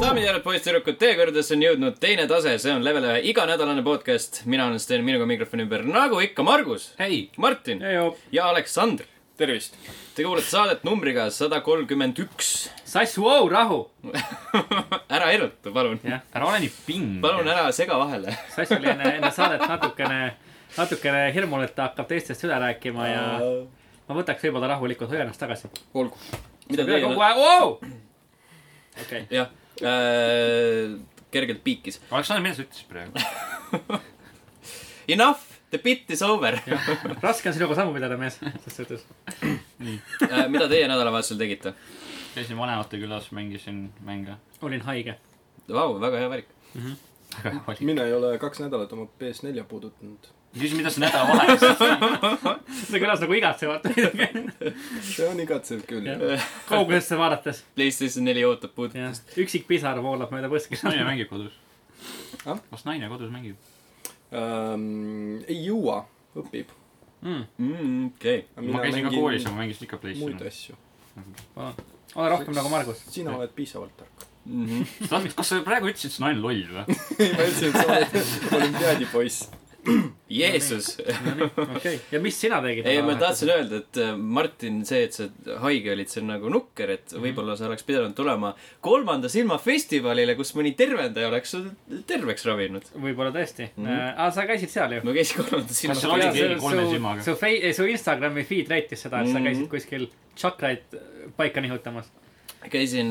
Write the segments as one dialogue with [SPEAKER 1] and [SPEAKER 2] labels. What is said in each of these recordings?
[SPEAKER 1] daamid ja härrad , poisssüdrukud , teekordadesse on jõudnud teine tase , see on level ühe iganädalane podcast . mina olen Sten , minuga mikrofoni ümber , nagu ikka , Margus ,
[SPEAKER 2] hei .
[SPEAKER 1] Martin ja Aleksandr .
[SPEAKER 3] tervist .
[SPEAKER 1] Te kuulete saadet numbriga sada kolmkümmend üks .
[SPEAKER 2] sass , vau , rahu .
[SPEAKER 1] ära eruta , palun .
[SPEAKER 2] jah , ära ole nii ping .
[SPEAKER 1] palun ära sega vahele .
[SPEAKER 2] sass oli enne , enne saadet natukene , natukene hirmul , et ta hakkab teistest üle rääkima ja ma võtaks võib-olla rahulikult , hoia ennast tagasi .
[SPEAKER 3] olgu .
[SPEAKER 1] mida
[SPEAKER 2] üle
[SPEAKER 1] teie
[SPEAKER 2] kogu ? aeg , vau . okei .
[SPEAKER 1] jah , kergelt piikis .
[SPEAKER 3] Aleksandr , mida sa ütlesid praegu ?
[SPEAKER 1] Enough , the bit is over .
[SPEAKER 2] raske on sinuga sammu pidada , mees , selles suhtes .
[SPEAKER 1] Äh, mida teie nädalavahetusel tegite ?
[SPEAKER 3] käisin vanemate külas , mängisin mänge .
[SPEAKER 2] olin haige .
[SPEAKER 1] Vau , väga hea valik .
[SPEAKER 3] väga hea valik .
[SPEAKER 4] mina ei ole kaks nädalat oma PS4 puudutanud .
[SPEAKER 3] küsi , mida sa nädalavahetusel
[SPEAKER 2] see kõlas nagu igatsevat
[SPEAKER 4] see on igatsev küll .
[SPEAKER 2] kaugusesse vaadates .
[SPEAKER 1] PlayStation neli ootab puudu .
[SPEAKER 2] jah , üksik pisar voolab mööda põske .
[SPEAKER 3] naine mängib kodus
[SPEAKER 4] Ah? .
[SPEAKER 3] kas naine kodus mängib ?
[SPEAKER 4] Ähm, ei jõua , õpib .
[SPEAKER 1] Mm, okei .
[SPEAKER 3] ma käisin ka koolis ja ma mängisin ikka
[SPEAKER 4] muid
[SPEAKER 3] PlayStationi .
[SPEAKER 4] asju .
[SPEAKER 2] ole rohkem nagu Margus .
[SPEAKER 4] sina oled piisavalt tark .
[SPEAKER 1] Mhm.
[SPEAKER 3] kas sa praegu ütlesid , et see naine on loll või ?
[SPEAKER 4] ma ütlesin , et sa oled olümpiaadipoiss .
[SPEAKER 1] Jeesus .
[SPEAKER 2] okei , ja mis sina tegid ?
[SPEAKER 1] ei , ma tahtsin öelda , et äh, Martin , see , et sa haige olid , see on nagu nukker , et
[SPEAKER 3] Mhm.
[SPEAKER 1] võib-olla sa oleks pidanud tulema kolmanda silma festivalile , kus mõni tervendaja oleks su terveks ravinud .
[SPEAKER 2] võib-olla tõesti mm .
[SPEAKER 1] Mm-hmm.
[SPEAKER 2] -hmm. aa , sa käisid seal ju ?
[SPEAKER 1] ma käisin kolmanda
[SPEAKER 3] kas seal
[SPEAKER 1] silma .
[SPEAKER 3] oli
[SPEAKER 2] Jaa,
[SPEAKER 3] keegi
[SPEAKER 2] su-
[SPEAKER 3] kolme
[SPEAKER 2] su-
[SPEAKER 3] silmaga?
[SPEAKER 2] su fei- , su Instagrami feed näitas seda ,
[SPEAKER 1] Mhm.
[SPEAKER 2] et sa käisid kuskil tšakraid paika nihutamas .
[SPEAKER 1] käisin ,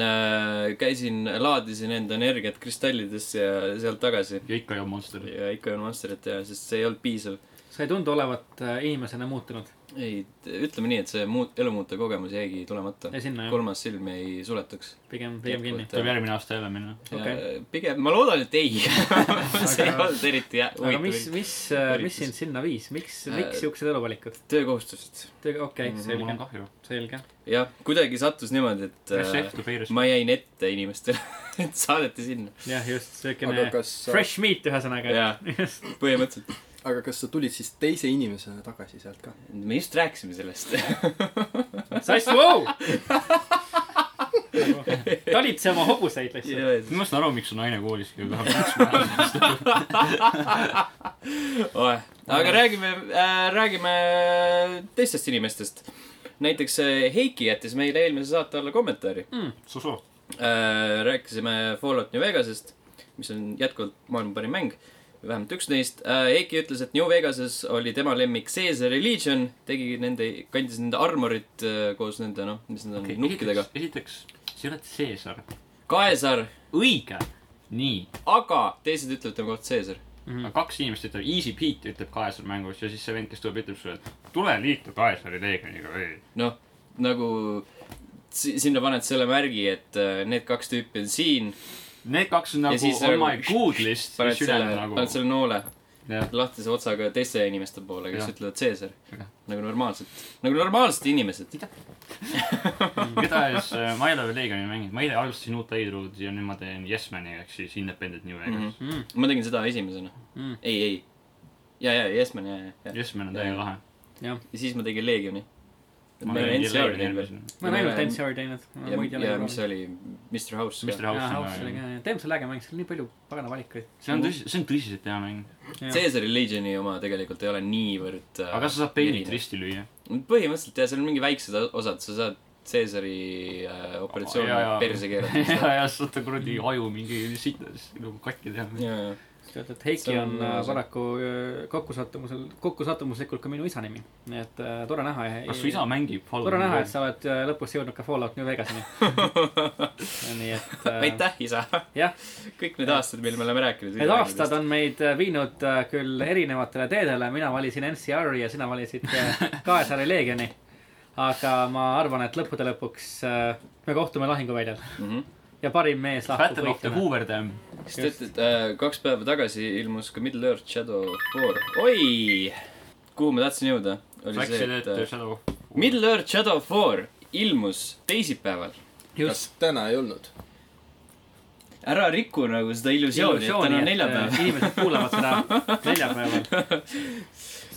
[SPEAKER 1] käisin , laadisin enda energiat kristallidesse ja sealt tagasi .
[SPEAKER 3] ja ikka ei olnud Monster .
[SPEAKER 1] ja ikka on Monsterit ja , sest see ei olnud piisav .
[SPEAKER 2] sa ei tundu olevat äh, inimesena muutunud . oi
[SPEAKER 1] ei , ütleme nii , et see muut- , elumuutev kogemus jäigi tulemata
[SPEAKER 2] Jäi sinna, jah. .
[SPEAKER 1] kolmas silm jäi suletuks .
[SPEAKER 2] pigem , pigem kinni .
[SPEAKER 3] tuleb järgmine aasta jälle minna .
[SPEAKER 2] Okei.
[SPEAKER 1] okay. . pigem , ma loodan , et ei . see ei
[SPEAKER 2] Aga-
[SPEAKER 1] olnud eriti hea-
[SPEAKER 2] aga mis ,
[SPEAKER 1] huvitav .
[SPEAKER 2] mis , mis sind sinna viis , miks , miks
[SPEAKER 1] Äh, Mhm.
[SPEAKER 2] siuksed eluvalikud ?
[SPEAKER 1] töökohustused .
[SPEAKER 2] okei ,
[SPEAKER 3] mul
[SPEAKER 2] selge
[SPEAKER 3] on , kahju .
[SPEAKER 2] selge .
[SPEAKER 1] jah , kuidagi sattus niimoodi , et
[SPEAKER 3] kes see
[SPEAKER 1] äh,
[SPEAKER 3] õhtu peiris ?
[SPEAKER 1] ma jäin ette inimestele , et saadeti sinna .
[SPEAKER 2] jah , just siukene
[SPEAKER 4] aga kas sa ,
[SPEAKER 2] fresh meat ühesõnaga .
[SPEAKER 1] jaa , põhimõtteliselt .
[SPEAKER 4] aga kas sa tulid siis teise inimesena tagasi sealt ka ?
[SPEAKER 1] me just rääkisime sellest .
[SPEAKER 2] sass , vau ! talitse oma Nagu, hobuseid lihtsalt .
[SPEAKER 3] ma saan aru , miks su naine koolis käib , läheb maksma .
[SPEAKER 1] aga räägime äh, , räägime teistest inimestest . näiteks äh, Heiki jättis meile eelmise saate alla kommentaari .
[SPEAKER 3] Susu .
[SPEAKER 1] Äh, rääkisime Fallout New Vegasest , mis on jätkuvalt maailma parim mäng , vähemalt üks neist . Heiki ütles , et New Vegases oli tema lemmik Caesar Legion , tegi nende , kandis nende armorit äh, koos nende , noh , mis need on okay, , nukkidega .
[SPEAKER 3] esiteks , esiteks , sa oled Caesar .
[SPEAKER 1] Kaesar ,
[SPEAKER 3] õige . nii
[SPEAKER 1] aga teised ütlevad tema kohta Caesar .
[SPEAKER 3] aga kaks inimest ütlevad , Easy Pete ütleb Kaesar mängus ja siis see vend , kes tuleb , ütleb sulle , et tule liitu Kaesari leegioniga või .
[SPEAKER 1] noh , nagu si- sinna paned selle märgi , et äh, need kaks tüüpi on siin ,
[SPEAKER 3] Need kaks on
[SPEAKER 1] Ja
[SPEAKER 3] nagu
[SPEAKER 1] siis
[SPEAKER 3] on
[SPEAKER 1] nagu-
[SPEAKER 3] my good list ,
[SPEAKER 1] paned
[SPEAKER 3] siis
[SPEAKER 1] selle ,
[SPEAKER 3] ülejäänud nagu
[SPEAKER 1] paned , selle noole
[SPEAKER 3] jah ,
[SPEAKER 1] lahtise otsaga teiste inimeste poole , kes ja.
[SPEAKER 3] Jah.
[SPEAKER 1] ütlevad Caesar
[SPEAKER 3] Jah. .
[SPEAKER 1] nagu normaalselt , nagu normaalsed inimesed .
[SPEAKER 3] igatahes äh, ma ei ole veel leegioni mänginud , ma eile alustasin uut Airuud ja nüüd ma teen Yes Mani ehk siis Independent New Vegas mm .
[SPEAKER 1] ma tegin seda esimesena mm. .
[SPEAKER 2] Mm.
[SPEAKER 1] ei , ei . ja , ja Yesman ja , ja , ja
[SPEAKER 3] -hmm. . Yes Man on täiega lahe .
[SPEAKER 1] ja siis ma tegin Leegioni .
[SPEAKER 3] Ma
[SPEAKER 1] ma olin
[SPEAKER 3] tegin
[SPEAKER 1] NCR-i
[SPEAKER 3] Leegioni
[SPEAKER 1] teinud veel .
[SPEAKER 3] eelmisena.
[SPEAKER 2] ma olen ainult NCR teinud .
[SPEAKER 1] ja , ja mis see oli , Mr House
[SPEAKER 3] Mr
[SPEAKER 1] ka .
[SPEAKER 2] jaa ,
[SPEAKER 3] House
[SPEAKER 2] House
[SPEAKER 3] on
[SPEAKER 2] oli
[SPEAKER 3] väga
[SPEAKER 2] ka
[SPEAKER 3] hea .
[SPEAKER 2] jah , teeme selle äge mäng , seal on nii palju pagana valikuid .
[SPEAKER 3] see on tõsi , see on tõsiselt hea mäng .
[SPEAKER 1] Caesari Legioni oma tegelikult ei ole niivõrd .
[SPEAKER 3] aga kas sa saad peenit ? risti lüüa ?
[SPEAKER 1] põhimõtteliselt jah , seal on mingi väiksed o- osad , sa saad Caesari äh, operatsiooni
[SPEAKER 3] Ja, ja.
[SPEAKER 1] perse
[SPEAKER 3] ja
[SPEAKER 1] keerata .,
[SPEAKER 3] ja saad ta kuradi aju mingi sita nagu katki teha .
[SPEAKER 1] ja , ja ,
[SPEAKER 2] tead , et Heiki
[SPEAKER 1] See on,
[SPEAKER 2] on äh,
[SPEAKER 1] äh,
[SPEAKER 2] paraku äh, kokkusattumusel , kokkusattumuslikult ka minu isa nimi . nii et äh, tore näha .
[SPEAKER 3] kas su isa mängib
[SPEAKER 2] tore näha , et sa oled äh, lõpus jõudnud ka Fallout New Vegasini . nii et äh,
[SPEAKER 1] aitäh , isa .
[SPEAKER 2] jah ,
[SPEAKER 1] kõik need aastad , mil me oleme rääkinud .
[SPEAKER 2] need aastad on meid äh, viinud äh, küll erinevatele teedele , mina valisin NCR-i ja sina valisid äh, Kaesaare Leegioni . aga ma arvan , et lõppude lõpuks äh, me kohtume lahinguväljal
[SPEAKER 1] on .
[SPEAKER 2] ja parim mees lahkub
[SPEAKER 3] Battle of the
[SPEAKER 2] võitjana .
[SPEAKER 3] Hoover Dam .
[SPEAKER 1] sest et , et äh, kaks päeva tagasi ilmus ka Middle Earth Shadow of War . oi , kuhu ma tahtsin jõuda , oli see ,
[SPEAKER 3] läksid
[SPEAKER 1] et
[SPEAKER 3] ette
[SPEAKER 1] äh,
[SPEAKER 3] Shadow of
[SPEAKER 1] Middle Earth Shadow of War ilmus teisipäeval .
[SPEAKER 4] kas täna ei olnud ?
[SPEAKER 1] ära riku nagu seda illusiooni , et täna on neljapäev .
[SPEAKER 2] äh, inimesed kuulavad seda neljapäeval .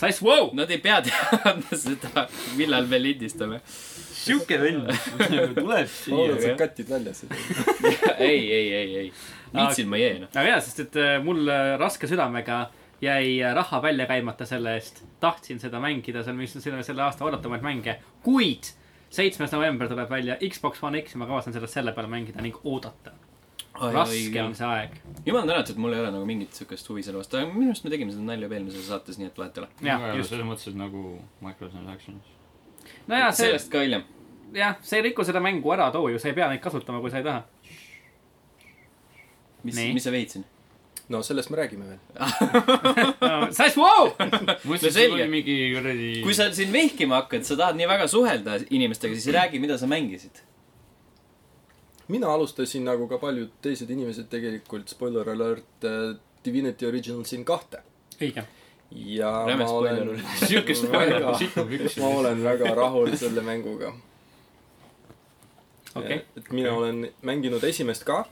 [SPEAKER 2] Sass , vau ,
[SPEAKER 1] Nad ei pea teadma seda , millal me lindistame .
[SPEAKER 3] siuke vend tuleb
[SPEAKER 4] ma loodan ,
[SPEAKER 3] siia
[SPEAKER 4] et . sa katid välja seda .
[SPEAKER 1] ei , ei , ei , ei , viitsin ma ei jää , noh .
[SPEAKER 2] aga jaa , sest et äh, mul äh, raske südamega jäi äh, raha välja käimata selle eest . tahtsin seda mängida , see on , mis on selle, selle aasta oodatamaid mänge , kuid seitsmes november tuleb välja Xbox One X ja ma kavatsen sellest selle peale mängida ning oodata . raske on see aeg .
[SPEAKER 1] jumal tänatud , mul ei ole nagu mingit siukest huvi selle vastu , aga minu arust me tegime seda nalja juba eelmises saates , nii et vahet ei ole .
[SPEAKER 2] jah , just .
[SPEAKER 3] selles mõttes , et nagu microtransactions .
[SPEAKER 2] no jaa , see ,
[SPEAKER 1] sellest ka hiljem .
[SPEAKER 2] jah , see ei riku seda mängu ära too ju , sa ei pea neid kasutama , kui sa ei taha .
[SPEAKER 1] mis
[SPEAKER 2] Nii. ,
[SPEAKER 1] mis sa veitsid ?
[SPEAKER 4] no sellest me räägime veel .
[SPEAKER 2] Sass , vau !
[SPEAKER 1] No
[SPEAKER 3] mõtlesin , et
[SPEAKER 1] selge.
[SPEAKER 3] sul oli mingi kuradi .
[SPEAKER 1] kui sa siin vehkima hakkad , sa tahad nii väga suhelda inimestega , siis räägi , mida sa mängisid .
[SPEAKER 4] mina alustasin nagu ka paljud teised inimesed tegelikult , spoiler alert , Divinity Original Sin kahte .
[SPEAKER 2] õige .
[SPEAKER 4] ja
[SPEAKER 1] Räme
[SPEAKER 4] ma
[SPEAKER 1] spoiler
[SPEAKER 4] olen ,
[SPEAKER 3] siukest
[SPEAKER 4] Väga.
[SPEAKER 3] väga sikub üks .
[SPEAKER 4] ma olen väga rahul selle mänguga .
[SPEAKER 2] Okei. .
[SPEAKER 4] et mina olen mänginud esimest ka .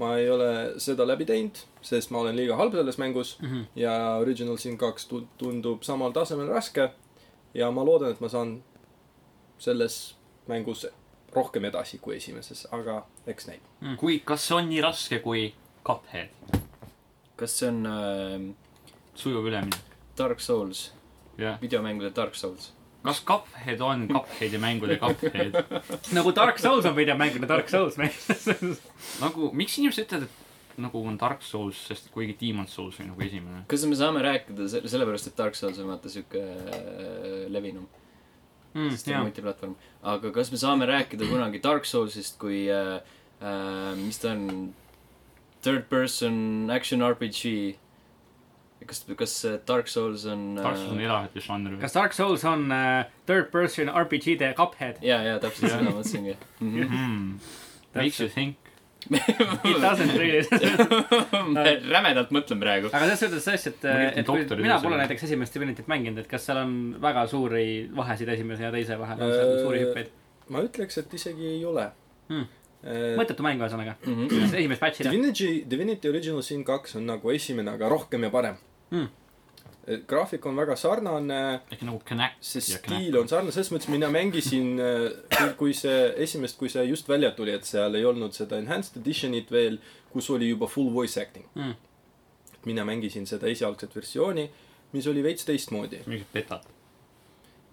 [SPEAKER 4] ma ei ole seda läbi teinud , sest ma olen liiga halb selles mängus
[SPEAKER 2] Mhm.
[SPEAKER 4] ja Original Sin kaks tu- tundub samal tasemel raske . ja ma loodan , et ma saan selles mängus rohkem edasi kui esimeses , aga eks näib .
[SPEAKER 3] kui , kas see on nii raske kui Cuphead ?
[SPEAKER 1] kas see on äh,
[SPEAKER 3] sujuv üleminek .
[SPEAKER 1] Dark Souls ,
[SPEAKER 3] jah .
[SPEAKER 1] videomängude Dark Souls ?
[SPEAKER 3] kas Cuphead on Cupheadi mängude Cuphead ?
[SPEAKER 2] nagu Dark Souls on videomänguna Dark Souls mäng .
[SPEAKER 3] nagu , miks inimesed ütlevad , et nagu on Dark Souls , sest kuigi Demon's Souls oli nagu esimene .
[SPEAKER 1] kas me saame rääkida se- sellepärast , et Dark Souls on vaata siuke äh, levinum ,
[SPEAKER 2] Hmm,
[SPEAKER 1] sest ta on multiplatvorm , aga kas me saame rääkida kunagi Dark Soulsist kui äh, , äh, mis ta on , third person action RPG ? kas , kas äh, Dark Souls on äh,
[SPEAKER 3] Dark Souls on eraldi žanr .
[SPEAKER 2] kas Dark Souls on äh, third person RPG-de Cuphead ?
[SPEAKER 1] ja , ja täpselt seda ma mõtlesingi .
[SPEAKER 3] Mhm. Makes you think .
[SPEAKER 2] It doesn't really .
[SPEAKER 1] rämedalt mõtlen praegu .
[SPEAKER 2] aga selles suhtes tõesti , et
[SPEAKER 3] Ma , kirjutan
[SPEAKER 2] et kui
[SPEAKER 3] doktoritöö
[SPEAKER 2] mina
[SPEAKER 3] selle.
[SPEAKER 2] pole näiteks esimest Divinityt mänginud , et kas seal on väga suuri vahesid esimese ja teise vahel , on seal
[SPEAKER 4] Äh,
[SPEAKER 2] suuri hüppeid ?
[SPEAKER 4] ma ütleks , et isegi ei ole
[SPEAKER 2] Hmm.
[SPEAKER 4] hmm. .
[SPEAKER 2] mõttetu mäng ühesõnaga ,
[SPEAKER 1] Mhm.
[SPEAKER 2] esimest patch'i .
[SPEAKER 4] Divinity , Divinity Original Sin kaks on nagu esimene , aga rohkem ja parem
[SPEAKER 2] Hmm.
[SPEAKER 4] Eh, graafik on väga sarnane ,
[SPEAKER 3] äkki nagu Connect .
[SPEAKER 4] see stiil on sarnane , selles mõttes mina mängisin , kui see esimest , kui see just välja tuli , et seal ei olnud seda enhanced edition'it veel , kus oli juba full voice acting
[SPEAKER 2] Hmm. .
[SPEAKER 4] mina mängisin seda esialgset versiooni , mis oli veits teistmoodi
[SPEAKER 3] mingid betad .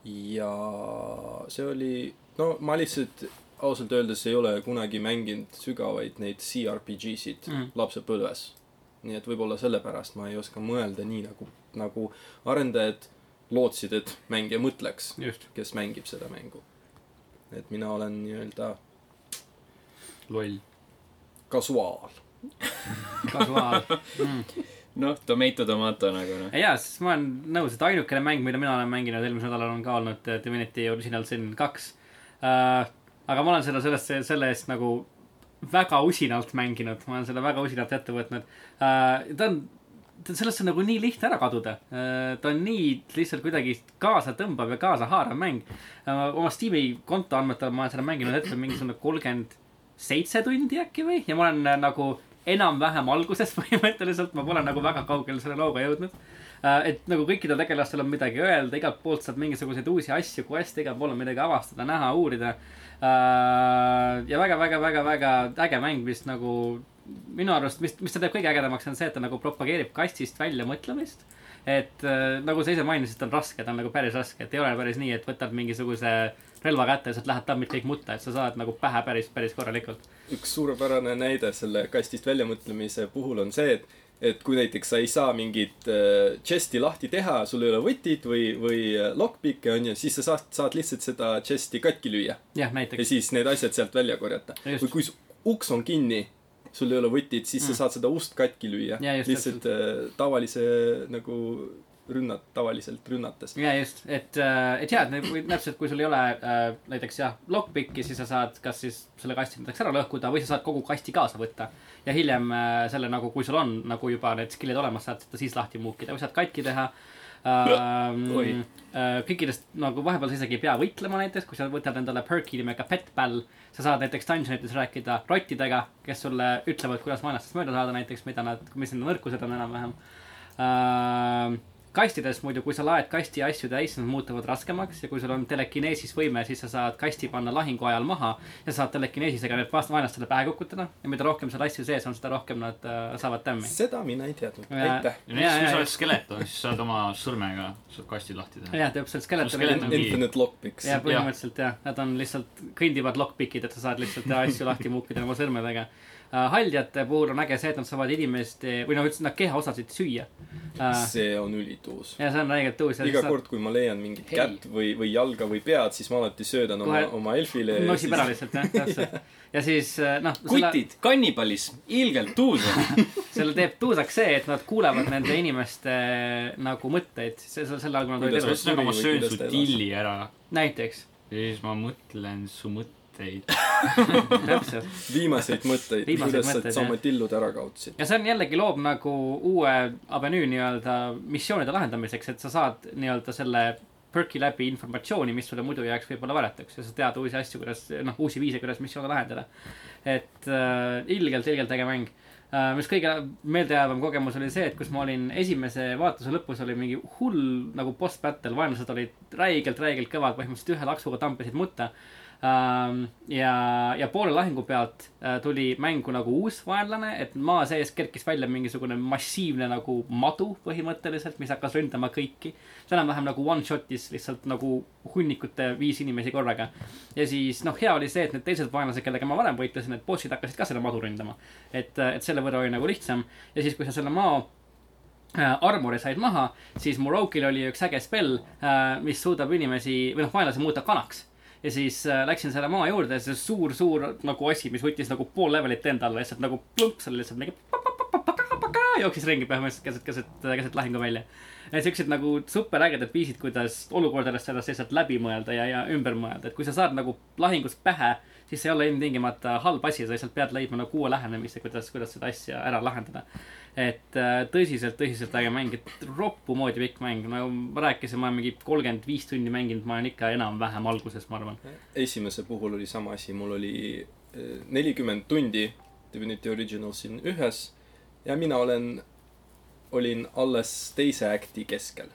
[SPEAKER 4] ja see oli , no ma lihtsalt ausalt öeldes ei ole kunagi mänginud sügavaid neid CRPG-sid
[SPEAKER 2] Mhm.
[SPEAKER 4] mm. lapsepõlves . nii et võib-olla sellepärast ma ei oska mõelda nii nagu , nagu arendajad lootsid , et mängija mõtleks ,
[SPEAKER 2] just .
[SPEAKER 4] kes mängib seda mängu . et mina olen nii-öelda
[SPEAKER 3] loll .
[SPEAKER 4] kasuaal .
[SPEAKER 2] kasuaal mm. .
[SPEAKER 1] noh , tomato , tomato nagu noh .
[SPEAKER 2] jaa , siis ma olen nõus , et ainukene mäng , mida mina olen mänginud eelmisel nädalal on ka olnud äh, Divinity Original Sin kaks uh, . aga ma olen seda sellest , selle eest nagu väga usinalt mänginud , ma olen selle väga usinalt ette võtnud uh, . ta on , sellesse on nagu nii lihtne ära kaduda uh, . ta on nii lihtsalt kuidagi kaasatõmbav ja kaasahaarav mäng uh, . oma Steam'i konto andmetel ma olen seda mänginud hetkel mingisugune kolmkümmend seitse tundi äkki või ja ma olen äh, nagu enam-vähem alguses põhimõtteliselt , ma pole nagu väga kaugele selle looga jõudnud . et nagu kõikidel tegelastel on midagi öelda , igalt poolt saab mingisuguseid uusi asju , quest'e , igal pool on midagi avastada , näha , uurida . ja väga-väga-väga-väga äge mäng , mis nagu minu arust , mis , mis ta teeb kõige ägedamaks , on see , et ta nagu propageerib kastist välja mõtlemist . et äh, nagu sa ise mainisid , ta on raske , ta on nagu päris raske , et ei ole päris nii , et võtad mingisuguse relva kätte ja sealt lähed tammid kõik mutta , et sa saad nagu pähe päris , päris korralikult .
[SPEAKER 4] üks suurepärane näide selle kastist väljamõtlemise puhul on see , et et kui näiteks sa ei saa mingit äh, chest'i lahti teha , sul ei ole võtit või , või äh, lockpick'e onju , siis sa saad , saad lihtsalt seda chest'i katki lüüa
[SPEAKER 2] jah ,
[SPEAKER 4] ja
[SPEAKER 2] näiteks .
[SPEAKER 4] siis need asjad sealt välja korjata .
[SPEAKER 2] Just.
[SPEAKER 4] või kui su- uks on kinni , sul ei ole võtit , siis mm. sa saad seda ust katki lüüa
[SPEAKER 2] Jaa, just,
[SPEAKER 4] lihtsalt äh, tavalise nagu rünnat , tavaliselt rünnates .
[SPEAKER 2] ja just , et , et jaa , et nagu- või täpselt , kui sul ei ole äh, näiteks jah , lockpicki , siis sa saad kas siis selle kasti näiteks ära lõhkuda või sa saad kogu kasti kaasa võtta . ja hiljem äh, selle nagu , kui sul on nagu juba need skill'id olemas , saad seda siis lahti muukida või saad katki teha . Ähm,
[SPEAKER 1] Oi.
[SPEAKER 2] kõikidest nagu vahepeal sa isegi ei pea võitlema näiteks , kui sa võtad endale perk'i nimega pet ball . sa saad näiteks dungeonites rääkida rottidega , kes sulle ütlevad , kuidas vaenlastest mööda saada näiteks , mida nad , mis nende nõrkused on enam-vähem Äh, kastides muidu , kui sa laed kasti asju täis , siis nad muutuvad raskemaks ja kui sul on telekineesis võime , siis sa saad kasti panna lahingu ajal maha ja saad telekineesisega need vast- vaenlastele pähe kukutada ja mida rohkem seal asju sees on , seda rohkem nad äh, saavad tämmi .
[SPEAKER 4] seda mina ei teadnud ,
[SPEAKER 2] Ja-
[SPEAKER 4] aitäh .
[SPEAKER 3] ja
[SPEAKER 2] Jaa,
[SPEAKER 3] näiteks , kui
[SPEAKER 2] jaa,
[SPEAKER 3] sa
[SPEAKER 2] jaa.
[SPEAKER 3] oled skelet , siis saad oma sõrmega saad kasti lahti teha .
[SPEAKER 2] jah , täpselt , skeleton
[SPEAKER 3] Skeleton
[SPEAKER 2] on-
[SPEAKER 3] mingi-
[SPEAKER 4] Infinite lockpicks .
[SPEAKER 2] ja põhimõtteliselt jah , nad on lihtsalt kõndivad lockpickid , et sa saad lihtsalt asju lahti muukida oma sõrmedega . haljate puhul on äge see , et nad saavad inimeste või noh , üldse nad kehaosasid süüa . ja
[SPEAKER 4] see on ülituus .
[SPEAKER 2] see on õigelt tõus .
[SPEAKER 4] iga kord , kui ma leian mingit
[SPEAKER 1] Hei.
[SPEAKER 4] hey. kätt või , või jalga või pead , siis ma alati söödan oma
[SPEAKER 2] Kohe- ,
[SPEAKER 4] oma elfile .
[SPEAKER 2] nosib ära lihtsalt jah , täpselt . ja siis eh, noh , selle ,
[SPEAKER 1] kutid , kannibalism , ilgelt uus on .
[SPEAKER 2] selle teeb tuusaks see , et nad kuulevad nende inimeste nagu mõtteid , see , selle all , kui nad olid
[SPEAKER 4] Kuidas
[SPEAKER 2] elus .
[SPEAKER 3] ühesõnaga , ma
[SPEAKER 4] või
[SPEAKER 3] söön
[SPEAKER 4] kuidas
[SPEAKER 3] su
[SPEAKER 4] ta elas?
[SPEAKER 3] tilli ära
[SPEAKER 2] näiteks ,
[SPEAKER 3] ja siis ma mõtlen su mõtteid .
[SPEAKER 2] täpselt .
[SPEAKER 4] viimaseid mõtteid ,
[SPEAKER 2] Viimaseid
[SPEAKER 4] kuidas sa
[SPEAKER 2] mõtteid,
[SPEAKER 4] sama
[SPEAKER 2] jah.
[SPEAKER 4] tillud ära kaotasid .
[SPEAKER 2] ja see on jällegi loob nagu uue avenüü nii-öelda missioonide lahendamiseks , et sa saad nii-öelda selle perki läbi informatsiooni , mis sulle muidu jääks võib-olla varjatuks ja sa tead uusi asju , kuidas noh , uusi viise , kuidas missioone lahendada . et äh, ilgelt , ilgelt äge mäng äh, . mis kõige meeldejäävam kogemus oli see , et kus ma olin esimese vaatuse lõpus oli mingi hull nagu boss battle , vaenlased olid räigelt , räigelt kõvad , põhimõtteliselt ühe laksuga tampisid mutta Ähm, ja , ja poole lahingu pealt äh, tuli mängu nagu uus vaenlane , et maa sees kerkis välja mingisugune massiivne nagu madu põhimõtteliselt , mis hakkas ründama kõiki . see enam-vähem nagu one shot'is lihtsalt nagu hunnikute viis inimesi korraga . ja siis noh , hea oli see , et need teised vaenlased , kellega ma varem võitlesin , need bossid hakkasid ka seda madu ründama . et , et selle võrra oli nagu lihtsam ja siis , kui sa selle mao äh, armori said maha , siis Morokil oli üks äge spell , mis suudab inimesi või noh , vaenlase muuta kanaks . ja siis äh, läksin selle maa juurde ja see suur-suur nagu asi , mis võttis nagu pool levelit enda alla lihtsalt nagu plump , seal lihtsalt mingi papapapapaka- jooksis ringi põhimõtteliselt keset , keset , keset lahingu välja . et siuksed nagu super ägedad viisid , kuidas olukordadest sellest lihtsalt läbi mõelda ja , ja ümber mõelda , et kui sa saad nagu lahingus pähe , siis see ei ole ilmtingimata halb asi , sa lihtsalt pead leidma nagu uue lähenemise , kuidas , kuidas seda asja ära lahendada et äh, tõsiselt , tõsiselt äge mäng , et roppu moodi pikk mäng , nagu ma rääkisin , ma olen mingi kolmkümmend viis tundi mänginud , ma olen ikka enam-vähem alguses , ma arvan .
[SPEAKER 4] esimese puhul oli sama asi , mul oli eh, nelikümmend tundi Divinity Original siin ühes ja mina olen , olin alles teise äkti keskel .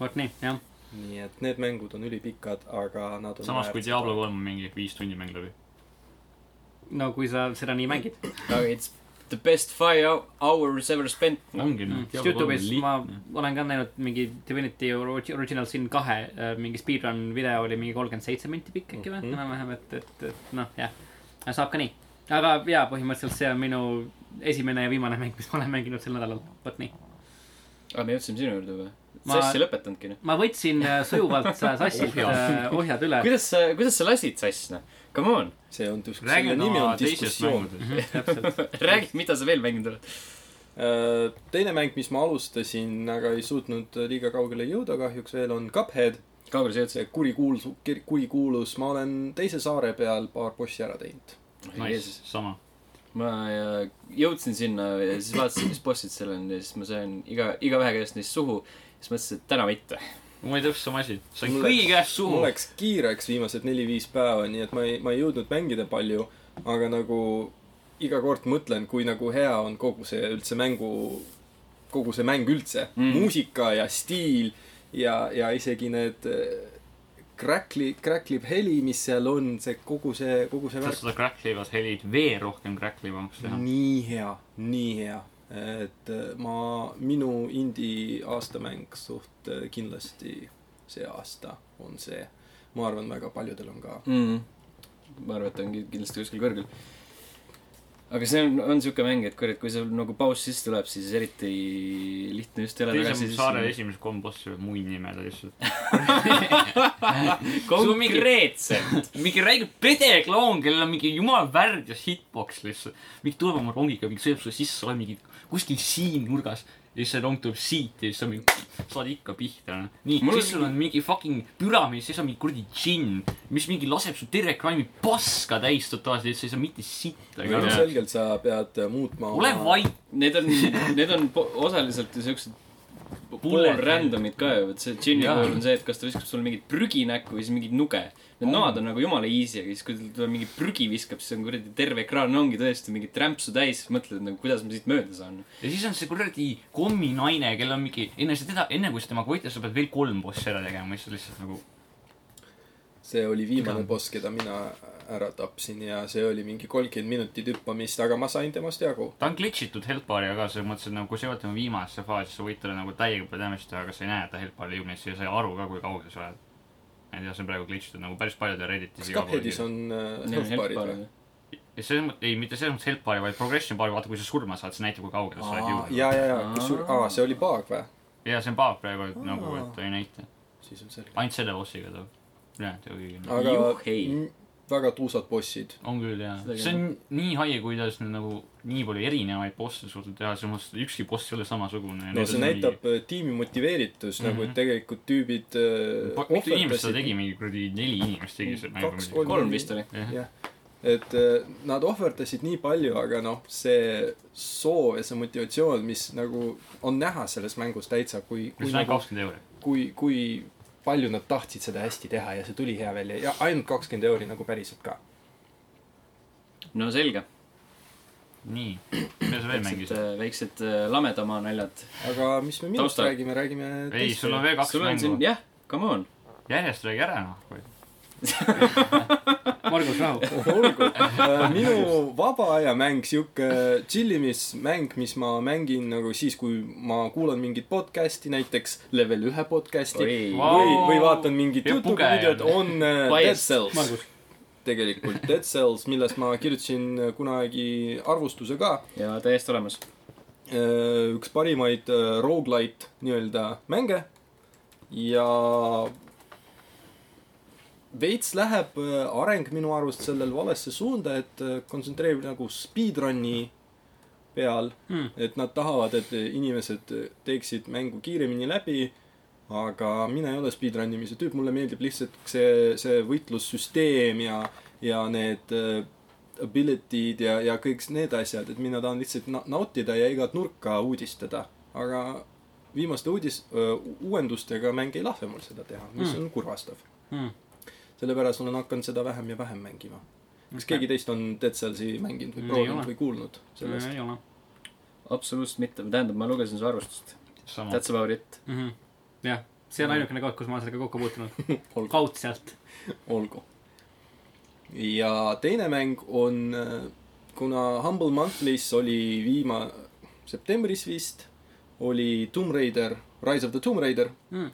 [SPEAKER 2] vot nii , jah .
[SPEAKER 4] nii et need mängud on ülipikad , aga nad on
[SPEAKER 3] samas kui Diablo kolm on mingi viis tundi mäng läbi .
[SPEAKER 2] no kui sa seda nii mängid .
[SPEAKER 1] aga it's the best five hou- hours ever spent .
[SPEAKER 3] ongi noh .
[SPEAKER 2] sest Youtube'is Mm, ma olen ka näinud mingi Divinity Orig- Original Sin kahe äh, mingi speedrun video oli mingi kolmkümmend seitse minti pikk äkki või ,
[SPEAKER 4] Mhm.
[SPEAKER 2] enam-vähem , et , et , et noh , jah . saab ka nii . aga jaa , põhimõtteliselt see on minu esimene ja viimane mäng , mis ma olen mänginud sel nädalal , vot nii .
[SPEAKER 1] aa , me jõudsime sinu juurde juba .
[SPEAKER 2] Ma-
[SPEAKER 1] sa asja ei lõpetanudki , noh .
[SPEAKER 2] ma võtsin äh, sujuvalt sa- sassilt äh, ohjad üle .
[SPEAKER 1] kuidas sa , kuidas sa lasid sassna ? Come on ,
[SPEAKER 4] see on , selle
[SPEAKER 3] räägin
[SPEAKER 4] nimi
[SPEAKER 3] oma
[SPEAKER 4] on
[SPEAKER 3] teisest
[SPEAKER 4] diskussioon .
[SPEAKER 3] mängudest .
[SPEAKER 2] täpselt .
[SPEAKER 1] räägi , mida sa veel mänginud oled .
[SPEAKER 4] Äh, teine mäng , mis ma alustasin , aga ei suutnud äh, liiga kaugele jõuda kahjuks veel , on Cuphead .
[SPEAKER 1] kaugele sa jõudsid ?
[SPEAKER 4] see kurikuulus , kurikuulus , ma olen teise saare peal paar bossi ära teinud .
[SPEAKER 3] Nice , sama .
[SPEAKER 1] ma äh, jõudsin sinna ja siis vaatasin , mis bossid seal on ja siis ma sain iga , igaühe käest neist suhu . siis mõtlesin , et täna mitte .
[SPEAKER 3] mul oli täpselt sama asi . sain
[SPEAKER 4] Mul
[SPEAKER 3] kõigi
[SPEAKER 4] läks-
[SPEAKER 3] käest
[SPEAKER 4] mul
[SPEAKER 3] suhu .
[SPEAKER 4] läks kiireks viimased neli-viis päeva , nii et ma ei , ma ei jõudnud mängida palju , aga nagu iga kord mõtlen , kui nagu hea on kogu see üldse mängu , kogu see mäng üldse
[SPEAKER 1] Mm.
[SPEAKER 4] mm. . muusika ja stiil ja , ja isegi need äh, crackli , cracklib heli , mis seal on , see kogu see , kogu see
[SPEAKER 3] saad
[SPEAKER 4] värk .
[SPEAKER 3] seda cracklivat helid veel rohkem cracklivamaks teha .
[SPEAKER 4] nii hea , nii hea . et äh, ma , minu indie aastamäng suht äh, kindlasti see aasta on see . ma arvan , väga paljudel on ka .
[SPEAKER 1] mm. . ma arvan , et ta on ki- kindlasti kuskil kõrgel . aga see on , on siuke mäng , et kurat , kui sul nagu paus sisse tuleb , siis eriti lihtne just ei ole
[SPEAKER 3] teise
[SPEAKER 1] tagasi
[SPEAKER 3] saare esimesed kolm bossi olid muid nimed lihtsalt .
[SPEAKER 1] konkreetselt .
[SPEAKER 3] mingi räige pedekloon , kellel on mingi jumal värd ja hitbox lihtsalt . mingi tuleb oma rongiga , mingi sööb su sisse , oled mingi kuskil siin nurgas . ja siis see rong tuleb siit ja siis sa mingi , saad ikka pihta , noh . nii ,
[SPEAKER 1] Mul
[SPEAKER 3] siis sul on mingi fucking püramiid , siis on mingi kuradi džinn , mis mingi laseb su terve ekraani paska täis totaalselt , et sa ei saa mitte sittagi aru .
[SPEAKER 4] ilmselgelt noh, sa pead äh, muutma
[SPEAKER 3] ole vait ,
[SPEAKER 1] Need on , need on po- osaliselt ju siuksed pool
[SPEAKER 3] Bullet.
[SPEAKER 1] random'id ka ju , et see džinni
[SPEAKER 3] Jaa.
[SPEAKER 1] puhul on see , et kas ta viskab sulle mingit prügi näkku või siis mingit nuge . Need noad on nagu jumala easy , aga siis kui tal tuleb mingi prügi viskab , siis on kuradi terve ekraan ongi tõesti mingit rämpsu täis , mõtled nagu kuidas ma siit mööda saan .
[SPEAKER 3] ja siis on see kuradi komminaine , kellel on mingi , enne seda , enne kui sa temaga võitled , sa pead veel kolm bossi ära tegema , mis on lihtsalt nagu
[SPEAKER 4] see oli viimane boss , keda mina ära tapsin ja see oli mingi kolmkümmend minutit hüppamist , aga ma sain temast jagu .
[SPEAKER 3] ta on glitch itud helpbariga ka , selles mõttes , et nagu kui sa jõuad tema viimasesse faasi , sa võid talle nagu täiega palju damage teha , aga sa ei näe ta helpbari jõudmist ja sa ei aru ka , kui kaugel sa oled . ma ei tea , see on praegu glitch itud nagu päris paljudel
[SPEAKER 4] kas
[SPEAKER 3] Redditis
[SPEAKER 4] Cupheadis . on äh, helpbaarid või ?
[SPEAKER 3] ja selles mõttes , ei mitte selles mõttes helpbari , vaid progression bari , vaata kui sa surma saad , see näitab , kui kaugele sa oled jõudnud .
[SPEAKER 4] ja , ja , ja , kus sul , aa , see oli bug või ?
[SPEAKER 3] ja see on bug praegu , et nagu , et ta ei näita .
[SPEAKER 4] siis on selge .
[SPEAKER 3] ainult selle bossiga ta , ülejäänud ei või .
[SPEAKER 4] aga
[SPEAKER 1] Juhhei.
[SPEAKER 4] m- väga tuusad bossid .
[SPEAKER 3] on küll jah ,
[SPEAKER 1] Seda
[SPEAKER 3] see on nii haige , kuidas nad nagu nii palju erinevaid bosse on suutnud teha , selles mõttes , et ükski boss ei ole samasugune .
[SPEAKER 4] no see näitab äh, tiimi motiveeritus mm , -hmm. nagu et tegelikult tüübid äh,
[SPEAKER 3] Mhm. mitu inimest seda
[SPEAKER 4] ohverdasid-
[SPEAKER 3] tegi , mingi kuradi neli inimest tegi seda
[SPEAKER 4] Kaks,
[SPEAKER 3] mängu .
[SPEAKER 4] kolm.
[SPEAKER 1] kolm vist oli .
[SPEAKER 3] jah ,
[SPEAKER 4] jah , et äh, nad ohverdasid nii palju , aga noh , see soov ja see motivatsioon , mis nagu on näha selles mängus täitsa , kui ,
[SPEAKER 3] see
[SPEAKER 4] kui
[SPEAKER 3] on ainult
[SPEAKER 4] nagu ,
[SPEAKER 3] kakskümmend euri .
[SPEAKER 4] kui , kui palju nad tahtsid seda hästi teha ja see tuli hea välja ja ainult kakskümmend euri nagu päriselt ka .
[SPEAKER 1] no selge .
[SPEAKER 3] nii , mida sa veel
[SPEAKER 1] väiksed
[SPEAKER 3] mängisid ?,
[SPEAKER 1] väiksed äh, lamedama naljad .
[SPEAKER 4] aga mis me minust
[SPEAKER 1] Taustal.
[SPEAKER 4] Tausta. räägime , räägime
[SPEAKER 3] ei , sul on
[SPEAKER 4] äh,
[SPEAKER 3] veel kaks
[SPEAKER 1] sul on siin ,
[SPEAKER 3] mängu .
[SPEAKER 1] jah , come on .
[SPEAKER 3] järjest räägi ära noh .
[SPEAKER 2] Margus , rahu .
[SPEAKER 4] olgu , Äh, minu vaba aja mäng , sihuke chillimismäng , mis ma mängin nagu siis , kui ma kuulan mingit podcast'i , näiteks level ühe podcast'i .
[SPEAKER 1] oi ,
[SPEAKER 3] Vau.
[SPEAKER 4] või , või vaatan mingit
[SPEAKER 3] Ja
[SPEAKER 4] Youtube'i
[SPEAKER 3] pugeja.
[SPEAKER 4] videot , on äh,
[SPEAKER 1] by
[SPEAKER 4] Dead
[SPEAKER 1] itself .
[SPEAKER 2] Margus ,
[SPEAKER 4] tegelikult Dead Cells , millest ma kirjutasin äh, kunagi arvustuse ka .
[SPEAKER 1] ja täiesti olemas .
[SPEAKER 4] üks parimaid äh, rogu-lite nii-öelda mänge ja veits läheb äh, areng minu arust sellel valesse suunda , et äh, kontsentreerib nagu speedrun'i peal
[SPEAKER 2] Hmm.
[SPEAKER 4] et nad tahavad , et inimesed teeksid mängu kiiremini läbi aga mina ei ole speedrun imise tüüp , mulle meeldib lihtsalt see , see võitlussüsteem ja , ja need äh, ability'd ja , ja kõik need asjad , et mina tahan lihtsalt na- nautida ja igat nurka uudistada . aga viimaste uudis , uuendustega mäng ei lahva mul seda teha , mis
[SPEAKER 2] Hmm.
[SPEAKER 4] mm. on kurvastav
[SPEAKER 2] Mm. .
[SPEAKER 4] sellepärast olen hakanud seda vähem ja vähem mängima . kas
[SPEAKER 2] Okei.
[SPEAKER 4] keegi teist on Dead Cellsi mänginud
[SPEAKER 2] Ei
[SPEAKER 4] või
[SPEAKER 2] ole.
[SPEAKER 4] proovinud või kuulnud sellest ?
[SPEAKER 2] ei ole .
[SPEAKER 1] absoluutselt mitte , tähendab , ma lugesin su arvustust .
[SPEAKER 3] sama .
[SPEAKER 1] That's about it .
[SPEAKER 2] Mhm. jah , see on ainukene koht , kus ma olen sellega kokku puutunud .
[SPEAKER 4] Mhm. olgu .
[SPEAKER 2] kaudselt .
[SPEAKER 4] olgu . ja teine mäng on , kuna Humble Monthly's oli viima- , septembris vist , oli Tomb Raider , Rise of the Tomb Raider
[SPEAKER 2] Mm. .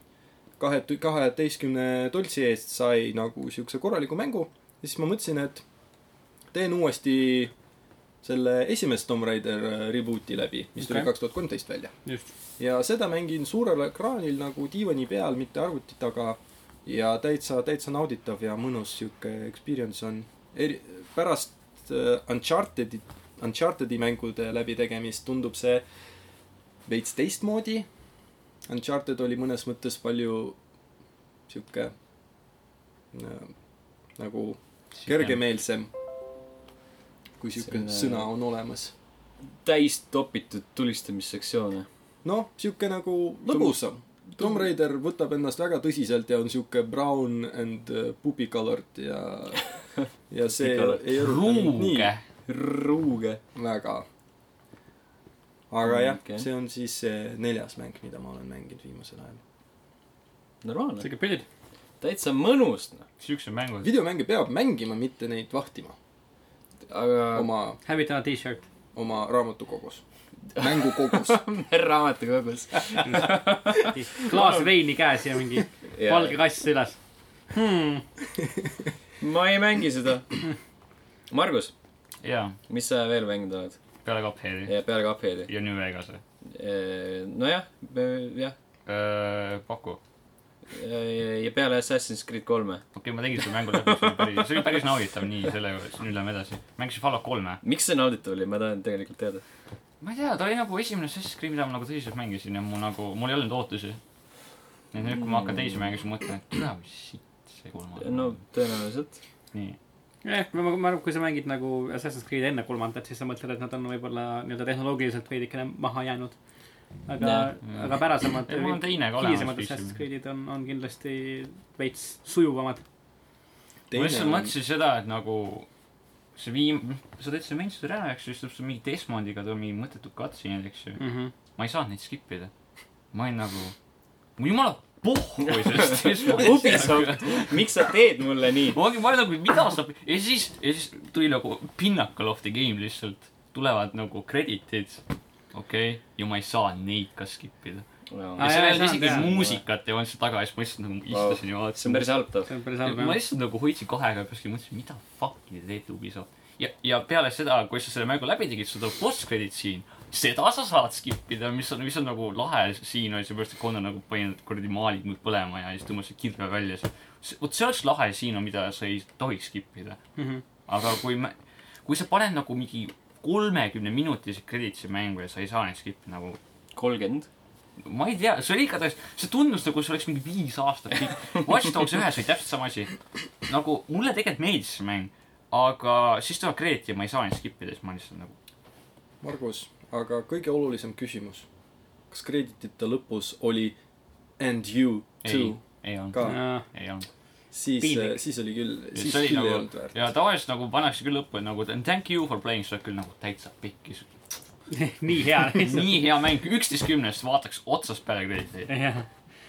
[SPEAKER 4] kahe , kaheteistkümne toltsi eest sai nagu siukse korraliku mängu ja siis ma mõtlesin , et teen uuesti selle esimest Tomb Raider äh, reboot'i läbi , mis tuli
[SPEAKER 2] Okei.
[SPEAKER 4] kaks tuhat kolmteist välja .
[SPEAKER 2] just .
[SPEAKER 4] ja seda mängin suurel ekraanil nagu diivani peal , mitte arvuti taga . ja täitsa , täitsa nauditav ja mõnus sihuke experience on . eri , pärast äh, Uncharted'i , Uncharted'i mängude läbitegemist tundub see veits teistmoodi . Uncharted oli mõnes mõttes palju sihuke äh, nagu kergemeelsem , kui sihuke
[SPEAKER 1] Selline-
[SPEAKER 4] sõna on olemas .
[SPEAKER 1] täis topitud tulistamissektsioone .
[SPEAKER 4] noh , sihuke nagu lõbusam . Tomb Raider võtab ennast väga tõsiselt ja on sihuke brown and uh, pubi colored ja , ja see
[SPEAKER 1] Colored.
[SPEAKER 4] ei eruta mind nii
[SPEAKER 3] ruuge .
[SPEAKER 1] ruuge .
[SPEAKER 4] väga . aga jah
[SPEAKER 1] Okei.
[SPEAKER 4] okay. , see on siis see neljas mäng , mida ma olen mänginud viimasel ajal .
[SPEAKER 1] normaalne .
[SPEAKER 2] siuke pillid .
[SPEAKER 1] täitsa mõnus , noh .
[SPEAKER 3] siuksed mängud .
[SPEAKER 4] videomänge peab mängima , mitte neid vahtima
[SPEAKER 1] aga
[SPEAKER 4] oma ,
[SPEAKER 2] hävitame t-shirt .
[SPEAKER 4] oma raamatukogus , mängukogus .
[SPEAKER 1] raamatukogus .
[SPEAKER 3] Ah,
[SPEAKER 2] klaas veini käes ja mingi valge kass Hmm. seljas .
[SPEAKER 1] ma ei mängi seda . Margus ,
[SPEAKER 3] jaa ,
[SPEAKER 1] mis sa veel mänginud oled ?
[SPEAKER 3] peale Cupheadi
[SPEAKER 1] ja peale Cuphead'i ?
[SPEAKER 3] ja New Vegase .
[SPEAKER 1] nojah , jah .
[SPEAKER 3] Äh, paku .
[SPEAKER 1] ja peale Assassin's Creed kolme .
[SPEAKER 3] okei , ma tegin selle mängu läbi , see oli päris , see oli päris nauditav , nii , selle , nüüd läheme edasi . mängisin Fallout kolme .
[SPEAKER 1] miks see nauditav oli , ma tahan tegelikult teada .
[SPEAKER 3] ma ei tea , ta oli nagu esimene Assassin's Creed , mida ma nagu tõsiselt mängisin ja mul nagu , mul ei olnud ootusi . ja nüüd , kui ma hakkan teisi mängima , siis ma mõtlen , et kurat , mis sitt see kolmas
[SPEAKER 1] no . tõenäoliselt .
[SPEAKER 3] nii ,
[SPEAKER 2] jah , Eh, ma , ma arvan , kui sa mängid nagu Assassin's Creed'i enne kolmandat , siis sa mõtled , et nad on võib-olla nii-öelda tehnoloogiliselt veidikene maha jäänud . aga
[SPEAKER 1] Jah. ,
[SPEAKER 2] aga pärasemad
[SPEAKER 3] Ei, , mul on teine ka olemas
[SPEAKER 2] hilisemad
[SPEAKER 3] PC-l.
[SPEAKER 2] Assassin's Creed'id on , on kindlasti veits sujuvamad .
[SPEAKER 3] ma lihtsalt
[SPEAKER 4] on-
[SPEAKER 3] mõtlesin seda , et nagu see viim- , sa teed selle mainstream'i ära , eks ju , siis tuleb sul mingi Desmondiga tuleb mingi mõttetud cutscene'id , eks ju .
[SPEAKER 2] mm .
[SPEAKER 3] ma ei saanud neid skip ida . ma olin nagu , mul jumala pohhu sellest Desmondist . nagu."
[SPEAKER 1] Ubisoft , miks sa teed mulle nii ?
[SPEAKER 3] ma olin , ma olin nagu , mida saab ja siis , ja siis tuli nagu pinnacle of the game lihtsalt . tulevad nagu credit'id . okei okay. , ja ma ei saa neid ka skip ida .
[SPEAKER 2] Aa,
[SPEAKER 3] ja
[SPEAKER 2] jaa,
[SPEAKER 3] seal
[SPEAKER 2] ei
[SPEAKER 3] ei olnud
[SPEAKER 2] saanud,
[SPEAKER 3] isegi
[SPEAKER 2] jaa.
[SPEAKER 3] muusikat ei olnud seal taga ja siis ma lihtsalt nagu istusin ja
[SPEAKER 1] see on
[SPEAKER 3] vaatasin .
[SPEAKER 1] päris halb too .
[SPEAKER 2] see on päris halb
[SPEAKER 3] ma
[SPEAKER 2] jah .
[SPEAKER 3] lihtsalt nagu hoidsin kahe käe kuskil , mõtlesin , mida fuck'i te teete Ubisoft . ja , ja peale seda , kui sa selle mängu läbi tegid , sul tuleb boss credit siin . seda sa saad skip ida , mis on , mis on nagu lahe siin oli , seepärast et Conan nagu pani need kuradi maalid mul põlema ja siis tõmbas selle kirve välja . vot see oleks lahe siin , mida sa ei tohiks skip ida .
[SPEAKER 2] Mhm.
[SPEAKER 3] aga kui me , kui sa paned nagu mingi kolmekümne minutise credit'i mängu ja sa ei saa neid skip ida, nagu
[SPEAKER 1] kolmkümmend .
[SPEAKER 3] ma ei tea , see oli igatahes , see tundus nagu see oleks mingi viis aastat pikk . Watch Dogs ühes oli täpselt sama asi . nagu mulle tegelikult meeldis see mäng , aga siis tuleb Grete ja ma ei saa neid skip ida , siis ma lihtsalt nagu .
[SPEAKER 4] Margus , aga kõige olulisem küsimus . kas kreeditite lõpus oli and you
[SPEAKER 3] ei
[SPEAKER 4] too ,
[SPEAKER 3] ei olnud ,
[SPEAKER 4] ka ?
[SPEAKER 3] ei olnud .
[SPEAKER 4] siis äh,
[SPEAKER 2] Piinlik. ,
[SPEAKER 4] siis oli küll , siis
[SPEAKER 3] see oli
[SPEAKER 4] küll nagu... ei olnud
[SPEAKER 3] nagu
[SPEAKER 4] väärt .
[SPEAKER 3] ja tavaliselt nagu pannakse küll lõppu nagu and thank you for playing , sa oled küll nagu täitsa pikk .
[SPEAKER 2] nii hea lihtsalt .
[SPEAKER 3] nii hea mäng , üksteist kümnest vaataks otsast peale Grete'i ,
[SPEAKER 2] jah ,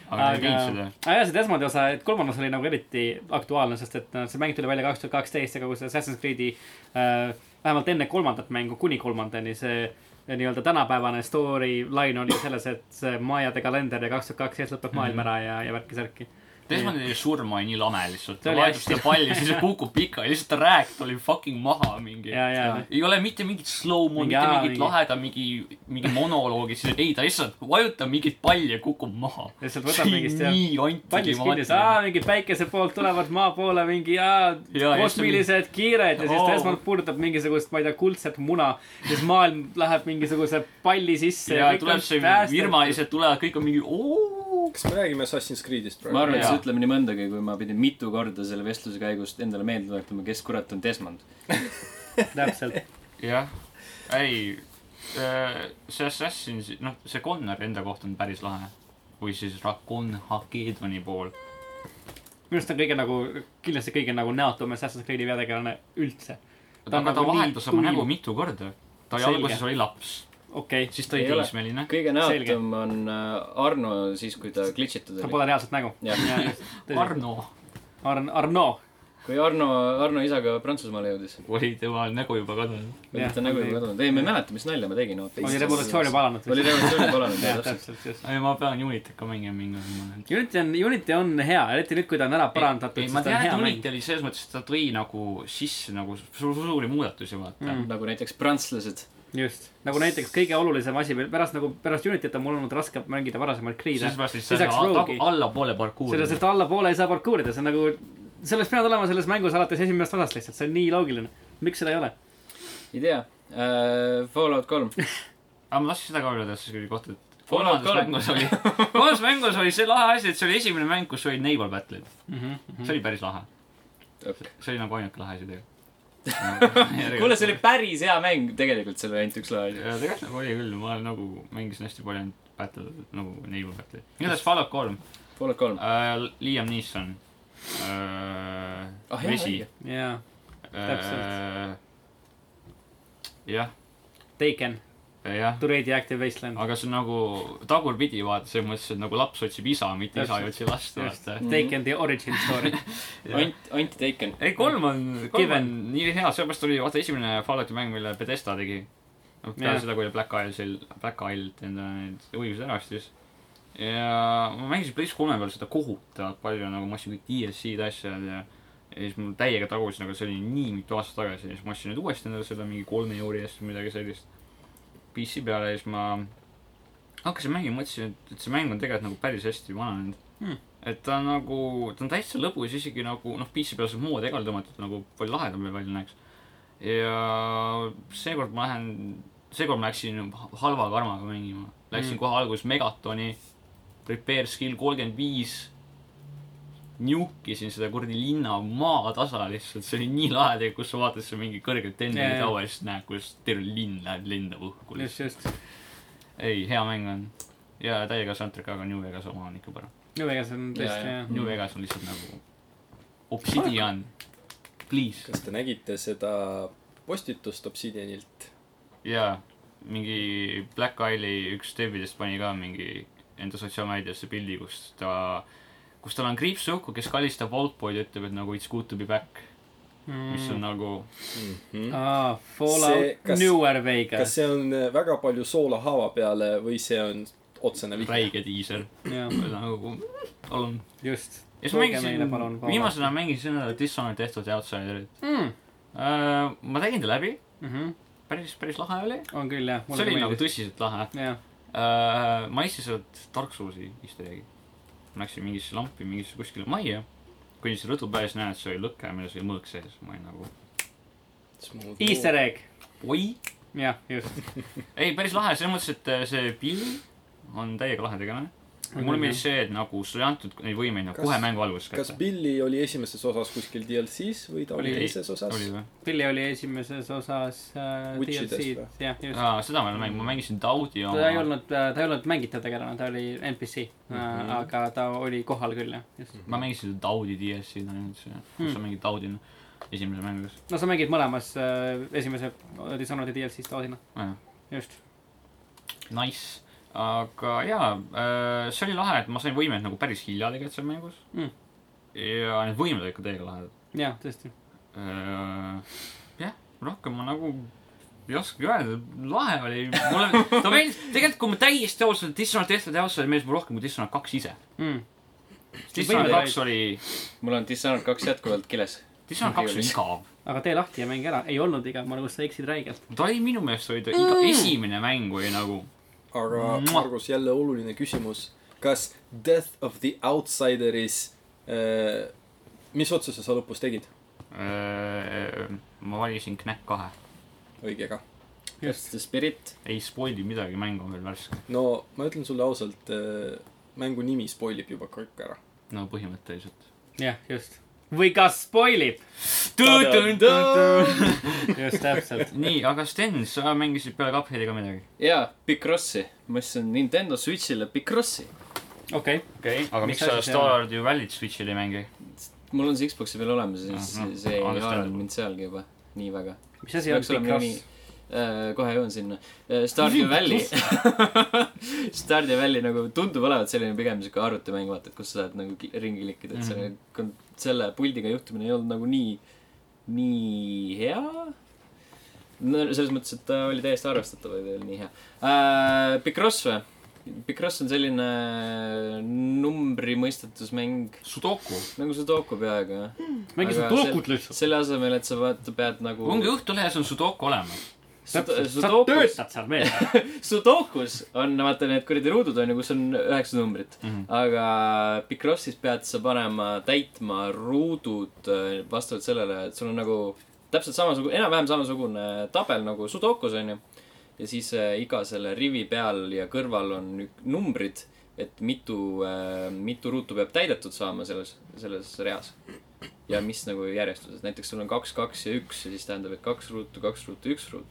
[SPEAKER 3] aga ma ei teinud seda
[SPEAKER 2] aga , aga jah , see Desmondi osa , et kolmandas oli nagu eriti aktuaalne , sest et noh, see mäng tuli välja kaks tuhat kaksteist ja kogu see Assassin's Creed'i äh, vähemalt enne kolmandat mängu kuni kolmandani see äh, nii-öelda tänapäevane story line oli selles , et see majade kalender ja kaks tuhat kaksteist lõpeb maailm
[SPEAKER 3] Mhm.
[SPEAKER 2] ära ja , ja värki-särki .
[SPEAKER 3] Desmondi surm oli nii lame lihtsalt ,
[SPEAKER 2] See
[SPEAKER 3] ta
[SPEAKER 2] oli
[SPEAKER 3] vahetab
[SPEAKER 2] hästi-
[SPEAKER 3] seda palli , siis see kukub pikali , lihtsalt ta rääk tuli fucking maha mingi .
[SPEAKER 2] ja , ja
[SPEAKER 3] ei ole mitte mingit slow-mo ,
[SPEAKER 2] Mingi
[SPEAKER 3] mitte
[SPEAKER 2] aa,
[SPEAKER 3] mingit
[SPEAKER 2] mingi-
[SPEAKER 3] laheda , mingi , mingi monoloogi , siis ei , ta lihtsalt vajutab mingit palli ja kukub maha .
[SPEAKER 2] Lihtsalt võtab mingist, jah.
[SPEAKER 3] nii
[SPEAKER 2] pallis kinnis , aa , mingi päikese poolt tulevad maa poole mingi , aa ,
[SPEAKER 3] Jaa, just
[SPEAKER 2] kosmilised kiired ja siis
[SPEAKER 3] Oo.
[SPEAKER 2] ta esmalt puudutab mingisugust , ma ei tea , kuldset muna . ja siis maailm läheb mingisuguse palli sisse .
[SPEAKER 3] ja tuleb see firma , lihtsalt tulevad , kõik on mingi oo .
[SPEAKER 4] kas me räägime Assassin's Creed'ist
[SPEAKER 1] ma
[SPEAKER 4] praegu ?
[SPEAKER 1] arvan , et
[SPEAKER 3] Jaa.
[SPEAKER 1] see ütleb nii mõndagi , kui ma pidin mitu korda selle vestluse käigust endale meelde tuletama , kes kurat on Desmond .
[SPEAKER 2] täpselt ,
[SPEAKER 3] jah , ei , see Assassin's , noh , see Connor enda kohta on päris lahe . või siis Rakon Hakedoni pool .
[SPEAKER 2] minu arust on kõige nagu , kindlasti kõige nagu näotum Assassin's Creed'i peategelane üldse . Ta on
[SPEAKER 3] aga ta
[SPEAKER 2] nagu nii
[SPEAKER 3] vahetas oma
[SPEAKER 2] tuim.
[SPEAKER 3] nägu mitu korda . ta oli
[SPEAKER 2] Selge.
[SPEAKER 3] alguses oli laps ,
[SPEAKER 2] okei okay. ,
[SPEAKER 3] siis ta oli
[SPEAKER 1] Ei ole.
[SPEAKER 3] teismeline .
[SPEAKER 1] kõige
[SPEAKER 2] Selge.
[SPEAKER 1] näotum on äh, Arno siis , kui ta klitšitud
[SPEAKER 2] ta
[SPEAKER 1] oli .
[SPEAKER 2] pole reaalselt nägu .
[SPEAKER 1] jah ,
[SPEAKER 3] Arno
[SPEAKER 2] Arn- , Arno .
[SPEAKER 1] kui Arno , Arno isaga Prantsusmaale jõudis .
[SPEAKER 3] oli tema nägu juba kadunud .
[SPEAKER 2] Jah,
[SPEAKER 1] ta nägu
[SPEAKER 2] oli-
[SPEAKER 1] ei kadunud . ei , ma ei mäleta , mis nalja ma tegin .
[SPEAKER 2] oli revolutsioon juba alanud .
[SPEAKER 1] oli revolutsioon juba alanud , jah , täpselt .
[SPEAKER 2] täpselt , just .
[SPEAKER 3] ei , ma pean Unitit ka mängima mingi aeg , ma olen .
[SPEAKER 2] Unity on , Unity on hea , eriti nüüd , kui ta on ära parandatud .
[SPEAKER 3] ei , ma tean , et Unit oli selles mõttes , et ta tõi nagu sisse nagu su- su- suuri muudatusi , vaata mm. .
[SPEAKER 1] nagu näiteks prantslased .
[SPEAKER 2] just , nagu näiteks kõige olulisem asi veel pärast nagu pärast Unityt on mul olnud raske mängida varasemaid kriise .
[SPEAKER 3] sellepärast , et sa
[SPEAKER 2] lisaks Rogue'i
[SPEAKER 3] saad , allapoole parkuuri
[SPEAKER 2] selles , et allapoole ei saa parkuurida , see on nagu , see oleks pidanud olema selles mängus alates esimesest osast lihtsalt , see on nii loogiline . miks seda ei ole ?
[SPEAKER 1] ei tea äh, . Fallout kolm .
[SPEAKER 3] aga ma tahtsin seda ka öelda selle kõige kohta , et
[SPEAKER 1] Fallout
[SPEAKER 3] kolmandas
[SPEAKER 1] kolm.
[SPEAKER 3] mängus oli , kolmandas mängus oli see lahe asi , et see oli esimene mäng , kus olid naval battle'id . see oli päris lahe . see oli nagu ainuke lahe asi tegelikult .
[SPEAKER 1] kuule , see oli päris hea mäng , tegelikult seal oli ainult üks lahe asi .
[SPEAKER 3] ja tegelikult nagu oli küll , ma olen nagu mängisin hästi palju ainult battle , nagu naval battle'id . igatahes Fallout kolm
[SPEAKER 1] Fallout kolm .
[SPEAKER 3] Äh, Liam Neeson äh,
[SPEAKER 1] Ah, jah,
[SPEAKER 3] vesi
[SPEAKER 1] õige.
[SPEAKER 2] jaa ,
[SPEAKER 3] äh, . jah ,
[SPEAKER 2] Taken ,
[SPEAKER 3] jah ,
[SPEAKER 2] To Raid ja Active Wasteland .
[SPEAKER 3] aga see on nagu tagurpidi vaata , selles mõttes , et nagu laps otsib isa , mitte isa ei otsi last ,
[SPEAKER 2] just ,
[SPEAKER 3] vaata .
[SPEAKER 4] Mm-hmm.
[SPEAKER 2] Taken the origin story .
[SPEAKER 1] Ant , Anti Taken .
[SPEAKER 3] ei , kolm on , kolm
[SPEAKER 2] Given.
[SPEAKER 3] on nii hea , sellepärast oli vaata esimene Fallouti mäng , mille Pedesta tegi . peale
[SPEAKER 2] Jah.
[SPEAKER 3] seda , kui oli Black Isle'il , Black Isle'ilt enda need õigused ära ostis . ja ma mängisin PlayStation kolme peal seda kohutavalt palju nagu ma ostsin kõik DLC-d asjad ja ja siis mul täiega tagus , nagu see oli nii mitu aastat tagasi ja siis ma ostsin nüüd uuesti endale seda mingi kolme euri eest või midagi sellist . PC peale ja siis ma hakkasin mängima , mõtlesin , et , et see mäng on tegelikult nagu päris hästi vananenud
[SPEAKER 2] Hmm.
[SPEAKER 3] hmm. . et ta on nagu , ta on täitsa lõbus , isegi nagu noh , PC peal saab moodi egal tõmmatud nagu palju lahedam veel välja näeks . ja seekord ma lähen , seekord ma läksin halva karmaga mängima . Läksin
[SPEAKER 2] Hmm.
[SPEAKER 3] hmm. kohe alguses Megatoni , Repair Skill kolmkümmend viis niukisin seda kuradi linna maatasa lihtsalt , see oli nii lahe tegelikult , kus sa vaatad seal mingi kõrgelt enne
[SPEAKER 2] Jajah.
[SPEAKER 3] taua ja siis näed , kuidas terve linn läheb , lendab õhku
[SPEAKER 2] just ,
[SPEAKER 3] lihtsalt .
[SPEAKER 2] just .
[SPEAKER 3] ei , hea mäng on . ja täiega soundtrack , aga New Vegas oma on ikka parem .
[SPEAKER 2] New Vegas on tõesti
[SPEAKER 1] Jaa,
[SPEAKER 2] jah
[SPEAKER 1] jaa.
[SPEAKER 3] New Vegas on lihtsalt nagu Obsidian , please .
[SPEAKER 4] kas te nägite seda postitust Obsidianilt ?
[SPEAKER 3] jaa , mingi Black Isle'i üks devilist pani ka mingi enda sotsiaalmeediasse pildi , kus ta , kus tal on kriips õhku , kes kallistab Oldboy'd ja ütleb , et nagu it's good to be back , mis on nagu
[SPEAKER 2] aa , Mm. Ah, Fallout
[SPEAKER 4] See- kas-
[SPEAKER 2] Newer Vegas
[SPEAKER 4] Mhm. kas . see on äh, väga palju soola haava peale või see on otsene vihje ?
[SPEAKER 3] räige diisel ,
[SPEAKER 2] jah ,
[SPEAKER 3] nagu palun .
[SPEAKER 2] just .
[SPEAKER 3] ja siis ma
[SPEAKER 2] tooge meile palun
[SPEAKER 3] mängisin , viimasena mängisin seda Dishonored tehtud Outsiderit
[SPEAKER 2] mm. .
[SPEAKER 3] uh, . ma tegin ta läbi ,
[SPEAKER 2] Mm -hmm.
[SPEAKER 3] päris , päris lahe oli .
[SPEAKER 2] on küll jah .
[SPEAKER 3] see oli nagu . tõsiselt lahe
[SPEAKER 2] jah ,
[SPEAKER 3] uh, . ma istusin sealt Dark Soulsi istujagi . ma läksin mingisse lampi , mingisse kuskile majja . kõndisin seal rõdu peal ja siis näen , et see oli lõke , milles oli mõõk sees . ma olin nagu ,
[SPEAKER 2] easter egg ,
[SPEAKER 3] oi .
[SPEAKER 2] jah , just .
[SPEAKER 3] ei , päris lahe , selles mõttes , et äh, see pill on täiega lahe tegelane . mulle meeldis see , et nagu sulle ei antud neid võimeid nagu
[SPEAKER 4] Kas-
[SPEAKER 3] kohe mängu alguses
[SPEAKER 4] kas
[SPEAKER 3] kätte .
[SPEAKER 4] Billy oli esimeses osas kuskil DLC-s või ta oli
[SPEAKER 3] Oli.
[SPEAKER 4] teises osas ?
[SPEAKER 3] oli või ?
[SPEAKER 2] Pilli oli esimeses osas äh,
[SPEAKER 4] Witchides
[SPEAKER 2] DLC-d
[SPEAKER 4] või? ,
[SPEAKER 2] jah , just .
[SPEAKER 3] aa , seda ma ei ole mänginud , ma mängisin Daudi
[SPEAKER 2] ta ei
[SPEAKER 3] oma .
[SPEAKER 2] olnud , ta ei olnud mängitav tegelane , ta oli NPC mm , -hmm.
[SPEAKER 4] Mhm.
[SPEAKER 2] aga ta oli kohal küll jah , just .
[SPEAKER 3] ma mängisin seda Daudi DLC-d ainult , kus sa
[SPEAKER 2] Hmm.
[SPEAKER 3] mängid Daudina esimeses mängus .
[SPEAKER 2] no sa mängid mõlemas äh, esimese Dishonored'i DLC-st osina , just .
[SPEAKER 3] Nice , aga jaa , see oli lahe , et ma sain võimed nagu päris hilja tegelikult seal mängus
[SPEAKER 2] Mm. .
[SPEAKER 3] ja need võimed olid ka täiega lahedad .
[SPEAKER 2] jah , tõesti .
[SPEAKER 3] jah , rohkem ma nagu ei oskagi öelda , lahe oli , mulle , ta meeldis , tegelikult kui ma täiesti ausalt , Dishonored tehtud ja ausalt meeldis mulle rohkem kui Dishonored kaks ise .
[SPEAKER 2] Mm.
[SPEAKER 3] Dishonored
[SPEAKER 1] Võimed
[SPEAKER 3] kaks oli ,
[SPEAKER 1] mul on Dishonored kaks jätkuvalt kiles .
[SPEAKER 3] Dishonored kaks oli igav .
[SPEAKER 2] aga tee lahti ja mängi ära , ei olnud iga , ma nagu sa eksid räigelt .
[SPEAKER 3] ta oli minu meelest oli ta iga , esimene mäng oli nagu ,
[SPEAKER 4] aga
[SPEAKER 3] Mua.
[SPEAKER 4] Margus , jälle oluline küsimus . kas Death of the Outsideris äh, , mis otsuse sa lõpus tegid ?
[SPEAKER 3] äh, ma valisin Knäkk kahe .
[SPEAKER 4] õige ka .
[SPEAKER 1] just , The Spirit .
[SPEAKER 3] ei spoil'i midagi , mäng on veel värske ,
[SPEAKER 4] no ma ütlen sulle ausalt äh, , mängu nimi spoilib juba kõik ära .
[SPEAKER 3] no põhimõtteliselt .
[SPEAKER 2] jah , just . või kas spoilib ? just täpselt .
[SPEAKER 3] nii , aga Sten , sa mängisid peale Cupheadi ka midagi ?
[SPEAKER 1] jaa , Picrossi . ma ostsin Nintendo Switch'ile Picrossi .
[SPEAKER 2] okei okay. ,
[SPEAKER 3] okei okay. , aga
[SPEAKER 2] Mis
[SPEAKER 3] miks sa
[SPEAKER 2] asi see
[SPEAKER 3] Stardew Valley't Switch'il ei mängi ?
[SPEAKER 1] mul on see Xbox'i peal olemas ja
[SPEAKER 3] Ahah,
[SPEAKER 1] siis see ei
[SPEAKER 3] understandable.
[SPEAKER 1] haaranud mind sealgi juba nii väga .
[SPEAKER 2] mis asi on
[SPEAKER 1] Peaks olema
[SPEAKER 2] pikross
[SPEAKER 1] nimi. ? Äh, kohe jõuan sinna . Stardew Valley . Stardew Valley nagu tundub olevat selline pigem sihuke arvutimäng , vaata , et kus sa saad nagu ki- ringi klikkida ,
[SPEAKER 2] Mhm.
[SPEAKER 1] et selle kon- selle puldiga juhtimine ei olnud nagu nii , nii hea . no selles mõttes , et ta oli täiesti arvestatav , aga ei olnud nii hea . Picross või ? Picross on selline numbrimõistetusmäng ,
[SPEAKER 3] Sudoku .
[SPEAKER 1] nagu Sudoku peaaegu , jah .
[SPEAKER 2] mängi
[SPEAKER 1] Aga
[SPEAKER 2] seda dokut lihtsalt .
[SPEAKER 1] selle asemel , et sa vaata , pead nagu .
[SPEAKER 3] ongi Õhtulehes on Sudoku olemas .
[SPEAKER 2] sa
[SPEAKER 1] äh, Sudokus ,
[SPEAKER 2] töötad seal veel .
[SPEAKER 1] Sudokus on vaata need kuradi ruudud on ju , kus on üheksa numbrit mm .
[SPEAKER 3] Mhm.
[SPEAKER 1] -hmm. aga Picrossis pead sa panema , täitma ruudud äh, vastavalt sellele , et sul on nagu täpselt samasugune , enam-vähem samasugune tabel nagu Sudokus on ju . ja siis äh, iga selle rivi peal ja kõrval on ük- numbrid , et mitu äh, , mitu ruutu peab täidetud saama selles , selles reas ja mis nagu järjestuses , näiteks sul on kaks , kaks ja üks ja siis tähendab , et kaks ruutu , kaks ruutu , üks ruut .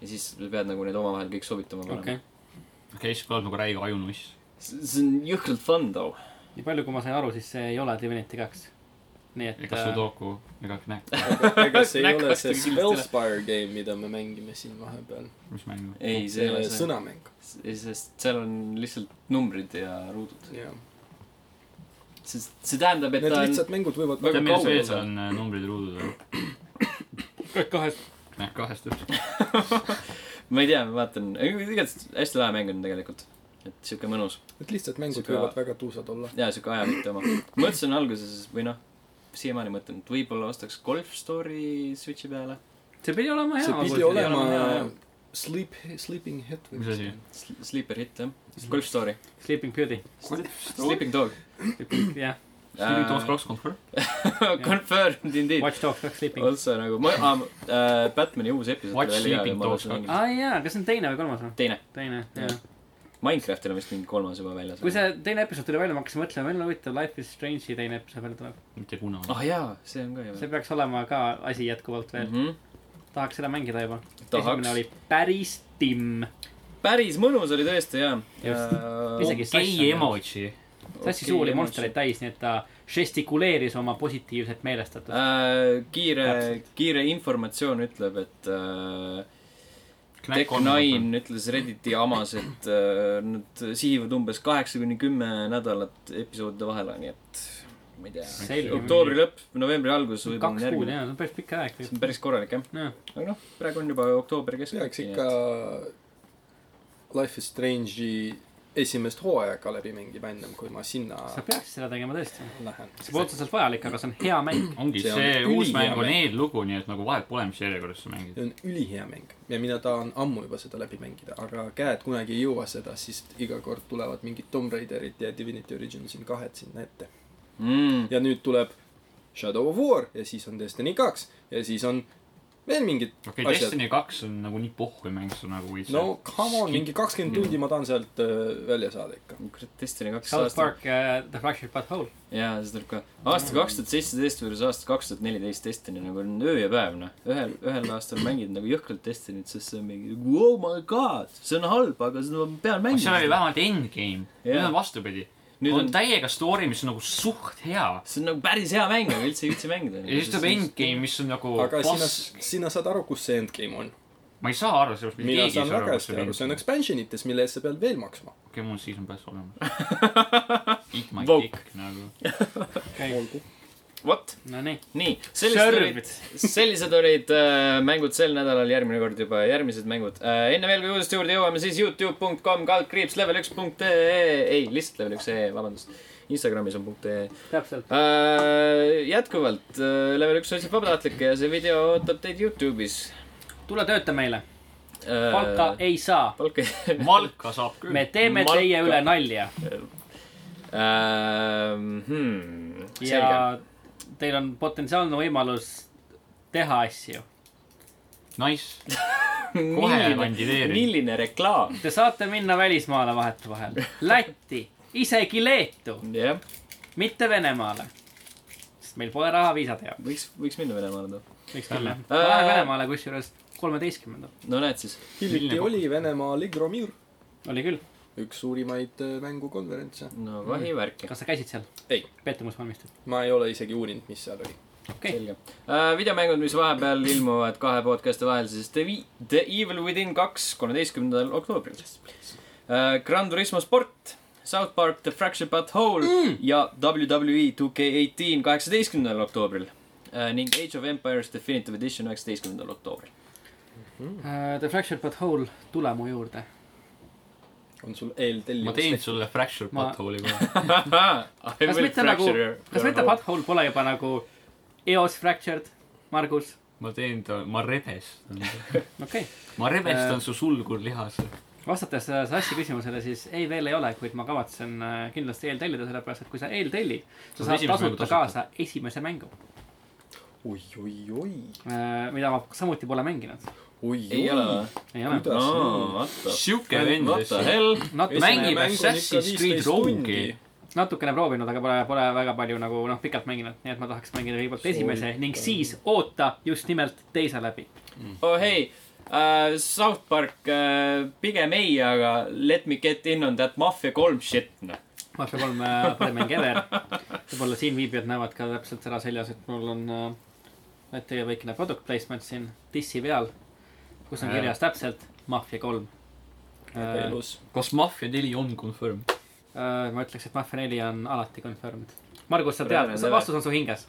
[SPEAKER 1] ja siis sa pead nagu need omavahel kõik sobitama
[SPEAKER 2] Mhm, okei
[SPEAKER 1] panema .
[SPEAKER 3] okei , siis kõlab nagu räige ajunuss .
[SPEAKER 1] see on jõhkralt fun though .
[SPEAKER 2] nii palju , kui ma sain aru , siis see ei ole Divinity kaks . nii et
[SPEAKER 3] ega Sudoku ega Knäkk ,
[SPEAKER 4] ega see ei
[SPEAKER 1] Näkk
[SPEAKER 4] ole
[SPEAKER 1] vastu
[SPEAKER 4] see
[SPEAKER 1] kindlasti ära.
[SPEAKER 4] Spellspire game , mida me mängime siin vahepeal .
[SPEAKER 3] mis mäng ?
[SPEAKER 1] ei , see ei ole see .
[SPEAKER 4] sõnamäng .
[SPEAKER 1] sest seal on lihtsalt numbrid ja ruudud .
[SPEAKER 4] jah .
[SPEAKER 1] see , see tähendab , et
[SPEAKER 4] Need
[SPEAKER 1] ta
[SPEAKER 4] lihtsad
[SPEAKER 1] on ,
[SPEAKER 4] mängud võivad
[SPEAKER 1] Väga
[SPEAKER 3] tead ,
[SPEAKER 4] väga
[SPEAKER 1] kaugel
[SPEAKER 3] milles veel
[SPEAKER 1] ta
[SPEAKER 3] seal on äh, numbrid ja ruudud või ?
[SPEAKER 2] äh, kahes .
[SPEAKER 3] Knäkk kahest just .
[SPEAKER 1] ma ei tea , ma vaatan , igatahes hästi lahe mäng on tegelikult . et sihuke mõnus
[SPEAKER 4] Need lihtsad mängud
[SPEAKER 1] Siga-
[SPEAKER 4] võivad väga tuusad olla .
[SPEAKER 1] ja sihuke ajavõtja oma . mõtlesin alguses või noh , siiamaani mõtlen , et võib-olla ostaks Golf Story Switch'i peale .
[SPEAKER 2] see pidi olema hea .
[SPEAKER 4] see pidi olema . Sleep , Sleeping Head või
[SPEAKER 3] Mis asi? ?
[SPEAKER 1] Sleeper Hit jah , Golf Story ,
[SPEAKER 2] Sleeping Beauty ,
[SPEAKER 1] Sleeping Dog .
[SPEAKER 2] jah .
[SPEAKER 1] Äh,
[SPEAKER 3] Spirit of Cross Comfort .
[SPEAKER 1] Confirmed indeed .
[SPEAKER 2] Watch Dogs kaks Sleeping .
[SPEAKER 1] Also nagu , ma ah, , äh, Batman'i uus episood
[SPEAKER 3] Watch Sleeping Dogs
[SPEAKER 1] kaks .
[SPEAKER 2] aa jaa , kas see on teine või kolmas või ?
[SPEAKER 1] teine ,
[SPEAKER 2] teine , jah .
[SPEAKER 1] Minecraftil on vist mingi kolmas juba väljas .
[SPEAKER 2] kui see teine episood tuli välja , ma hakkasin mõtlema , meil on huvitav Life is Strange'i teine episood veel tuleb .
[SPEAKER 3] mitte kunagi .
[SPEAKER 1] ah jaa , see on ka ju .
[SPEAKER 2] see peaks olema ka asi jätkuvalt veel .
[SPEAKER 1] -hmm.
[SPEAKER 2] tahaks seda mängida juba . esimene oli
[SPEAKER 1] tahaks ,
[SPEAKER 2] päris timm .
[SPEAKER 1] päris mõnus oli tõesti jaa . Äh,
[SPEAKER 2] Just. Isegi
[SPEAKER 3] gei emoji .
[SPEAKER 2] sassi suu oli monstreid täis , nii et ta žestikuleeris oma positiivset meelestatust äh, .
[SPEAKER 1] äh, . kiire
[SPEAKER 2] Täpselt. ,
[SPEAKER 1] kiire informatsioon ütleb , et äh, Tech9 ütles Redditi jamas , et äh, nad sihivad umbes kaheksa kuni kümme nädalat episoodide vahele , nii et ma ei tea .
[SPEAKER 2] selge .
[SPEAKER 1] oktoobri lõpp , novembri algus võib-olla on
[SPEAKER 2] kaks kuud ,
[SPEAKER 1] järgmine .
[SPEAKER 2] jah , see on päris pikk aeg .
[SPEAKER 1] see on päris korralik jah ,
[SPEAKER 2] jah ,
[SPEAKER 1] aga noh , praegu on juba oktoobri keskel .
[SPEAKER 4] peaks ikka Life is Strange'i esimest hooaega läbi mängima ennem , kui ma sinna
[SPEAKER 1] Ah.
[SPEAKER 2] sa peaksid seda tegema tõesti .
[SPEAKER 4] lähen .
[SPEAKER 2] see pole otseselt vajalik , aga see on hea mäng .
[SPEAKER 3] ongi see,
[SPEAKER 4] See on
[SPEAKER 3] see uus
[SPEAKER 4] ülihea
[SPEAKER 3] mäng on
[SPEAKER 4] mäng.
[SPEAKER 3] eellugu , nii et nagu vahet pole , mis järjekorras sa mängid .
[SPEAKER 4] see on ülihea mäng ja mina tahan ammu juba seda läbi mängida , aga käed kunagi ei jõua seda , sest iga kord tulevad mingid Tomb Raiderid ja Divinity Original Sin kahed sinna ette .
[SPEAKER 1] mm, .
[SPEAKER 4] ja nüüd tuleb Shadow of War ja siis on Destiny kaks ja siis on veel mingid
[SPEAKER 3] okei okay, ,
[SPEAKER 4] Asjad.
[SPEAKER 3] Destiny kaks on nagu nii pohhu mäng , see on nagu võiks
[SPEAKER 4] no come on , mingi kakskümmend tundi ma tahan sealt öö, välja saada ikka .
[SPEAKER 1] kurat , Destiny kaks
[SPEAKER 2] South
[SPEAKER 1] aastat .
[SPEAKER 2] Park uh, , The Flagship But Whole .
[SPEAKER 1] jaa , see tuleb ka .
[SPEAKER 3] Mm.
[SPEAKER 1] aasta kaks tuhat seitseteist versus aasta kaks tuhat neliteist Destiny nagu on öö ja päev , noh . ühel , ühel aastal mängid nagu jõhkralt Destinyt , sest see on mingi oh my god , see on halb , aga seda ma pean
[SPEAKER 3] aga seal oli
[SPEAKER 1] mängima .
[SPEAKER 3] vähemalt endgame yeah. ,
[SPEAKER 1] Jaa.
[SPEAKER 3] nüüd on vastupidi .
[SPEAKER 1] Nüüd
[SPEAKER 3] nüüd on,
[SPEAKER 1] on-
[SPEAKER 3] on täiega story , mis on nagu suht hea .
[SPEAKER 1] see on nagu päris hea mäng , aga üldse ei viitsi mängida .
[SPEAKER 3] ja siis tuleb . endgame , mis on nagu
[SPEAKER 4] aga sina ,
[SPEAKER 3] pass .
[SPEAKER 4] sina saad aru , kus see endgame on .
[SPEAKER 3] ma ei saa aru sellest , mitte
[SPEAKER 4] mina
[SPEAKER 3] keegi ei
[SPEAKER 4] saan
[SPEAKER 3] saa
[SPEAKER 4] väga
[SPEAKER 3] aru , kus
[SPEAKER 4] hästi aru , see on expansion ites , mille eest sa pead veel maksma .
[SPEAKER 3] okei , mul on season pass olemas . Eat my
[SPEAKER 1] Vogue.
[SPEAKER 3] dick nagu .
[SPEAKER 4] olgu .
[SPEAKER 1] vot ,
[SPEAKER 2] no nii .
[SPEAKER 1] nii . sellised olid , sellised olid äh, mängud sel nädalal , järgmine kord juba järgmised mängud äh, . enne veel , kui uudiste juurde jõuame , siis Youtube.com kaldkriips level üks punkt ee , ei , lihtsalt level üks ee , vabandust . Instagramis on punkt ee
[SPEAKER 2] täpselt .
[SPEAKER 1] Äh, jätkuvalt , level üks otsib vabatahtlikke ja see video ootab teid Youtube'is .
[SPEAKER 2] tule tööta meile ,
[SPEAKER 1] Äh.
[SPEAKER 2] palka . ei saa .
[SPEAKER 1] palka ei .
[SPEAKER 3] Malka saab küll
[SPEAKER 2] me . teeme
[SPEAKER 1] Malka.
[SPEAKER 2] teie üle nalja
[SPEAKER 1] Hmm,
[SPEAKER 2] ja
[SPEAKER 1] selge .
[SPEAKER 2] teil on potentsiaalne võimalus teha asju .
[SPEAKER 3] Nice .
[SPEAKER 1] Milline-
[SPEAKER 3] kandideerin.
[SPEAKER 1] milline reklaam ,
[SPEAKER 2] Te saate minna välismaale vahetevahel , Lätti , isegi Leetu ,
[SPEAKER 1] jah ,
[SPEAKER 2] mitte Venemaale . sest meil pole raha viisade jaoks ,
[SPEAKER 1] võiks , võiks minna Venemaale noh. too .
[SPEAKER 2] miks küll jah . ma
[SPEAKER 1] Äh.
[SPEAKER 2] lähen Venemaale kusjuures kolmeteistkümnendal ,
[SPEAKER 1] no näed siis ,
[SPEAKER 4] hiljuti
[SPEAKER 3] Milline-
[SPEAKER 4] oli Venemaa Ligromir ,
[SPEAKER 2] oli küll .
[SPEAKER 4] üks suuremaid öö, mängukonverentse .
[SPEAKER 1] no vahi värki ,
[SPEAKER 2] kas sa käisid seal ?
[SPEAKER 4] Ei. .
[SPEAKER 2] pettumus valmistab .
[SPEAKER 4] ma ei ole isegi uurinud , mis seal oli .
[SPEAKER 2] okei.
[SPEAKER 1] selge . Äh, videomängud , mis vahepeal ilmuvad kahe podcast'i vahel , siis The, Vi- The Evil Within kaks , kolmeteistkümnendal oktoobril . Gran Turismo sport , South Park The Fractured But Whole mm. ja E WWE 2K18 kaheksateistkümnendal oktoobril äh, ning Age of Empires Definitive Edition üheksateistkümnendal oktoobril . Mm.
[SPEAKER 2] Äh, The Fractured But Whole , tule mu juurde .
[SPEAKER 4] on sul
[SPEAKER 3] ma
[SPEAKER 4] eeltellimus
[SPEAKER 3] teen ? sulle fractured
[SPEAKER 2] Ma-
[SPEAKER 3] butthole'i kohe .
[SPEAKER 1] kas
[SPEAKER 2] kas mitte nagu , kas mitte But Whole pole juba nagu eos fractured , Margus ?
[SPEAKER 3] ma teen ta , ma rebestan .
[SPEAKER 2] okei okay. ,
[SPEAKER 3] ma rebestan su sulgurlihase .
[SPEAKER 2] vastates äh, Sassi küsimusele , siis ei , veel ei ole , kuid ma kavatsen äh, kindlasti eeltellida , sellepärast et kui sa eeltellid , sa
[SPEAKER 3] Saad
[SPEAKER 2] saad
[SPEAKER 3] esimese mängu
[SPEAKER 2] tasuta
[SPEAKER 3] tasuta.
[SPEAKER 2] kaasa esimese mängu ,
[SPEAKER 4] oi , oi , oi ,
[SPEAKER 2] mida ma samuti pole mänginud .
[SPEAKER 4] oi ,
[SPEAKER 1] ei ole või ?
[SPEAKER 2] ei ole .
[SPEAKER 4] Kuidas nii?
[SPEAKER 1] what the
[SPEAKER 3] sihuke vend
[SPEAKER 1] what the . hell ?
[SPEAKER 2] natukene ,
[SPEAKER 3] Mängib Assassin's Creed Rogue'i. .
[SPEAKER 2] natukene proovinud , aga pole , pole väga palju nagu noh , pikalt mänginud , nii et ma tahaks mängida kõigepealt
[SPEAKER 4] Soovitame.
[SPEAKER 2] esimese ning siis oota just nimelt teise läbi .
[SPEAKER 1] oh hei uh, , South Park uh, pigem ei , aga Let me get in on that Mafia kolm shit , noh .
[SPEAKER 2] Mafia kolm äh, parim mäng ever . võib-olla siinviibijad näevad ka täpselt seda seljas , et mul on äh, teie väikene product placement siin dissi peal , kus on
[SPEAKER 3] Jaa.
[SPEAKER 2] kirjas täpselt Mafia kolm . Äh,
[SPEAKER 3] Äh,
[SPEAKER 2] ma
[SPEAKER 4] elus .
[SPEAKER 3] kas Mafia neli on confirm ?
[SPEAKER 2] äh, ütleks , et Mafia neli on alati confirmed . Margus , sa tead
[SPEAKER 1] Tere, ,
[SPEAKER 2] see
[SPEAKER 1] tere.
[SPEAKER 2] vastus on su hinges .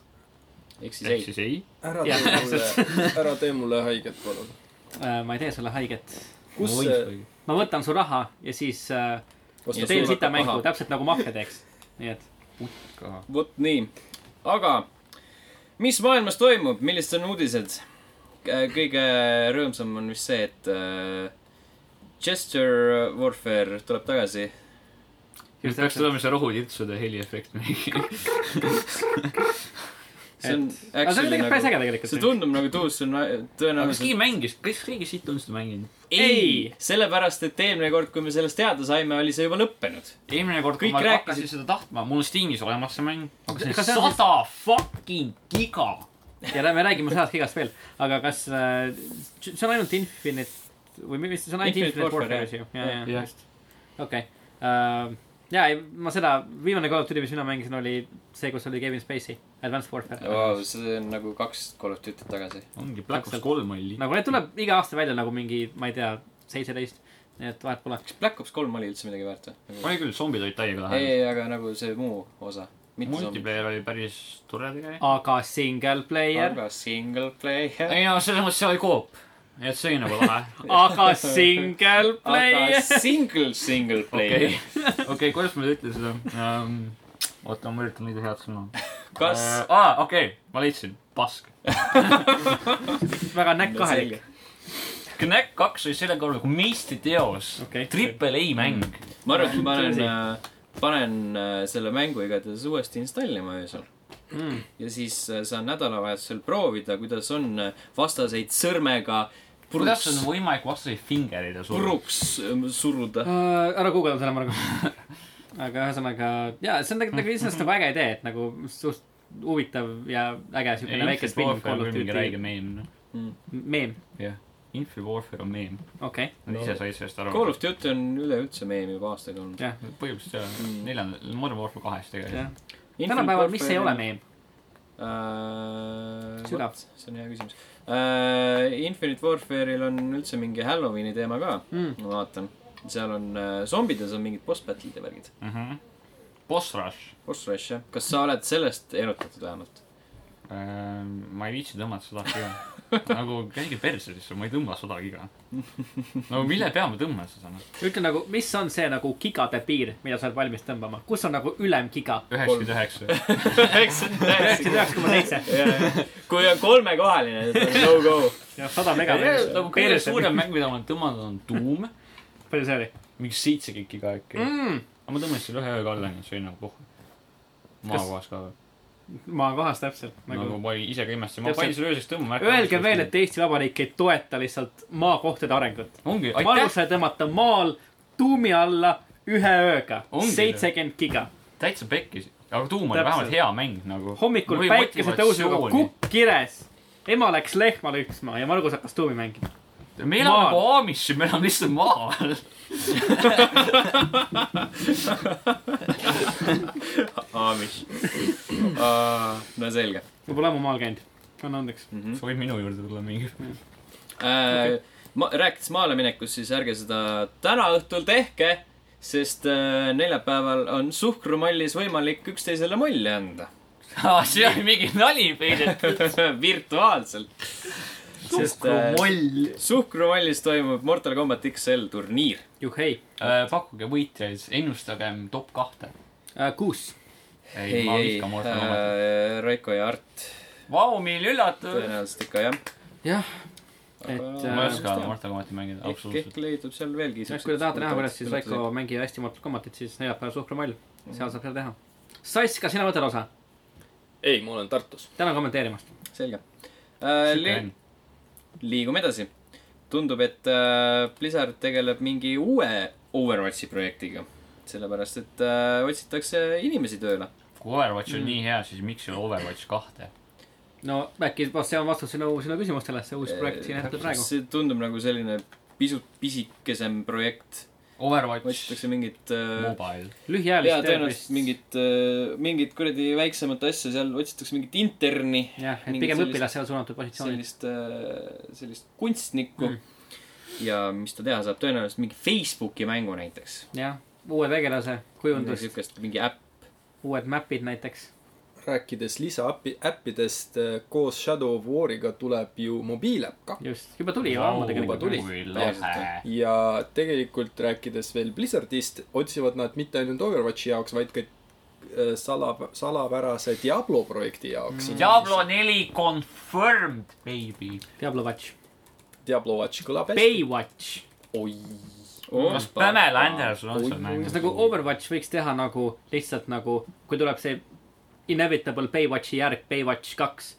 [SPEAKER 1] ehk siis
[SPEAKER 3] ehk
[SPEAKER 1] ei .
[SPEAKER 3] siis ei .
[SPEAKER 4] ära
[SPEAKER 2] Jah.
[SPEAKER 4] tee mulle , ära tee mulle haiget , palun .
[SPEAKER 2] Äh, ma ei tee sulle haiget .
[SPEAKER 4] kus see ,
[SPEAKER 2] ma võtan su raha ja siis äh,
[SPEAKER 1] Ja
[SPEAKER 4] osta
[SPEAKER 2] teen
[SPEAKER 1] sulle siit-
[SPEAKER 4] sulle
[SPEAKER 2] sita
[SPEAKER 1] hakkab
[SPEAKER 2] mängu
[SPEAKER 1] paha.
[SPEAKER 2] täpselt nagu Mafia teeks . nii et
[SPEAKER 1] vot nii , aga mis maailmas toimub , millised on uudised ? kõige rõõmsam on vist see , et uh, Gesture Warfare tuleb tagasi .
[SPEAKER 3] nüüd peaks tulema see rohutirtsude heliefekt mingi .
[SPEAKER 1] see on
[SPEAKER 2] Et- aga see on
[SPEAKER 1] actually
[SPEAKER 2] tegelikult päris
[SPEAKER 1] nagu ,
[SPEAKER 2] äge tegelikult .
[SPEAKER 1] see tundub nagu tuus , see on
[SPEAKER 3] aga kas
[SPEAKER 1] tõenäoliselt
[SPEAKER 3] keegi mängis , kas keegi siit on seda mänginud ?
[SPEAKER 1] ei , sellepärast et eelmine kord , kui me sellest teada saime , oli see juba lõppenud .
[SPEAKER 3] eelmine kord , kui
[SPEAKER 1] Kõik
[SPEAKER 3] ma
[SPEAKER 1] rääkisid-
[SPEAKER 3] hakkasin seda tahtma , mul on Steamis olemas see mäng .
[SPEAKER 2] see- kas see on siis-
[SPEAKER 3] sada fucking giga .
[SPEAKER 2] ja lähme räägime sõjast igast veel , aga kas äh, see on ainult Infinite või mis , see on ainult
[SPEAKER 1] Infinite
[SPEAKER 2] Infinite
[SPEAKER 1] Warfare,
[SPEAKER 2] Warfare , eks ju ? ja , ja ,
[SPEAKER 3] jah.
[SPEAKER 2] just . okei . ja Ähm, ei , ma seda , viimane Call of Duty , mis mina mängisin , oli see , kus oli Kevin Spacey , Advanced Warfare .
[SPEAKER 1] wow, . see on nagu kaks Call of Duty't tagasi .
[SPEAKER 3] ongi Black Ops kolm oli liiga .
[SPEAKER 2] nagu need tuleb iga aasta välja nagu mingi , ma ei tea , seitseteist , nii et vahet pole .
[SPEAKER 1] kas Black Ops kolm oli üldse midagi väärt või ?
[SPEAKER 3] oli küll , zombid olid
[SPEAKER 1] ei ,
[SPEAKER 3] täiega lahe .
[SPEAKER 1] ei , aga nagu see muu osa .
[SPEAKER 3] multiplayer oli päris tore tegelikult .
[SPEAKER 2] aga single player ,
[SPEAKER 1] aga single player .
[SPEAKER 3] ei no selles mõttes see oli koop . et see oli nagu lahe .
[SPEAKER 2] aga single
[SPEAKER 1] aga
[SPEAKER 2] player .
[SPEAKER 1] single , single player
[SPEAKER 3] okei . okei , kuidas ma nüüd ütlen seda um, ? oota , ma üritan leida head sõna .
[SPEAKER 1] kas
[SPEAKER 3] aa , okei , ma leidsin , pask .
[SPEAKER 2] väga näkk kahelik ..
[SPEAKER 3] Knack kaks oli selle korra nagu meistriteos
[SPEAKER 2] Okei.
[SPEAKER 3] okay. . Triple A mäng .
[SPEAKER 1] ma arvan , et ma
[SPEAKER 2] Tõsi.
[SPEAKER 1] panen , panen äh, selle mängu igatahes uuesti installima öösel .
[SPEAKER 2] Mm.
[SPEAKER 1] ja siis äh, saan nädalavahetusel proovida , kuidas on äh, vastaseid sõrmega
[SPEAKER 3] kuidas
[SPEAKER 1] puruks ,
[SPEAKER 3] on võimalik vastaseid fingerida suruda ?
[SPEAKER 1] puruks äh, suruda .
[SPEAKER 2] Äh, ära guugelda selle , Margo . aga ühesõnaga , jaa , see on tegelikult nagu iseenesest nagu äge idee , et nagu suht huvitav ja äge siukene väike spin-off Call of
[SPEAKER 3] mingi räige
[SPEAKER 2] Duty
[SPEAKER 3] meem , noh .
[SPEAKER 2] meem ,
[SPEAKER 3] jah . Infi Warfare on meem .
[SPEAKER 2] okei okay. .
[SPEAKER 3] Nad
[SPEAKER 1] No.
[SPEAKER 3] ise said sellest aru .
[SPEAKER 1] Call of Duty on üleüldse meem juba aastaid olnud .
[SPEAKER 2] jah ,
[SPEAKER 3] põhimõtteliselt jah
[SPEAKER 1] Mm. ,
[SPEAKER 3] neljandal , Modern Warfare kahes tegelikult .
[SPEAKER 2] jah . tänapäeval , mis ei ole meem ?
[SPEAKER 1] äh, ?
[SPEAKER 2] Süda.
[SPEAKER 1] see on hea küsimus äh, . Infinite Warfare'il on üldse mingi Halloweeni teema ka
[SPEAKER 3] Hmm.
[SPEAKER 2] Mm.
[SPEAKER 1] ma vaatan , seal on äh, zombides on mingid boss battle'id ja värgid .
[SPEAKER 3] mhmh . Mhm. Boss Rush
[SPEAKER 1] Boss Rush jah , kas sa oled sellest erutatud vähemalt ?
[SPEAKER 3] äh, . ma ei viitsi tõmmata sada giga . nagu käige perse sisse , ma ei tõmba sada giga . no mille peale ma tõmban seda noh ?
[SPEAKER 2] ütle nagu , mis on see nagu gigade piir , mida sa oled valmis tõmbama , kus on nagu ülemgiga ?
[SPEAKER 3] üheksakümmend üheksa .
[SPEAKER 2] üheksakümmend üheksa koma seitse
[SPEAKER 1] kui on kolmekohaline , siis on no go .
[SPEAKER 2] ja sada mega .
[SPEAKER 3] nagu kõige suurem
[SPEAKER 2] palju
[SPEAKER 3] mäng , mida ma olen tõmmanud , on Doom .
[SPEAKER 2] see oli
[SPEAKER 3] mingi seitsekümmend giga äkki mm. .
[SPEAKER 2] mm, ?
[SPEAKER 3] aga ma tõmbasin selle ühe ööga alla , nii et see oli nagu puhk . maakohas ka või ?
[SPEAKER 2] maakohas täpselt
[SPEAKER 3] nagu
[SPEAKER 2] nagu .
[SPEAKER 3] ma olin ise ka imestasin , ma
[SPEAKER 2] Täpselt.
[SPEAKER 3] panin selle ööseks tõmbama .
[SPEAKER 2] Öelge veel , et Eesti Vabariik ei toeta lihtsalt maakohtade arengut .
[SPEAKER 3] ongi ,
[SPEAKER 2] Margus
[SPEAKER 3] aitäh ,
[SPEAKER 2] sai tõmmata maal tuumi alla ühe ööga ,
[SPEAKER 3] Ongi.
[SPEAKER 2] seitsekümmend giga .
[SPEAKER 3] täitsa pekkis . aga Doom oli
[SPEAKER 2] Täpselt.
[SPEAKER 3] vähemalt hea mäng nagu .
[SPEAKER 2] hommikul päikesetõusuga . kukk kires . ema läks lehma lüpsma ja Margus hakkas tuumi mängima .
[SPEAKER 3] me elame
[SPEAKER 2] maal.
[SPEAKER 3] nagu Amish , me elame lihtsalt maal .
[SPEAKER 1] Amish uh, . no selge
[SPEAKER 2] ma pole ammu maal käinud , anna andeks .
[SPEAKER 1] mm . -hmm.
[SPEAKER 3] sa võid minu juurde tulla mingi .
[SPEAKER 1] Okay. Äh, ma , rääkides maale minekust , siis ärge seda täna õhtul tehke , sest äh, neljapäeval on suhkrumallis võimalik üksteisele molli anda .
[SPEAKER 3] see oli mingi nali peidet .
[SPEAKER 1] virtuaalselt . sest äh,
[SPEAKER 3] moll .
[SPEAKER 1] suhkrumallis toimub Mortal Combat XL turniir .
[SPEAKER 2] juhhei ,
[SPEAKER 3] pakkuge võitjaid , ennustagem top kahte .
[SPEAKER 2] äh, kuus .
[SPEAKER 3] ei , ma vihkan Mortal Combatit .
[SPEAKER 1] äh, Raiko ja Art
[SPEAKER 3] Vau , milline üllatus .
[SPEAKER 1] tõenäoliselt ikka jah .
[SPEAKER 2] jah ,
[SPEAKER 1] Aga
[SPEAKER 2] et,
[SPEAKER 1] mis
[SPEAKER 2] äh,
[SPEAKER 3] ma ei oska
[SPEAKER 1] teha?
[SPEAKER 3] Mortal Combati mängida ,
[SPEAKER 1] ehk , ehk
[SPEAKER 3] absoluutselt .
[SPEAKER 1] leidub seal veelgi .
[SPEAKER 2] kui te tahate näha , kuidas siis Raiko mängib hästi Mortal Combatit , siis neljapäeval Suhkrumall , seal saab seda teha . Sass , kas sina võtad osa ?
[SPEAKER 4] ei , ma olen Tartus .
[SPEAKER 2] tänan kommenteerimast .
[SPEAKER 1] selge äh, . Li liigume edasi . tundub , et äh, Blizzard tegeleb mingi uue Overwatchi projektiga . sellepärast , et äh, otsitakse inimesi tööle .
[SPEAKER 3] kui Overwatch on nii hea , siis miks ei ole Overwatch kahte ?
[SPEAKER 2] no äkki va- see on vastus sinu , sinu küsimustele , see uus projekt siin hetkel praegu .
[SPEAKER 1] see tundub nagu selline pisut pisikesem projekt .
[SPEAKER 3] Overwatch
[SPEAKER 1] otsitakse mingit äh,
[SPEAKER 3] mobile .
[SPEAKER 1] jaa ,
[SPEAKER 2] lühiajalist
[SPEAKER 1] tõenäoliselt . mingit , mingit kuradi väiksemat asja seal otsitakse mingit interni ,
[SPEAKER 2] jah , et
[SPEAKER 1] mingit
[SPEAKER 2] pigem
[SPEAKER 1] sellist-
[SPEAKER 2] õpilasele suunatud positsioonid .
[SPEAKER 1] sellist , sellist kunstnikku mm. . ja mis ta teha saab , tõenäoliselt mingi Facebooki mängu näiteks .
[SPEAKER 2] jah , uue tegelase kujundus ,
[SPEAKER 1] niisugust mingi äpp .
[SPEAKER 2] uued map'id näiteks .
[SPEAKER 4] rääkides lisaäppi , äppidest äh, koos Shadow of War'iga tuleb ju mobiiliäpp ka .
[SPEAKER 2] just , juba tuli ju ammu
[SPEAKER 4] juba
[SPEAKER 2] tegelikult .
[SPEAKER 4] tuli.
[SPEAKER 3] lahe .
[SPEAKER 4] ja tegelikult rääkides veel Blizzardist , otsivad nad mitte ainult Overwatchi jaoks , vaid ka äh, sala , salapärase Diablo projekti jaoks .
[SPEAKER 1] Mm.
[SPEAKER 3] Diablo neli confirmed , baby .
[SPEAKER 2] Diablo Watch ,
[SPEAKER 4] Diablo Watch kõlab hästi .
[SPEAKER 2] Baywatch .
[SPEAKER 4] oi ,
[SPEAKER 3] kas Pamela Anderson on seal mängus
[SPEAKER 2] kas ? nagu Overwatch võiks teha nagu lihtsalt nagu , kui tuleb see inevitable Baywatchi järg , Baywatch kaks ,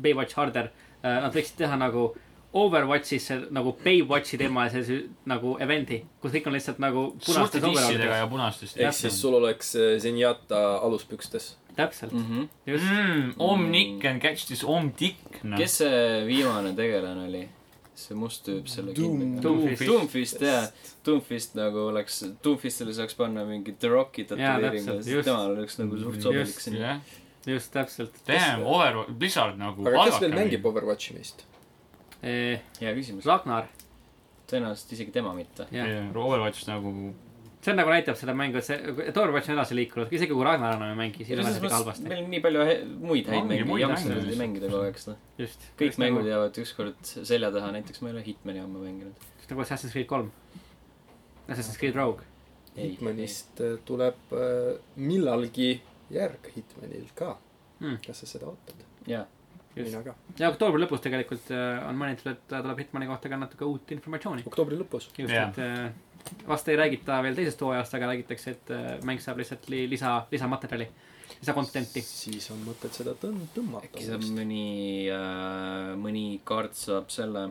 [SPEAKER 2] Baywatch harder , nad võiksid teha nagu Overwatchis see, nagu Baywatchi teema sellise nagu event'i , kus kõik on lihtsalt nagu punastes
[SPEAKER 3] suurte dissidega
[SPEAKER 2] overallides .
[SPEAKER 3] ja punastest .
[SPEAKER 4] ehk siis sul oleks äh, Zenyatta aluspükstes .
[SPEAKER 2] täpselt ,
[SPEAKER 1] -hmm.
[SPEAKER 2] just .
[SPEAKER 3] mm, . Omniken catch this omdik , noh .
[SPEAKER 1] kes see viimane tegelane oli ? see must tüüp selle
[SPEAKER 4] Doom-
[SPEAKER 1] kinniga .
[SPEAKER 2] Doomfist.
[SPEAKER 1] Doomfist jaa , Doomfist nagu oleks , Doomfistile saaks panna mingi The Rocki tätoveeringu
[SPEAKER 2] täpselt,
[SPEAKER 1] ja siis
[SPEAKER 2] just.
[SPEAKER 1] temal oleks nagu suht sobilik
[SPEAKER 2] Just,
[SPEAKER 1] sinna .
[SPEAKER 3] jah ,
[SPEAKER 2] just täpselt .
[SPEAKER 3] damn , Over , Blizzard nagu .
[SPEAKER 4] aga kes veel mängib ? Overwatchi meist ?
[SPEAKER 1] hea küsimus .
[SPEAKER 2] Ragnar ,
[SPEAKER 1] tõenäoliselt isegi tema mitte .
[SPEAKER 2] jah .
[SPEAKER 3] Overwatch nagu ,
[SPEAKER 2] see nagu näitab selle mängu , et see , et Overwatch on edasi liikunud , isegi kui Ragnar enam ei mängi , siis on asi ikka halvasti .
[SPEAKER 1] meil on nii palju he- muid häid
[SPEAKER 3] Ongi
[SPEAKER 1] mänge ,
[SPEAKER 3] muid
[SPEAKER 1] jampsusid
[SPEAKER 3] mänge
[SPEAKER 1] ei mängida kogu aeg seda .
[SPEAKER 2] just .
[SPEAKER 1] noh.
[SPEAKER 2] nagu
[SPEAKER 1] kõik mängud jäävad ükskord selja taha , näiteks ma ei ole Hitmani ammu mänginud .
[SPEAKER 2] just nagu Assassin's Creed kolm . Assassin's Creed Rogue .
[SPEAKER 1] ei ,
[SPEAKER 4] Hitmanist äh, tuleb äh, millalgi järg Hitmanil ka
[SPEAKER 1] Hmm.
[SPEAKER 2] Mm. .
[SPEAKER 4] kas sa seda ootad ?
[SPEAKER 1] jaa ,
[SPEAKER 2] just .
[SPEAKER 4] mina ka .
[SPEAKER 2] ja oktoobri lõpus tegelikult äh, on mainitud , et äh, tuleb Hitmani kohta ka natuke uut informatsiooni .
[SPEAKER 4] oktoobri lõpus .
[SPEAKER 2] just
[SPEAKER 3] Jaa.
[SPEAKER 2] yeah. , et äh, vast ei räägita veel teisest hooajast , aga räägitakse , et äh, mäng saab lihtsalt li lisa , lisamaterjali , lisakontenti .
[SPEAKER 4] siis on mõtet seda tõmm- , tõmmata
[SPEAKER 1] äkki saab . mõni äh, , mõni kaart saab selle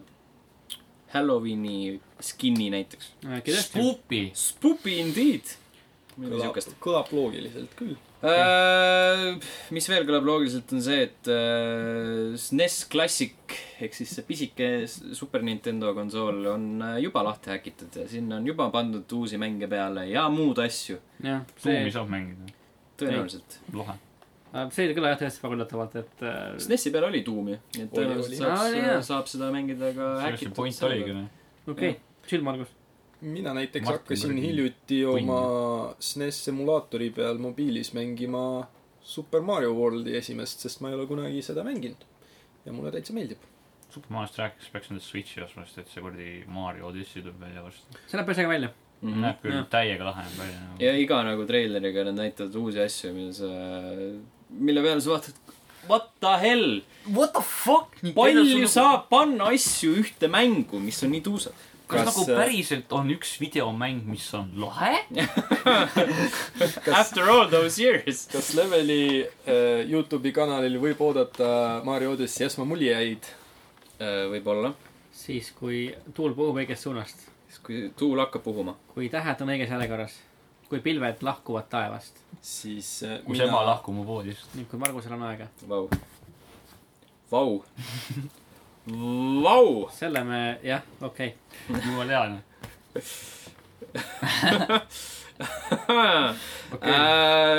[SPEAKER 1] Halloweeni skin'i näiteks .
[SPEAKER 2] Äh,
[SPEAKER 3] Spoopi .
[SPEAKER 1] Spoopy indeed . midagi
[SPEAKER 4] kõlab
[SPEAKER 1] siukest .,
[SPEAKER 4] kõlab loogiliselt küll .
[SPEAKER 1] Äh, mis veel kõlab loogiliselt , on see , et äh, SNES Classic ehk siis see pisike s- Super Nintendo konsool on äh, juba lahti häkitud ja sinna on juba pandud uusi mänge peale ja muud asju ,
[SPEAKER 2] jah , see äh,
[SPEAKER 3] Zoomi , saab mängida ,
[SPEAKER 1] tõenäoliselt .
[SPEAKER 3] lahe .
[SPEAKER 2] see ei kõla jah tõesti väga üllatavalt , et äh,
[SPEAKER 1] SNESi E peal oli tuum ju , nii et
[SPEAKER 4] Oli,
[SPEAKER 1] tõenäoliselt
[SPEAKER 4] oli.
[SPEAKER 1] saaks äh,
[SPEAKER 2] Aa, jaa. ,
[SPEAKER 1] saab seda mängida ka
[SPEAKER 3] see
[SPEAKER 1] häkitud .
[SPEAKER 3] point oligi , noh .
[SPEAKER 2] okei , chill , Margus .
[SPEAKER 4] mina näiteks
[SPEAKER 3] Martin
[SPEAKER 4] Martin hakkasin
[SPEAKER 3] Bergin.
[SPEAKER 4] hiljuti oma SNES emulaatori peal mobiilis mängima Super Mario Worldi esimest , sest ma ei ole kunagi seda mänginud . ja mulle täitsa meeldib .
[SPEAKER 3] Super Mario'st rääkides peaks nendest Switch'i ostma , sest et see kuradi Mario Odyssey tuleb välja varsti .
[SPEAKER 2] see näeb päris äge välja .
[SPEAKER 1] mm . -hmm.
[SPEAKER 3] näeb küll
[SPEAKER 2] Jah.
[SPEAKER 3] täiega lahe välja nagu .
[SPEAKER 1] ja iga nagu treileriga nad näitavad uusi asju , mida sa , mille peale sa vaatad , what the hell ,
[SPEAKER 3] What the fuck ?
[SPEAKER 1] palju saab panna asju ühte mängu , mis on nii tuusad .
[SPEAKER 3] kas
[SPEAKER 4] Kas,
[SPEAKER 3] nagu
[SPEAKER 4] äh,
[SPEAKER 3] päriselt on üks videomäng , mis on lahe ?
[SPEAKER 4] Kas-
[SPEAKER 1] After all those years .
[SPEAKER 4] kas Leveli äh, Youtube'i kanalil võib oodata Mario Odyssey esmamuljeid ?
[SPEAKER 1] Äh, võib-olla ,
[SPEAKER 2] siis , kui tuul puhub õigest suunast ,
[SPEAKER 1] siis kui tuul hakkab puhuma .
[SPEAKER 2] kui tähed on õiges järjekorras , kui pilved lahkuvad taevast
[SPEAKER 4] siis äh,
[SPEAKER 3] kus ema lahkub mu voodist .
[SPEAKER 2] ning kui Margusel on aega .
[SPEAKER 1] Vau , vau , vau .
[SPEAKER 2] selle me , jah , okei okay. .
[SPEAKER 3] jumala hea , noh .
[SPEAKER 1] Äh,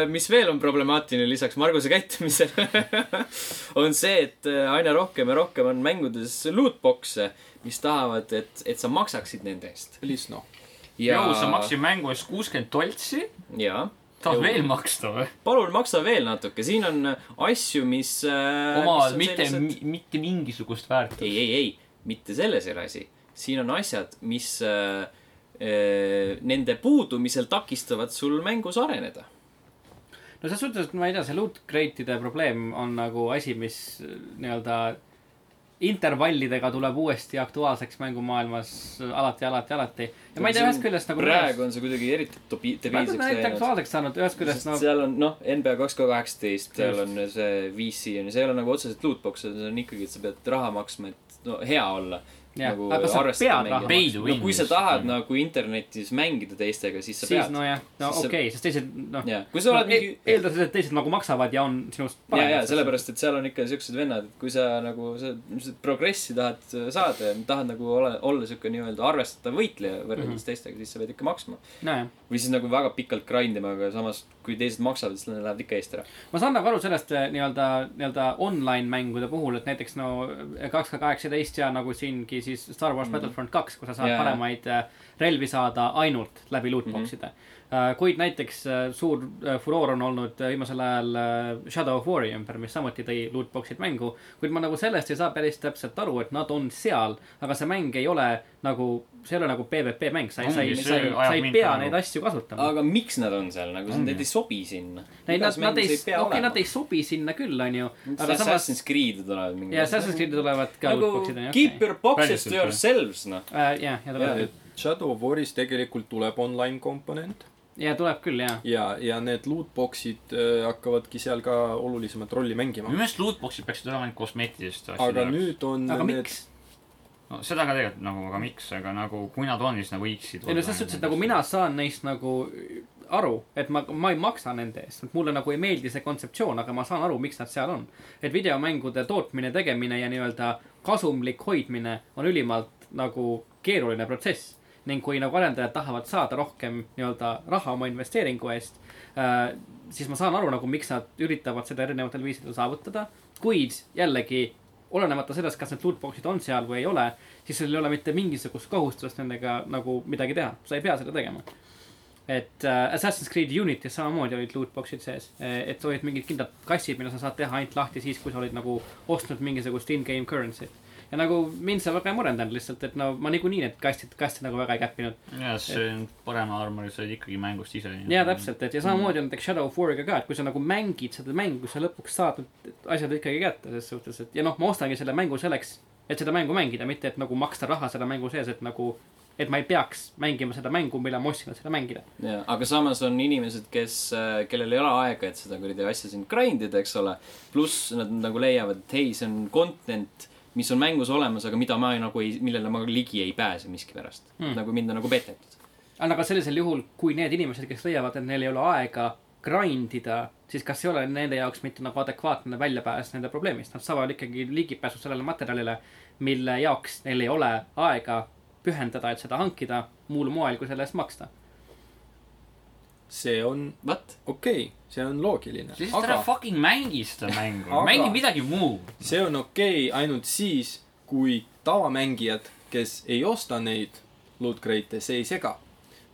[SPEAKER 1] mis veel on problemaatiline lisaks Marguse käitumisele , on see , et äh, aina rohkem ja rohkem on mängudes lootbox'e , mis tahavad , et , et sa maksaksid nende eest .
[SPEAKER 4] Lisno .
[SPEAKER 1] ja
[SPEAKER 3] jõu , sa maksid mängu eest kuuskümmend toltsi ,
[SPEAKER 1] jaa.
[SPEAKER 3] tahad
[SPEAKER 1] Jõu.
[SPEAKER 3] veel maksta või ?
[SPEAKER 1] palun maksa veel natuke , siin on asju , mis äh,
[SPEAKER 3] oma
[SPEAKER 1] mis on
[SPEAKER 3] mitte
[SPEAKER 1] sellised- ,
[SPEAKER 3] mitte mingisugust väärtust .
[SPEAKER 1] ei , ei , ei , mitte selles ei ole asi . siin on asjad , mis äh, äh, nende puudumisel takistavad sul mängus areneda .
[SPEAKER 2] no selles suhtes , et ma ei tea , see loot crate ide probleem on nagu asi , mis äh, nii-öelda intervallidega tuleb uuesti aktuaalseks mängumaailmas äh, alati , alati , alati . ja ma ei tea , ühest küljest nagu .
[SPEAKER 1] praegu on see kuidagi eriti tobi- ,
[SPEAKER 2] praegu on
[SPEAKER 1] debiilseks
[SPEAKER 2] eriti
[SPEAKER 1] läinud .
[SPEAKER 2] aktuaalseks saanud , ühest küljest
[SPEAKER 1] sest
[SPEAKER 2] no
[SPEAKER 1] seal on noh , NBA kaks tuhat kaheksateist , seal
[SPEAKER 2] nagu- Just.
[SPEAKER 1] on see VC on ju , see ei ole nagu otseselt lootbox , see on ikkagi , et sa pead raha maksma , et no hea olla .
[SPEAKER 2] Jah, aga sa pead raha
[SPEAKER 3] maksma.
[SPEAKER 1] no kui sa tahad nagu internetis mängida teistega , siis sa
[SPEAKER 2] siis
[SPEAKER 1] pead .
[SPEAKER 2] nojah , no
[SPEAKER 1] Siis sa-
[SPEAKER 2] okei okay, , sest teised noh
[SPEAKER 1] jaa , kui sa
[SPEAKER 2] no,
[SPEAKER 1] oled mingi
[SPEAKER 2] e- eeldades , et teised nagu maksavad ja on sinust
[SPEAKER 1] ja , ja . sellepärast , et seal on ikka siuksed vennad , et kui sa nagu sa sa progressi tahad äh, saada ja tahad nagu ole , olla siuke nii-öelda arvestatav võitleja võrreldes mm
[SPEAKER 2] Mhm.
[SPEAKER 1] -hmm. teistega , siis sa pead ikka maksma .
[SPEAKER 2] nojah ,
[SPEAKER 1] või siis nagu väga pikalt grind ima , aga samas , kui teised maksavad , siis nad lähevad ikka eest ära .
[SPEAKER 2] ma saan nagu aru sellest eh, nii-öelda , nii-öelda online mängude puhul , et näiteks no eh, kaks ka kaheksateist ja nagu siingi siis Star Wars
[SPEAKER 3] Mhm.
[SPEAKER 2] mm. Battlefront kaks , kus sa saad
[SPEAKER 1] Jaa,
[SPEAKER 2] yeah.
[SPEAKER 1] jaa.
[SPEAKER 2] paremaid eh, relvi saada ainult läbi
[SPEAKER 3] Mhm.
[SPEAKER 2] lootbox ide mm . -hmm. kuid näiteks eh, suur eh, furoor on olnud eh, viimasel ajal eh, Shadow of War'i ümber , mis samuti tõi lootbox'id mängu . kuid ma nagu sellest ei saa päris täpselt aru , et nad on seal , aga see mäng ei ole nagu , see ei ole nagu PVP mäng , sa ei , sa ei , sa
[SPEAKER 3] Ongi, see
[SPEAKER 2] ei , sa
[SPEAKER 3] ajab
[SPEAKER 2] ei
[SPEAKER 3] mind
[SPEAKER 2] pea
[SPEAKER 3] praegu.
[SPEAKER 2] neid asju kasutama .
[SPEAKER 1] aga miks nad on seal nagu , nad ei sobi sinna .
[SPEAKER 2] Ei, nad , nad ei , okei , nad ei sobi sinna küll , onju . aga samas ,
[SPEAKER 1] Assassin's Creed'id olevad mingi .
[SPEAKER 2] ja Assassin's Creed'i tulevad ka
[SPEAKER 1] nagu
[SPEAKER 2] lootbox'id , onju . Äh,
[SPEAKER 1] keep your boxes
[SPEAKER 3] Päriselt
[SPEAKER 1] to
[SPEAKER 3] või?
[SPEAKER 1] yourselves , noh .
[SPEAKER 2] jah , ja
[SPEAKER 1] Jaa,
[SPEAKER 2] tuleb ,
[SPEAKER 4] Eh, Shadow of War'is tegelikult tuleb online komponent
[SPEAKER 2] ja tuleb küll , ja .
[SPEAKER 4] ja , ja need lootbox'id äh, hakkavadki seal ka olulisemat rolli mängima
[SPEAKER 3] minu . meelest lootbox'id peaksid olema ainult kosmeetilised asjad
[SPEAKER 4] aga . nüüd on
[SPEAKER 2] aga
[SPEAKER 4] need
[SPEAKER 2] miks ?
[SPEAKER 3] no seda ka tegelikult nagu , aga miks , aga nagu kui nad on , siis nad võiksid .
[SPEAKER 2] ei no selles suhtes , et nagu mina . saan neist nagu aru , et ma , ma ei maksa nende eest , mulle nagu ei meeldi see kontseptsioon , aga ma saan aru , miks nad seal on . et videomängude tootmine , tegemine ja nii-öelda kasumlik hoidmine on ülimalt nagu keeruline protsess ning kui nagu arendajad tahavad saada rohkem nii-öelda raha oma investeeringu eest äh, , siis ma saan aru nagu , miks nad üritavad seda erinevatel viisidel saavutada , kuid jällegi olenemata sellest , kas need lootbox'id on seal või ei ole , siis sul ei ole mitte mingisugust kohustust nendega nagu midagi teha , sa ei pea seda tegema . et äh, Assassin's Creed Unity's samamoodi olid lootbox'id sees , et olid mingid kindlad kassid , mida sa saad teha ainult lahti siis , kui sa olid nagu ostnud mingisugust in-game currency't . ja nagu mind see väga ei murendanud lihtsalt , et no ma niikuinii need kastid , kaste nagu väga ei käppinud .
[SPEAKER 3] ja see on parema armori , sa oled ikkagi mängust ise .
[SPEAKER 2] ja täpselt , et ja samamoodi on näiteks Shadow of War'iga ka , et kui sa nagu mängid seda mängu , sa lõpuks saad need asjad ikkagi kätte ses suhtes , et ja noh , ma ostangi selle mängu selleks , et seda mängu mängida , mitte et nagu maksta raha selle mängu sees , et nagu , et ma ei peaks mängima seda mängu , mille ma ostsin , et seda mängida .
[SPEAKER 1] jaa , aga samas on inimesed , kes , kellel ei ole aega , et seda kuradi asja siin grind ida , eks ole . pluss nad nagu leiavad , et hei , see on content , mis on mängus olemas , aga mida ma ei- nagu ei , millele ma ligi ei pääse miskipärast
[SPEAKER 2] Hmm.
[SPEAKER 1] hmm. . nagu mind on nagu petetud .
[SPEAKER 2] aga aga sellisel juhul , kui need inimesed , kes leiavad , et neil ei ole aega grind ida , siis kas ei ole nende jaoks mitte nagu adekvaatne väljapääs nende probleemist , nad saavad ikkagi ligipääsu sellele materjalile , mille jaoks neil ei ole aega pühendada , et seda hankida muul moel , kui selle eest maksta .
[SPEAKER 4] see on
[SPEAKER 1] What ?
[SPEAKER 4] okei okay, , see on loogiline ,
[SPEAKER 3] siis ära
[SPEAKER 4] aga
[SPEAKER 3] fucking mängi seda mängu
[SPEAKER 4] Aga- ,
[SPEAKER 3] mängi midagi muud .
[SPEAKER 4] see on okei okay ainult siis , kui tavamängijad , kes ei osta neid loot crate'e , see ei sega .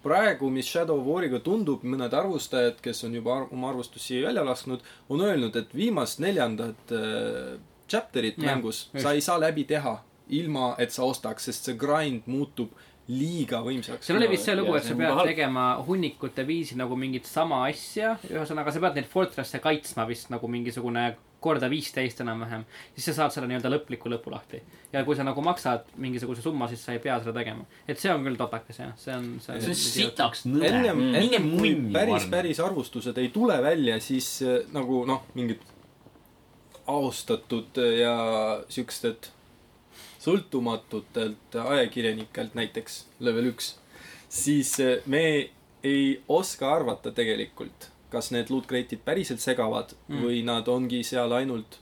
[SPEAKER 4] praegu , mis Shadow of War'iga tundub , mõned arvustajad , kes on juba ar oma arvustusi välja lasknud , on öelnud , et viimast neljandat äh, chapter'it
[SPEAKER 2] Jah,
[SPEAKER 4] mängus
[SPEAKER 2] just.
[SPEAKER 4] sa ei saa läbi teha , ilma et sa ostaks , sest see grind muutub liiga võimsaks .
[SPEAKER 2] seal oli vist see lugu ,
[SPEAKER 1] Jaa,
[SPEAKER 2] et
[SPEAKER 1] see
[SPEAKER 2] sa
[SPEAKER 1] on
[SPEAKER 2] pead
[SPEAKER 1] halb.
[SPEAKER 2] tegema hunnikute viisi nagu mingit sama asja , ühesõnaga sa pead neid fortress'e kaitsma vist nagu mingisugune korda viisteist enam-vähem , siis sa saad selle nii-öelda lõpliku lõpu lahti . ja kui sa nagu maksad mingisuguse summa , siis sa ei pea seda tegema . et see on küll totakas jah , see on , see on .
[SPEAKER 3] see on sitaks nõme .
[SPEAKER 4] ennem ,
[SPEAKER 3] mine
[SPEAKER 4] ennem kui
[SPEAKER 3] munni .
[SPEAKER 4] päris , päris arvustused ei tule välja , siis äh, nagu noh , mingid austatud eh, ja siukestelt sõltumatutelt ajakirjanikelt näiteks , level üks , siis äh, me ei oska arvata tegelikult , kas need loot crate'id päriselt segavad mm.
[SPEAKER 2] Mm.
[SPEAKER 4] või nad ongi seal ainult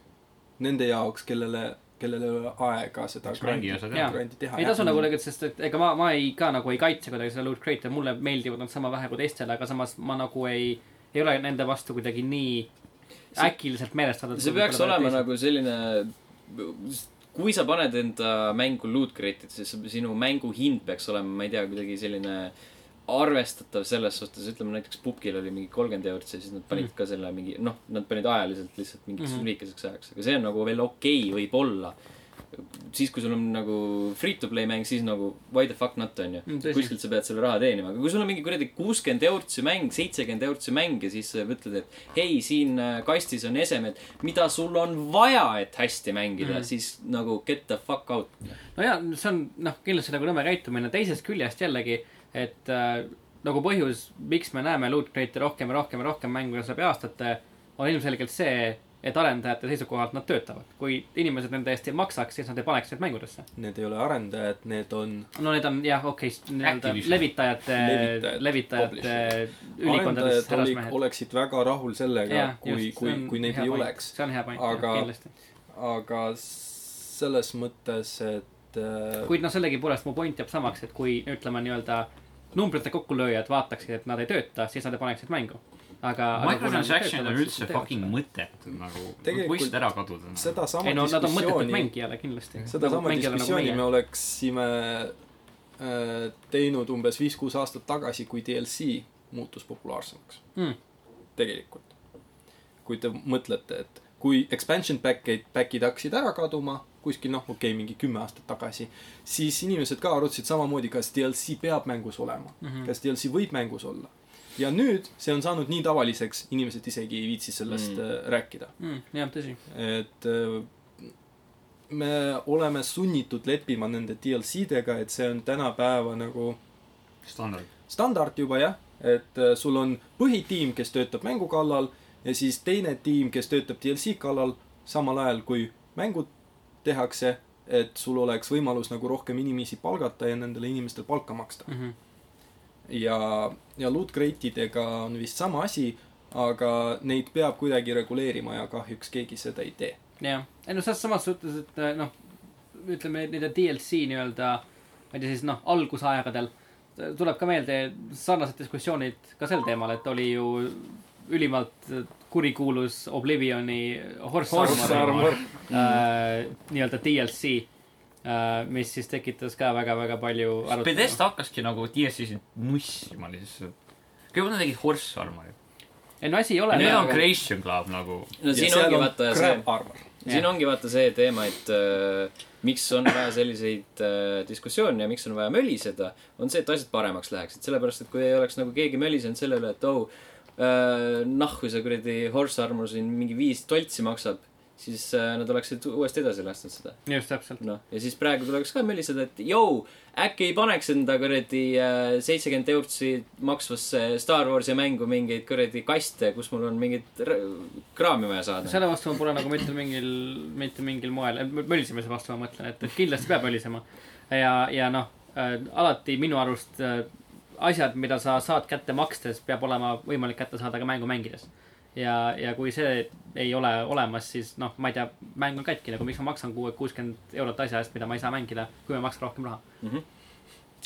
[SPEAKER 4] nende jaoks , kellele , kellel ei ole aega seda
[SPEAKER 3] Eks mängija seda
[SPEAKER 2] teab.
[SPEAKER 4] grandi teha .
[SPEAKER 2] ei tasu nagu tegelikult , sest et ega ma , ma ei ka nagu ei kaitse kuidagi seda loot crate'e , mulle meeldivad nad sama vähe kui teistele , aga samas ma nagu ei , ei ole nende vastu kuidagi nii äkiliselt meelestatud .
[SPEAKER 1] see peaks olema . nagu selline , kui sa paned enda mängu loot crate'id , siis sinu mängu hind peaks olema , ma ei tea , kuidagi selline arvestatav selles suhtes , ütleme näiteks Pupkil oli mingi kolmkümmend eurot , siis nad panid ka selle mingi , noh , nad panid ajaliselt lihtsalt mingiks mm
[SPEAKER 2] Mhm.
[SPEAKER 1] -hmm. lühikeseks ajaks , aga see on nagu veel okei okay, , võib-olla . siis , kui sul on nagu free to play mäng , siis nagu why the fuck not , on ju
[SPEAKER 2] Mm, tõsi.
[SPEAKER 1] kuskilt sa pead selle raha teenima , aga kui sul on mingi kuradi kuuskümmend eurot see mäng , seitsekümmend eurot see mäng ja siis sa ütled , et hei , siin äh, kastis on esemed , mida sul on vaja , et hästi mängida
[SPEAKER 2] Mm.
[SPEAKER 1] mm. , siis nagu get the fuck out .
[SPEAKER 2] no ja see on noh , kindlasti nagu nõme käitumine , teisest küljest jällegi , et äh, nagu põhjus , miks me näeme loot crate'e rohkem ja rohkem ja rohkem mängudes läbi aastate , on ilmselgelt see , et arendajate seisukohalt nad töötavad . kui inimesed nende eest ei maksaks , siis nad ei paneks neid mängudesse .
[SPEAKER 4] Need ei ole arendajad , need on
[SPEAKER 2] no need on jah , okei okay, , nii-öelda
[SPEAKER 3] Activision.
[SPEAKER 2] levitajate ,
[SPEAKER 4] Levitajad,
[SPEAKER 2] levitajate ülikondades
[SPEAKER 4] arendajad oli,
[SPEAKER 2] härrasmehed .
[SPEAKER 4] oleksid väga rahul sellega , kui , kui , kui neid ei oleks .
[SPEAKER 2] see on hea point ,
[SPEAKER 4] Aga-
[SPEAKER 2] kindlasti .
[SPEAKER 4] aga selles mõttes , et äh,
[SPEAKER 2] kuid noh , sellegipoolest mu point jääb samaks , et kui ütleme nii-öelda numbrite kokkulööjad vaataksid , et nad ei tööta , siis nad ei paneksid mängu . aga .
[SPEAKER 3] Microtransaction on üldse fucking mõttetu nagu ,
[SPEAKER 4] Tegelikult
[SPEAKER 3] võisid ära kaduda . nagu,
[SPEAKER 4] sedasama
[SPEAKER 2] ei no nad on mõttetud
[SPEAKER 4] diskussiooni ,
[SPEAKER 2] mängijale kindlasti . Nagu
[SPEAKER 4] sedasama diskussiooni me oleksime äh, teinud umbes viis-kuus aastat tagasi , kui DLC muutus populaarsemaks
[SPEAKER 2] Mm. .
[SPEAKER 4] tegelikult . kui te mõtlete , et kui expansion back'id , back'id hakkasid ära kaduma kuskil noh , okei okay, , mingi kümme aastat tagasi , siis inimesed ka arutasid samamoodi , kas DLC peab mängus olema mm , -hmm. kas DLC võib mängus olla . ja nüüd see on saanud nii tavaliseks , inimesed isegi ei viitsi sellest
[SPEAKER 1] Mm.
[SPEAKER 4] mm. rääkida .
[SPEAKER 2] mm, . jah , tõsi .
[SPEAKER 4] et äh, me oleme sunnitud leppima nende DLC-dega , et see on tänapäeva nagu
[SPEAKER 3] standard .
[SPEAKER 4] standard juba jah , et äh, sul on põhitiim , kes töötab mängu kallal ja siis teine tiim , kes töötab DLC kallal samal ajal , kui mängud tehakse , et sul oleks võimalus nagu rohkem inimesi palgata ja nendele inimestele palka maksta .
[SPEAKER 2] Mm -hmm.
[SPEAKER 4] ja , ja loot crate idega on vist sama asi , aga neid peab kuidagi reguleerima ja kahjuks keegi seda ei tee .
[SPEAKER 2] eh, jah , ei no selles samas suhtes , et äh, noh , ütleme nende DLC nii-öelda ma ei tea , siis noh , algusaegadel eh, tuleb ka meelde sarnased diskussioonid ka sel teemal , et oli ju ülimalt kurikuulus Oblivioni Horse,
[SPEAKER 4] Horse Armor.
[SPEAKER 2] äh, nii-öelda DLC äh, , mis siis tekitas ka väga-väga palju arutelu .
[SPEAKER 3] Pedesta hakkaski nagu DSC-sid nussima lihtsalt . kõigepealt nad tegid Horse Armorit .
[SPEAKER 2] ei no asi ei ole .
[SPEAKER 3] nüüd on Creation Club nagu .
[SPEAKER 1] no siin ongi vaata see ,
[SPEAKER 4] Crab Armor .
[SPEAKER 1] siin ongi vaata see teema , et äh, miks on vaja selliseid äh, diskussioone ja miks on vaja möliseda , on see , et asjad paremaks läheksid , sellepärast et kui ei oleks nagu keegi mölisenud selle üle , et oh äh, , nahku see kuradi horse armor siin mingi viis toltsi maksab , siis äh, nad oleksid uuesti edasi lasknud seda .
[SPEAKER 2] just täpselt .
[SPEAKER 1] noh , ja siis praegu tuleks ka möliseda , et jõu , äkki ei paneks enda kuradi äh, seitsekümmend eurtsi maksvasse Star Warsi mängu mingeid kuradi kaste , kus mul on mingit rõ- kraami vaja saada .
[SPEAKER 2] selle vastu ma pole nagu mitte mingil , mitte mingil moel , äh, mölisemise vastu ma mõtlen , et et kindlasti peab mölisema . ja , ja noh , alati minu arust äh, asjad , mida sa saad kätte makstes , peab olema võimalik kätte saada ka mängu mängides . ja , ja kui see ei ole olemas , siis noh , ma ei tea , mäng on katki , nagu miks ma maksan kuue , kuuskümmend eurot asja eest , mida ma ei saa mängida , kui ma maksan rohkem raha .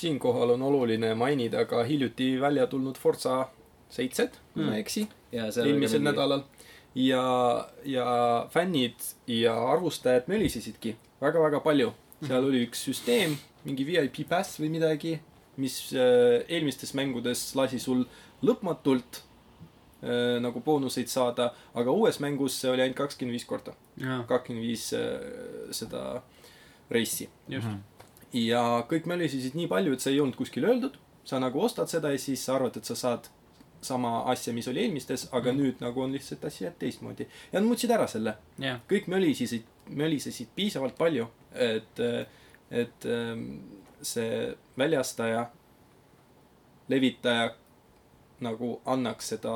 [SPEAKER 4] siinkohal on oluline mainida ka hiljuti välja tulnud Forza seitset , kui
[SPEAKER 1] Hmm.
[SPEAKER 4] ma ei eksi , eelmisel mingi... . nädalal . ja , ja fännid ja arvustajad mölisesidki väga-väga palju . seal oli üks süsteem , mingi VIP pass või midagi , mis äh, eelmistes mängudes lasi sul lõpmatult äh, nagu boonuseid saada , aga uues mängus see oli ainult kakskümmend viis korda ,
[SPEAKER 2] Ah.
[SPEAKER 4] kakskümmend viis äh, seda reissi .
[SPEAKER 2] just ,
[SPEAKER 4] ja kõik mölisesid nii palju , et see ei olnud kuskil öeldud . sa nagu ostad seda ja siis sa arvad , et sa saad sama asja , mis oli eelmistes , aga mm. nüüd nagu on lihtsalt asi jääb teistmoodi . ja nad muutsid ära selle .
[SPEAKER 2] jah .
[SPEAKER 4] kõik mölisesid , mölisesid piisavalt palju , et , et ähm, see väljastaja , levitaja nagu annaks seda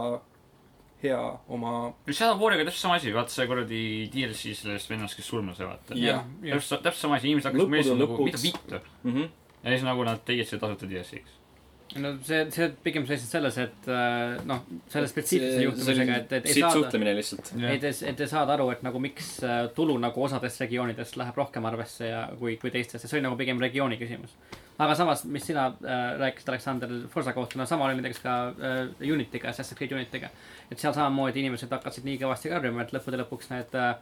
[SPEAKER 4] hea oma
[SPEAKER 3] no seal on Warrior'iga täpselt sama asi , vaata see kuradi DLC sellest vennast , kes surma sai , vaata .
[SPEAKER 4] Jah,
[SPEAKER 2] jah.
[SPEAKER 3] täpselt , täpselt sama asi , inimesed hakkasid
[SPEAKER 4] Lõppude
[SPEAKER 3] meeldima nagu , mida
[SPEAKER 4] lõpuks-
[SPEAKER 3] vittu .
[SPEAKER 1] mm . -hmm.
[SPEAKER 3] ja siis nagu nad tegid selle tasuta DLC-ks .
[SPEAKER 2] no see , see pigem seisnes selles , et äh, noh , selle spetsiifilise juhtumisega , et , et ei
[SPEAKER 1] siit
[SPEAKER 2] saada
[SPEAKER 1] suhtlemine lihtsalt .
[SPEAKER 2] et , et te saad aru , et nagu miks äh, tulu nagu osades regioonides läheb rohkem arvesse ja kui , kui teistes ja see oli nagu pigem regiooni küsimus . aga samas , mis sina äh, rääkisid , Aleksander , Forsa kohta , no sama oli näiteks ka äh, Unitiga , Assassin's Creed Unitiga . et seal samamoodi inimesed hakkasid nii kõvasti karjuma , et lõppude lõpuks need äh,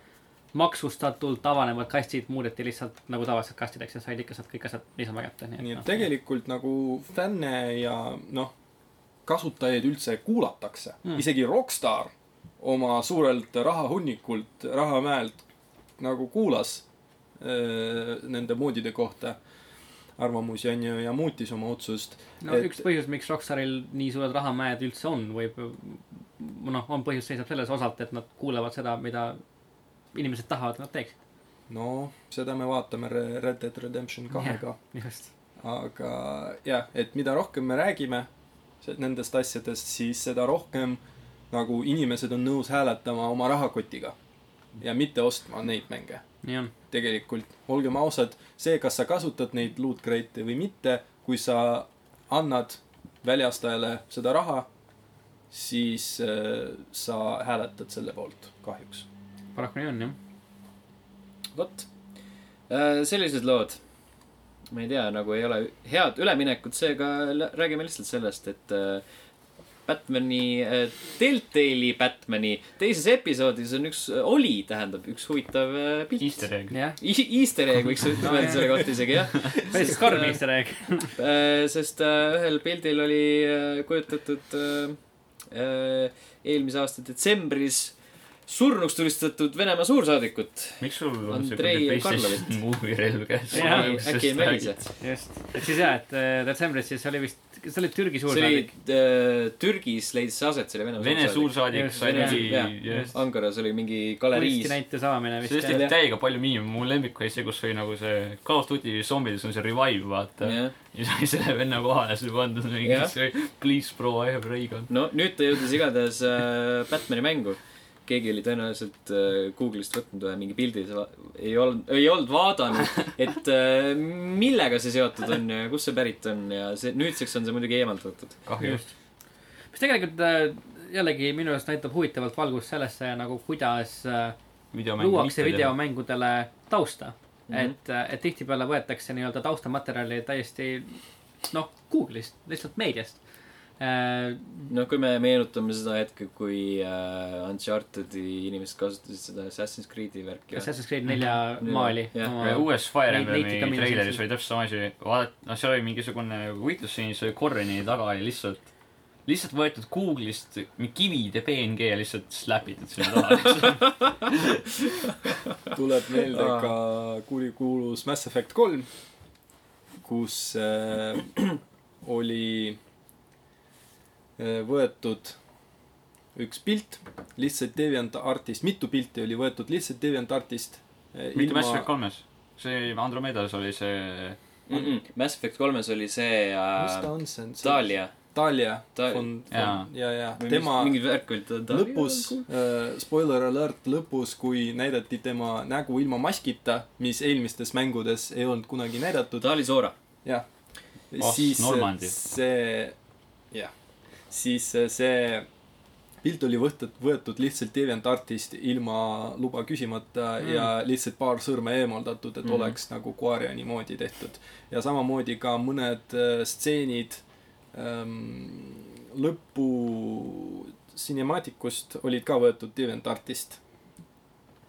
[SPEAKER 2] maksustatult avanevad kastid muudeti lihtsalt nagu tavalised kastideks ja said ikka sealt kõik asjad niisama kätte ,
[SPEAKER 4] nii et
[SPEAKER 2] nii et . noh.
[SPEAKER 4] tegelikult nagu fänne ja noh , kasutajaid üldse kuulatakse mm. . isegi Rockstar oma suurelt rahahunnikult , rahamäelt nagu kuulas öö, nende moodide kohta arvamusi , on ju , ja muutis oma otsust .
[SPEAKER 2] no et... üks põhjus , miks Rockstaril nii suured rahamäed üldse on , võib , noh , on põhjus seisab selles osalt , et nad kuulevad seda , mida inimesed tahavad , et nad teeksid .
[SPEAKER 4] no seda me vaatame Re- Red Dead Redemption kahega yeah. .
[SPEAKER 2] just .
[SPEAKER 4] aga jah , et mida rohkem me räägime se- nendest asjadest , siis seda rohkem nagu inimesed on nõus hääletama oma rahakotiga ja mitte ostma neid mänge .
[SPEAKER 2] nii on .
[SPEAKER 4] tegelikult , olgem ausad , see , kas sa kasutad neid loot crate'e või mitte , kui sa annad väljastajale seda raha , siis äh, sa hääletad selle poolt , kahjuks .
[SPEAKER 2] paraku nii on , jah .
[SPEAKER 1] vot , sellised lood . ma ei tea , nagu ei ole head üleminekut , seega lä- räägime lihtsalt sellest , et äh, Batman'i , Deltali Batman'i teises episoodis on üks , oli , tähendab , üks huvitav äh, pilt .
[SPEAKER 3] Easter egg .
[SPEAKER 2] jah .
[SPEAKER 1] I- Easter egg võiks ütelda
[SPEAKER 2] No,
[SPEAKER 1] veel
[SPEAKER 2] jah.
[SPEAKER 1] selle kohta isegi jah .
[SPEAKER 2] päris karm easter egg .
[SPEAKER 1] Äh, sest äh, ühel pildil oli äh, kujutatud äh, äh, eelmise aasta detsembris surnuks tulistatud Venemaa suursaadikut .
[SPEAKER 3] miks sul on see
[SPEAKER 1] Andrei
[SPEAKER 3] kuradi
[SPEAKER 1] Karlovit.
[SPEAKER 3] PlayStation Move'i relv käes ?
[SPEAKER 2] Jah,
[SPEAKER 1] äkki ei mälise .
[SPEAKER 2] just . et siis jah , et äh, detsembris siis oli vist , kas see oli Türgi
[SPEAKER 1] see oli
[SPEAKER 2] suursaadik ?
[SPEAKER 1] äh, Türgis leidis see aset , see oli Venemaa
[SPEAKER 3] Vene
[SPEAKER 1] suursaadik .
[SPEAKER 3] suursaadik
[SPEAKER 2] Just,
[SPEAKER 3] sai
[SPEAKER 2] Vene
[SPEAKER 3] nimi
[SPEAKER 1] jah. ,
[SPEAKER 3] jah .
[SPEAKER 1] Ankaras oli mingi galeriis .
[SPEAKER 2] kunstinäituse avamine
[SPEAKER 3] see
[SPEAKER 2] vist .
[SPEAKER 3] tõesti oli täiega palju miime , mu lemmik oli see , kus oli nagu see Call of Duty zombides on see revive , vaata .
[SPEAKER 1] jah ,
[SPEAKER 3] ja sai selle venna kohale , siis pandud mingi
[SPEAKER 1] Jah.
[SPEAKER 3] see Please bro , I have ray gun .
[SPEAKER 1] no nüüd ta jõudis igatahes äh, Batman'i mängu . keegi oli tõenäoliselt äh, Google'ist võtnud ühe mingi pildi , ei olnud , ei olnud vaadanud , et äh, millega see seotud on ja kust see pärit on ja see nüüdseks on see muidugi eemaldatud .
[SPEAKER 3] kahju .
[SPEAKER 2] mis tegelikult äh, jällegi minu arust näitab huvitavalt valgust sellesse nagu , kuidas äh,
[SPEAKER 3] videomäng .
[SPEAKER 2] luuakse . videomängudele tausta .
[SPEAKER 1] Mhm.
[SPEAKER 2] mm , -hmm. et , et tihtipeale võetakse nii-öelda taustamaterjali täiesti noh , Google'ist , lihtsalt meediast . Äh,
[SPEAKER 1] noh , kui me meenutame seda hetke , kui äh, Uncharted'i inimesed kasutasid seda Assassin's Creed'i värki .
[SPEAKER 2] Assassin's Creed nelja
[SPEAKER 1] Mhm. Jah.
[SPEAKER 2] maali
[SPEAKER 1] Jah.
[SPEAKER 2] oma-
[SPEAKER 3] uues Fire
[SPEAKER 2] neid- neid ikka
[SPEAKER 3] Emblemi
[SPEAKER 2] minna
[SPEAKER 3] treileris
[SPEAKER 2] sellise-
[SPEAKER 3] oli täpselt sama asi , vaadata , noh , seal oli mingisugune võitlusseen , see oli Korreni taga oli lihtsalt , lihtsalt võetud Google'ist mingi kivide PNG ja lihtsalt slapitud sinna taha .
[SPEAKER 4] tuleb meelde
[SPEAKER 1] Aa.
[SPEAKER 4] ka kurikuulus Mass Effect kolm , kus äh, oli äh, võetud üks pilt , lihtsalt DeviantArtist , mitu pilti oli võetud lihtsalt DeviantArtist äh,
[SPEAKER 3] mitte Mass Effect kolmes , see Andromedas oli see ,
[SPEAKER 1] mm . -mm. Mass Effect kolmes oli see
[SPEAKER 4] mis
[SPEAKER 1] äh,
[SPEAKER 4] ta on , see on see
[SPEAKER 1] Talia
[SPEAKER 4] Talia
[SPEAKER 1] Ta-
[SPEAKER 4] von ,
[SPEAKER 3] jaa.
[SPEAKER 4] ja , ja
[SPEAKER 1] või
[SPEAKER 4] tema
[SPEAKER 1] mis, mingi värk oli ta .
[SPEAKER 4] lõpus , spoiler alert , lõpus , kui näidati tema nägu ilma maskita , mis eelmistes mängudes ei olnud kunagi näidatud ,
[SPEAKER 1] ta oli Zora .
[SPEAKER 4] jah
[SPEAKER 3] Oh,
[SPEAKER 4] siis äh,
[SPEAKER 3] Normandi.
[SPEAKER 4] see , jah , siis äh, see pilt oli võetud , võetud lihtsalt DeviantArtist ilma luba küsimata mm. ja lihtsalt paar sõrme eemaldatud ,
[SPEAKER 2] Mhm.
[SPEAKER 4] et mm. oleks nagu koerjani moodi tehtud . ja samamoodi ka mõned äh, stseenid ähm, lõpu sinemaatikust olid ka võetud DeviantArtist ,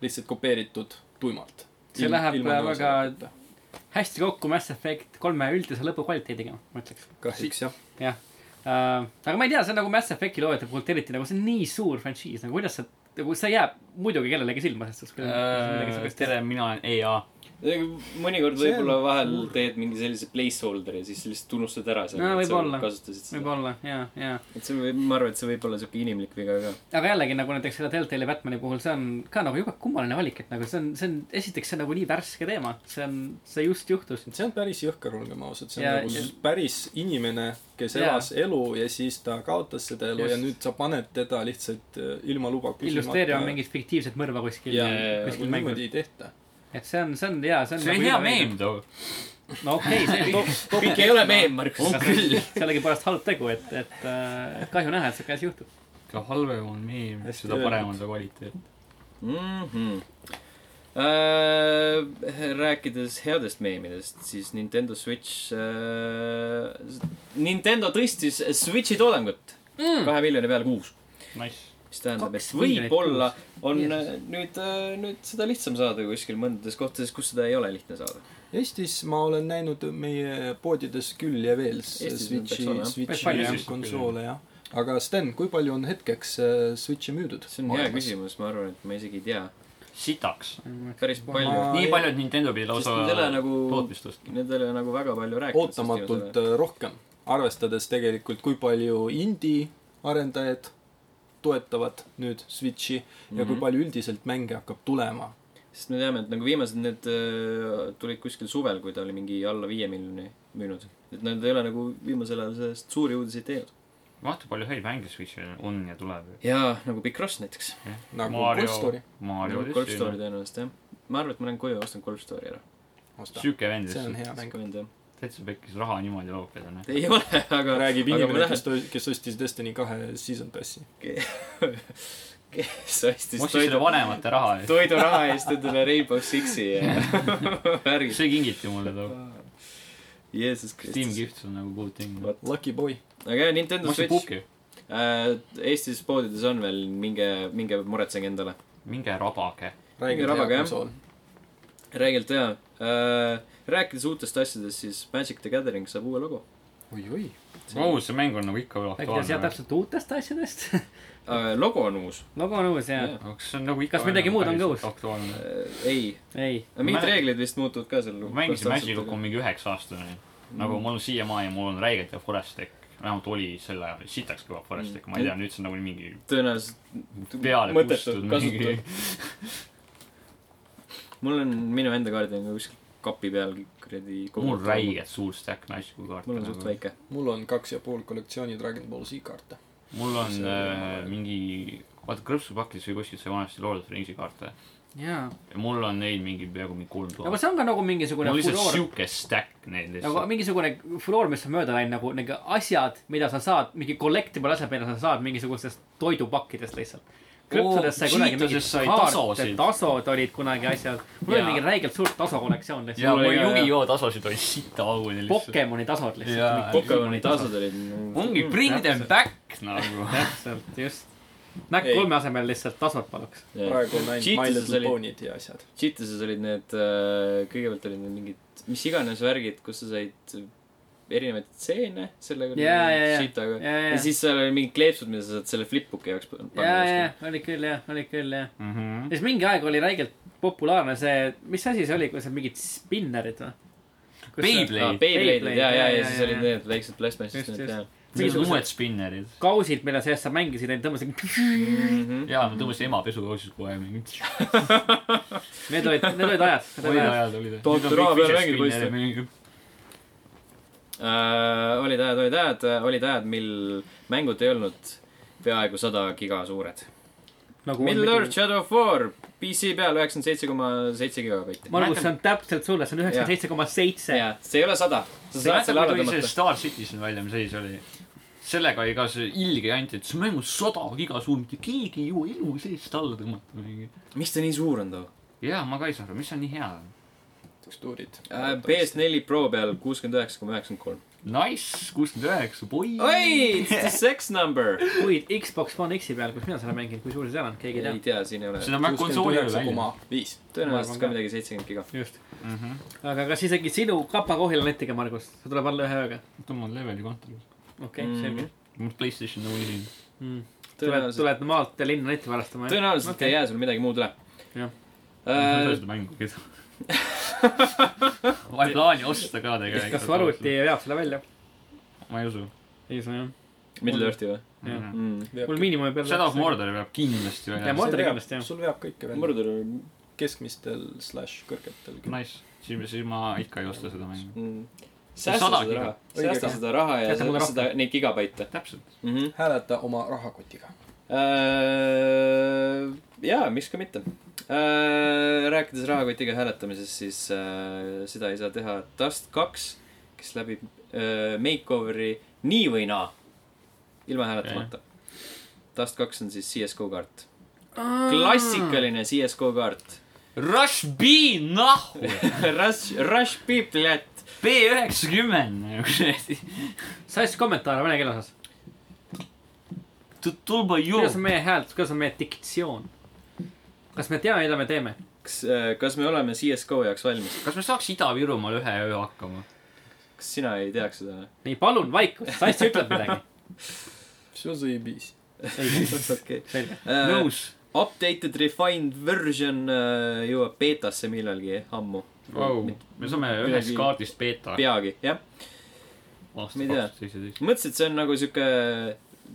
[SPEAKER 4] lihtsalt kopeeritud tuimalt .
[SPEAKER 2] See läheb väga- hästi kokku Mass Effect kolme üldise lõpukvaliteediga , ma ütleks .
[SPEAKER 4] kahjuks jah .
[SPEAKER 2] jah uh, , aga ma ei tea , see on nagu Mass Effect'i loojate poolt eriti nagu see on nii suur frantsiis , nagu kuidas sa , nagu see jääb muidugi kellelegi silma , sest see
[SPEAKER 1] Äh,
[SPEAKER 2] on midagi siukest
[SPEAKER 3] Äh, tere , mina olen E EA .
[SPEAKER 1] mõnikord
[SPEAKER 4] See on
[SPEAKER 1] võib-olla vahel
[SPEAKER 4] hull.
[SPEAKER 1] teed mingi sellise placeholder'i , siis lihtsalt unustad ära selle
[SPEAKER 2] No,
[SPEAKER 1] et sa
[SPEAKER 2] võib-olla.
[SPEAKER 1] kasutasid seda .
[SPEAKER 2] võib-olla ja , ja ,
[SPEAKER 1] et see võib , ma arvan , et see võib olla siuke inimlik viga ka .
[SPEAKER 2] aga jällegi nagu näiteks selle Deltali Batman'i puhul , see on ka nagu jube kummaline valik , et nagu see on , see on , esiteks see on nagu nii värske teema , see on , see just juhtus .
[SPEAKER 4] see on päris jõhker , olgem ausad , see on
[SPEAKER 2] Ja-
[SPEAKER 4] ja, nagu
[SPEAKER 2] ja-
[SPEAKER 4] ja... päris inimene , kes
[SPEAKER 2] Jaa.
[SPEAKER 4] elas elu ja siis ta kaotas seda elu Just. ja
[SPEAKER 2] Just.
[SPEAKER 4] nüüd sa paned teda lihtsalt äh, ilma luba
[SPEAKER 2] illustreerima mingit fiktiivset mõrva kuskil
[SPEAKER 4] ja ,
[SPEAKER 2] kuskil mängus
[SPEAKER 4] niimoodi , ei tehta .
[SPEAKER 2] et see on , see on hea , see on .
[SPEAKER 3] see oli hea . meem too .
[SPEAKER 2] no okei okay, , see
[SPEAKER 1] kõik ei ole meem , Markus .
[SPEAKER 3] on küll .
[SPEAKER 2] sellegipärast halb tegu , et , et äh, kahju näha , et siuke asi juhtub .
[SPEAKER 3] mida halvem on meem ,
[SPEAKER 4] Hästi
[SPEAKER 3] seda parem on
[SPEAKER 4] öeldud.
[SPEAKER 3] ta kvaliteet .
[SPEAKER 1] mhmh Mhm. äh, . rääkides headest meemidest , siis Nintendo Switch äh, , Nintendo tõstis Switchi toodangut mm. kahe miljoni peale kuus .
[SPEAKER 3] Nice .
[SPEAKER 1] mis tähendab , et
[SPEAKER 2] Kaks miljonit
[SPEAKER 1] võib-olla on
[SPEAKER 2] Jeesus.
[SPEAKER 1] äh, nüüd , nüüd seda lihtsam saada kuskil mõndades kohtades , kus seda ei ole lihtne saada .
[SPEAKER 4] Eestis ma olen näinud meie poodides küll ja veel s-
[SPEAKER 1] Eestis on täitsa ole, jah. ,
[SPEAKER 4] Switchi
[SPEAKER 2] Päris palju,
[SPEAKER 4] Switchi
[SPEAKER 3] jah.
[SPEAKER 4] konsoole jah . aga Sten , kui palju on hetkeks äh, Switchi müüdud ?
[SPEAKER 1] see on hea . küsimus , ma arvan , et ma isegi ei tea .
[SPEAKER 3] sitaks .
[SPEAKER 1] päris palju
[SPEAKER 4] Ma- .
[SPEAKER 3] nii palju , et Nintendo pidi
[SPEAKER 1] sest
[SPEAKER 3] lausa
[SPEAKER 1] need ei ole nagu ,
[SPEAKER 3] tootmist tõstma .
[SPEAKER 1] need ei ole nagu väga palju rääkinud .
[SPEAKER 4] ootamatult . äh, rohkem , arvestades tegelikult , kui palju indie arendajad toetavad nüüd Switchi ja kui
[SPEAKER 1] Mhm.
[SPEAKER 4] palju üldiselt mänge hakkab tulema
[SPEAKER 1] sest me teame , et nagu viimased need äh, tulid kuskil suvel , kui ta oli mingi alla viie miljoni müünud . et nad ei ole nagu viimasel ajal sellest suuri uudiseid teinud .
[SPEAKER 3] vaata , palju häid mänge Switchil on ja tuleb .
[SPEAKER 1] jaa , nagu Big Cross näiteks .
[SPEAKER 4] nagu
[SPEAKER 3] Mario-
[SPEAKER 4] Golf Story .
[SPEAKER 3] Mario
[SPEAKER 1] nagu Golf Story
[SPEAKER 3] Odyssey .
[SPEAKER 1] tõenäoliselt jah . ma arvan , et ma lähen koju ja ostan Golf Story ära .
[SPEAKER 3] sihuke vend
[SPEAKER 4] see on
[SPEAKER 3] lihtsalt .
[SPEAKER 4] hea mäng .
[SPEAKER 3] täitsa pekkis raha niimoodi laupäeval , onju .
[SPEAKER 1] ei ole , aga .
[SPEAKER 4] räägib
[SPEAKER 1] aga ma
[SPEAKER 4] inimene ,
[SPEAKER 1] lähen
[SPEAKER 4] kes , kes ostis Destiny kahe season passi .
[SPEAKER 1] kes ostis
[SPEAKER 3] ostis selle
[SPEAKER 1] toidu ,
[SPEAKER 3] vanemate raha ja
[SPEAKER 1] toiduraha eest endale Rainbow Sixi ja värgi .
[SPEAKER 3] see kingiti mulle too .
[SPEAKER 1] Äh, Jeesus
[SPEAKER 3] Steam
[SPEAKER 1] Kristus .
[SPEAKER 3] Gifts on nagu good thing .
[SPEAKER 1] Vot.
[SPEAKER 4] Lucky boy .
[SPEAKER 1] aga jah ,
[SPEAKER 3] ma
[SPEAKER 1] Nintendo
[SPEAKER 3] ostsin
[SPEAKER 1] Switch .
[SPEAKER 3] puki .
[SPEAKER 1] Äh, Eestis poodides on veel , minge , minge muretsege endale .
[SPEAKER 3] minge rabage .
[SPEAKER 4] räägib
[SPEAKER 1] rabaga,
[SPEAKER 4] hea
[SPEAKER 1] jah.
[SPEAKER 4] konsool .
[SPEAKER 1] räigelt hea äh, . rääkides uutest asjadest , siis Magic the Gathering saab uue logo
[SPEAKER 4] oi-oi .
[SPEAKER 3] Vau , see mäng on nagu ikka veel
[SPEAKER 2] äkki ta
[SPEAKER 3] aktuaalne
[SPEAKER 2] sealt
[SPEAKER 3] või?
[SPEAKER 2] täpselt uutest asjadest ?
[SPEAKER 1] äh, . logo on uus
[SPEAKER 2] logo on uus ja
[SPEAKER 1] Jah.
[SPEAKER 3] aga kas see on nagu ikka
[SPEAKER 2] Kas midagi muud on ka uus?
[SPEAKER 1] äh,
[SPEAKER 3] aktuaalne ..
[SPEAKER 1] ei ,
[SPEAKER 2] ei ,
[SPEAKER 1] mingid
[SPEAKER 3] Ma-
[SPEAKER 1] reeglid vist muutuvad ka seal .
[SPEAKER 3] ma mängisin Magic Rock'i mingi üheksa aastane .
[SPEAKER 1] Mm.
[SPEAKER 3] nagu mul on siiamaani , mul on räigelt hea Forest Tech . vähemalt oli sel ajal , sitaks kõva Forest Tech , ma ei tea , nüüd see on nagu mingi
[SPEAKER 1] tõenäoliselt
[SPEAKER 3] peale
[SPEAKER 1] Mm. mõttetu
[SPEAKER 3] kustunud mingi
[SPEAKER 1] kasutada .. mul on minu enda kaardidega kuskil kapi peal kuradi .
[SPEAKER 3] mul . räigelt suur stack Magic'u kaarte . nagu.
[SPEAKER 1] mul on suht . väike .
[SPEAKER 4] mul on kaks ja pool kollektsiooni Dragon Ball Z kaarte .
[SPEAKER 3] mul on
[SPEAKER 4] See-
[SPEAKER 3] äh, mingi , vaata krõpsupakis või kuskilt sai vanasti Lord of the Ringsi kaarte .
[SPEAKER 2] jaa .
[SPEAKER 3] ja mul on neid mingi peaaegu mingi kolm
[SPEAKER 2] aga
[SPEAKER 3] tuhat .
[SPEAKER 2] see on ka nagu
[SPEAKER 3] mul
[SPEAKER 2] mingisugune
[SPEAKER 3] on lihtsalt
[SPEAKER 2] furoor ,
[SPEAKER 3] siuke stack neid
[SPEAKER 2] nagu
[SPEAKER 3] lihtsalt .
[SPEAKER 2] mingisugune furoor , mis on mööda läinud nagu nagu asjad , mida sa saad , mingi collectible asjad , mida sa saad mingisugustest toidupakkidest lihtsalt . krüptodesse kunagi mingid
[SPEAKER 3] Cheetosesse sai
[SPEAKER 2] kaarte
[SPEAKER 3] tasosid. ,
[SPEAKER 2] tasod olid kunagi asjad . mul oli
[SPEAKER 3] Jaa.
[SPEAKER 2] mingi räigelt suurt taso kollektsioon
[SPEAKER 3] ja
[SPEAKER 2] lihtsalt .
[SPEAKER 3] mu Yu-Gi-Oh tasasid oli sita auguni lihtsalt .
[SPEAKER 2] Pokemoni tasod
[SPEAKER 3] Jaa.
[SPEAKER 2] lihtsalt .
[SPEAKER 1] Pokemoni tasud olid .
[SPEAKER 3] ongi bring them back nagu .
[SPEAKER 2] Mm, täpselt , just . Mac
[SPEAKER 4] Ei.
[SPEAKER 2] kolme asemel lihtsalt tasod paluks .
[SPEAKER 4] praegu on ainult My
[SPEAKER 1] Cheetuses
[SPEAKER 4] Little
[SPEAKER 1] olid ,
[SPEAKER 4] Pony'd ja asjad .
[SPEAKER 1] Cheetuses olid need , kõigepealt olid need mingid , mis iganes värgid , kus sa said erinevaid stseene sellega .
[SPEAKER 2] Jaa, jaa, jaa.
[SPEAKER 1] Cheetaga .
[SPEAKER 2] ja , ja
[SPEAKER 1] ja , siis seal oli mingid kleepsud , mida sa saad selle flipbuki jaoks pan- panna .
[SPEAKER 2] ja , ja , oli küll jah , oli küll jah .
[SPEAKER 3] Mhm.
[SPEAKER 2] siis mingi aeg oli räigelt populaarne see , mis asi see oli , kui seal mingid spinnerid noh? või ? Ah,
[SPEAKER 3] Beyblade.
[SPEAKER 1] Ah, Beyblade , Beyblade'id ja , ja , ja siis olid
[SPEAKER 2] need .
[SPEAKER 1] need väiksed plastmassist
[SPEAKER 2] Just,
[SPEAKER 1] need
[SPEAKER 2] just.
[SPEAKER 1] jah .
[SPEAKER 3] Need on
[SPEAKER 2] mingisugused-
[SPEAKER 3] uued spinnerid .
[SPEAKER 2] kausid , mille sees sa mängisid , neid tõmbasid .
[SPEAKER 1] Mhm.
[SPEAKER 3] jaa , me tõmbasime ema pesukausis kohe mingi .
[SPEAKER 2] Need olid , need olid ajad , need
[SPEAKER 3] olid
[SPEAKER 2] olid ajad .
[SPEAKER 3] ajad , olid eh?
[SPEAKER 1] Doktor Aav peal mängib poiste.
[SPEAKER 3] poiss .
[SPEAKER 1] Äh, olid ajad , olid ajad , olid ajad , mil mängud ei olnud peaaegu sada giga suured .
[SPEAKER 2] nagu on
[SPEAKER 1] Middle Earth
[SPEAKER 2] midagi-
[SPEAKER 1] Shadow of War , PC peal üheksakümmend seitse koma seitse gigabaiti .
[SPEAKER 2] Margus , see on täpselt sulle , see on üheksakümmend seitse koma seitse .
[SPEAKER 1] jaa , see ei ole sada , sa saad selle
[SPEAKER 3] mäletad ,
[SPEAKER 2] nagu
[SPEAKER 1] alla
[SPEAKER 3] kui tuli see
[SPEAKER 1] tõmmata .
[SPEAKER 3] Star Citizen välja , mis asi see oli ? sellega oli ka see ilge jant , et see mäng on sada giga suur , mitte keegi ei jõua elu seest alla tõmmata mingi .
[SPEAKER 1] miks ta nii suur on too ?
[SPEAKER 3] jaa , ma ka ei saa aru , mis on nii hea .
[SPEAKER 4] tekstuurid .
[SPEAKER 1] Äh, PS4 Pro peal kuuskümmend üheksa koma üheksakümmend kolm .
[SPEAKER 3] Nice , kuuskümmend üheksa , boi .
[SPEAKER 1] oi , it's the sex number .
[SPEAKER 2] kuid Xbox One X-i peal , kus mina seda mängin , kui suur see seal on , keegi ei
[SPEAKER 1] ei
[SPEAKER 2] tea .
[SPEAKER 1] tea , siin ei ole .
[SPEAKER 3] seda mäng konsooli ei
[SPEAKER 4] kuuskümmend
[SPEAKER 3] ole
[SPEAKER 4] üheksa
[SPEAKER 3] välja .
[SPEAKER 4] koma viis .
[SPEAKER 1] tõenäoliselt ka midagi seitsekümmend giga .
[SPEAKER 2] just .
[SPEAKER 3] Mhm.
[SPEAKER 2] aga kas isegi sinu kapakohil on netiga , Margus ? see tuleb alla ühe ööga .
[SPEAKER 3] tõmban leveli kontoris .
[SPEAKER 2] okei ,
[SPEAKER 1] Mhm.
[SPEAKER 2] selge .
[SPEAKER 3] mul Playstation on siin .
[SPEAKER 2] tuled ,
[SPEAKER 1] tõenäoliselt ,
[SPEAKER 2] tuled maalt ja linna netti varastama , jah ?
[SPEAKER 1] tõenäoliselt
[SPEAKER 2] Okei.
[SPEAKER 1] ei jää sul midagi muud üle
[SPEAKER 2] Jah. .
[SPEAKER 1] Äh.
[SPEAKER 3] ma ei saa seda mängu keda . ma ei plaani osta ka tegelikult .
[SPEAKER 2] kas su arvuti ? veab selle välja ?
[SPEAKER 3] ma ei usu .
[SPEAKER 2] ei saa jah .
[SPEAKER 1] Middle Earthi või
[SPEAKER 2] Jah.
[SPEAKER 1] mm. ?
[SPEAKER 2] mul miinimumi peal .
[SPEAKER 3] Shadow of . Mordor peab kindlasti
[SPEAKER 2] Jaa,
[SPEAKER 3] välja .
[SPEAKER 2] Mordor kindlasti, jah.
[SPEAKER 4] sul veab kõike veel .
[SPEAKER 1] Murder
[SPEAKER 4] keskmistel slaš kõrgetel .
[SPEAKER 3] Nice , siis , siis ma ikka ei osta seda mängu .
[SPEAKER 1] mm. .
[SPEAKER 3] Sada
[SPEAKER 1] säästa seda
[SPEAKER 3] giga.
[SPEAKER 1] raha ,
[SPEAKER 4] Õige
[SPEAKER 1] säästa
[SPEAKER 4] ka.
[SPEAKER 1] seda raha ja
[SPEAKER 2] Jäta mulle
[SPEAKER 1] seda, seda , neid gigabaite
[SPEAKER 3] täpselt .
[SPEAKER 1] mm . -hmm.
[SPEAKER 4] hääleta oma rahakotiga .
[SPEAKER 1] Äh, jaa , miks ka mitte äh, . rääkides rahakotiga hääletamisest , siis äh, seda ei saa teha Dust kaks , kes läbib äh, makeoveri nii või naa , ilma hääletamata . Dust kaks on siis CSGO kaart , klassikaline CSGO kaart .
[SPEAKER 3] Rush B nahhu .
[SPEAKER 1] Rush , Rush Piplet .
[SPEAKER 3] B üheksakümmend nagu see .
[SPEAKER 2] sa ajasid kommentaare vene keele osas .
[SPEAKER 3] Tulba ju .
[SPEAKER 2] kuidas on meie häält , kuidas on meie diktsioon ? kas me teame , mida me teeme ?
[SPEAKER 1] kas , kas me oleme CSGO jaoks valmis ?
[SPEAKER 3] kas me saaks Ida-Virumaal ühe öö hakkama ?
[SPEAKER 1] Äh, kas sina ei teaks seda või ?
[SPEAKER 2] ei , palun vaikust , sass ütleb midagi .
[SPEAKER 4] все заебись .
[SPEAKER 1] okei . Äh,
[SPEAKER 2] selge .
[SPEAKER 3] nõus .
[SPEAKER 1] Updated refined version äh, jõuab beetasse millalgi ammu .
[SPEAKER 3] me saame ühest
[SPEAKER 1] Midagi-
[SPEAKER 3] kaardist beeta
[SPEAKER 1] peagi , jah .
[SPEAKER 3] aastast
[SPEAKER 1] ma ei tea.
[SPEAKER 3] kaks tuhat seitseteist .
[SPEAKER 1] mõtlesin , et see on nagu sihuke ,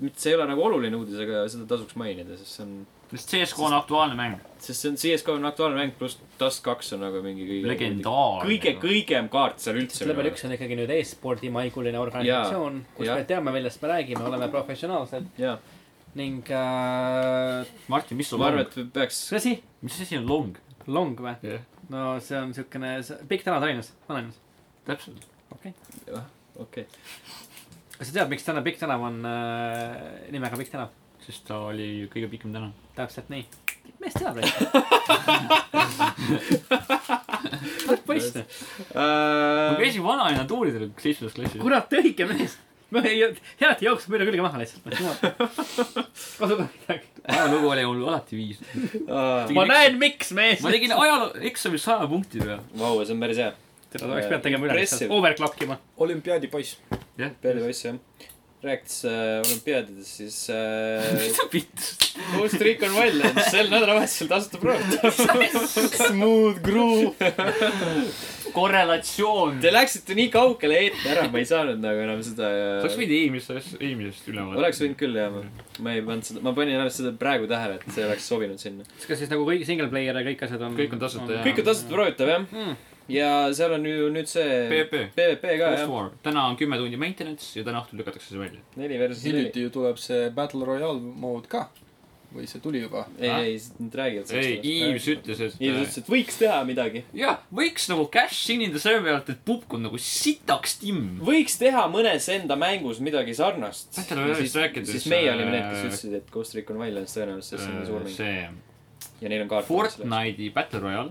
[SPEAKER 1] mitte see ei ole nagu oluline uudis , aga seda tasuks mainida , sest see on ,
[SPEAKER 3] sest CSGO on aktuaalne mäng .
[SPEAKER 1] sest see on CSGO on aktuaalne mäng , pluss Dust kaks on nagu mingi kõige ,
[SPEAKER 3] legendaarne .
[SPEAKER 1] kõige , kõigem kaart seal üldse . nagu.
[SPEAKER 2] level üks on ikkagi nüüd e-spordi maiguline organisatsioon , kus
[SPEAKER 1] jaa.
[SPEAKER 2] me teame , millest me räägime , oleme professionaalsed
[SPEAKER 1] jaa ,
[SPEAKER 2] ning äh, .
[SPEAKER 3] Martin , mis sul
[SPEAKER 1] ma arvan ,
[SPEAKER 3] long ,
[SPEAKER 1] et peaks ,
[SPEAKER 2] mis asi ?
[SPEAKER 3] mis asi on long ?
[SPEAKER 2] long või ? no see on siukene , pikk tänav Tallinnas , vanalinnas .
[SPEAKER 3] täpselt .
[SPEAKER 1] okei .
[SPEAKER 2] kas sa tead , miks täna Pikk tänav on äh, nimega Pikk tänav ?
[SPEAKER 3] sest ta oli kõige pikem tänav .
[SPEAKER 1] Äh.
[SPEAKER 2] täpselt nii . mees teab neid . tark poiss .
[SPEAKER 1] Äh,
[SPEAKER 3] ma käisin vanalinna tuuridel seitsmendas klassis .
[SPEAKER 2] kurat , õige mees . ma ei , head jooksma üle külge maha lihtsalt . kasuta midagi .
[SPEAKER 3] ajalugu oli mul alati viis .
[SPEAKER 2] ma näen , miks mees .
[SPEAKER 3] ma tegin ajaloo eksamil saja punkti peale .
[SPEAKER 1] Vau , see on päris hea .
[SPEAKER 2] seda oleks pidanud tegema üle lihtsalt ,
[SPEAKER 1] Impressive.
[SPEAKER 2] overclock ima .
[SPEAKER 4] olümpiaadi poiss .
[SPEAKER 3] jah .
[SPEAKER 1] peale poiss jah . rääkides äh, olümpiaadidest , siis äh,
[SPEAKER 3] mis sa pitt ?
[SPEAKER 1] uus trikk on välja , sel nädalavahetusel tasuta proovida . Smooth groove .
[SPEAKER 3] korrelatsioon
[SPEAKER 1] Te läksite nii kaugele eetri ära , ma ei saanud nagu enam seda
[SPEAKER 3] sa oleks
[SPEAKER 1] ja... .
[SPEAKER 3] võinud eelmisest , eelmisest üle vaadata .
[SPEAKER 1] oleks võinud küll jah , ma , ma ei pannud seda , ma panin ennast seda praegu tähele , et see oleks sobinud sinna .
[SPEAKER 2] kas siis nagu kõik single player ja kõik asjad on ?
[SPEAKER 3] Kõik on tasuta, jah.
[SPEAKER 1] kõik on tasuta proovitav jah ,
[SPEAKER 2] Mm.
[SPEAKER 3] Hmm.
[SPEAKER 1] ja seal on ju nüüd see
[SPEAKER 3] PP .
[SPEAKER 1] PVP ka jah ,
[SPEAKER 3] War . täna on kümme tundi maintenance ja täna õhtul lükatakse see välja .
[SPEAKER 1] neli versus neli .
[SPEAKER 4] hiljuti ju tuleb see Battle Royale mode ka . või see tuli juba ?
[SPEAKER 1] ei ,
[SPEAKER 3] Ah?
[SPEAKER 1] ei , nad räägivad
[SPEAKER 3] ei ,
[SPEAKER 1] sellest .
[SPEAKER 3] Iivs ütles , et
[SPEAKER 1] Iivs ütles , et võiks teha midagi .
[SPEAKER 3] jah , võiks nagu cash in ida selle pealt , et pupk on nagu sitaks timm .
[SPEAKER 1] võiks teha mõnes enda mängus midagi sarnast .
[SPEAKER 3] Äkki nad on
[SPEAKER 1] siis,
[SPEAKER 3] ühest rääkinud,
[SPEAKER 1] siis
[SPEAKER 3] et
[SPEAKER 1] meie
[SPEAKER 3] see-
[SPEAKER 1] olime need , kes ütlesid , et Ghost Recon Wildlands tõenäoliselt , sest see on nii suur mäng .
[SPEAKER 3] äh, see
[SPEAKER 1] ja neil on kaart .
[SPEAKER 3] Fortnite'i Battle Royale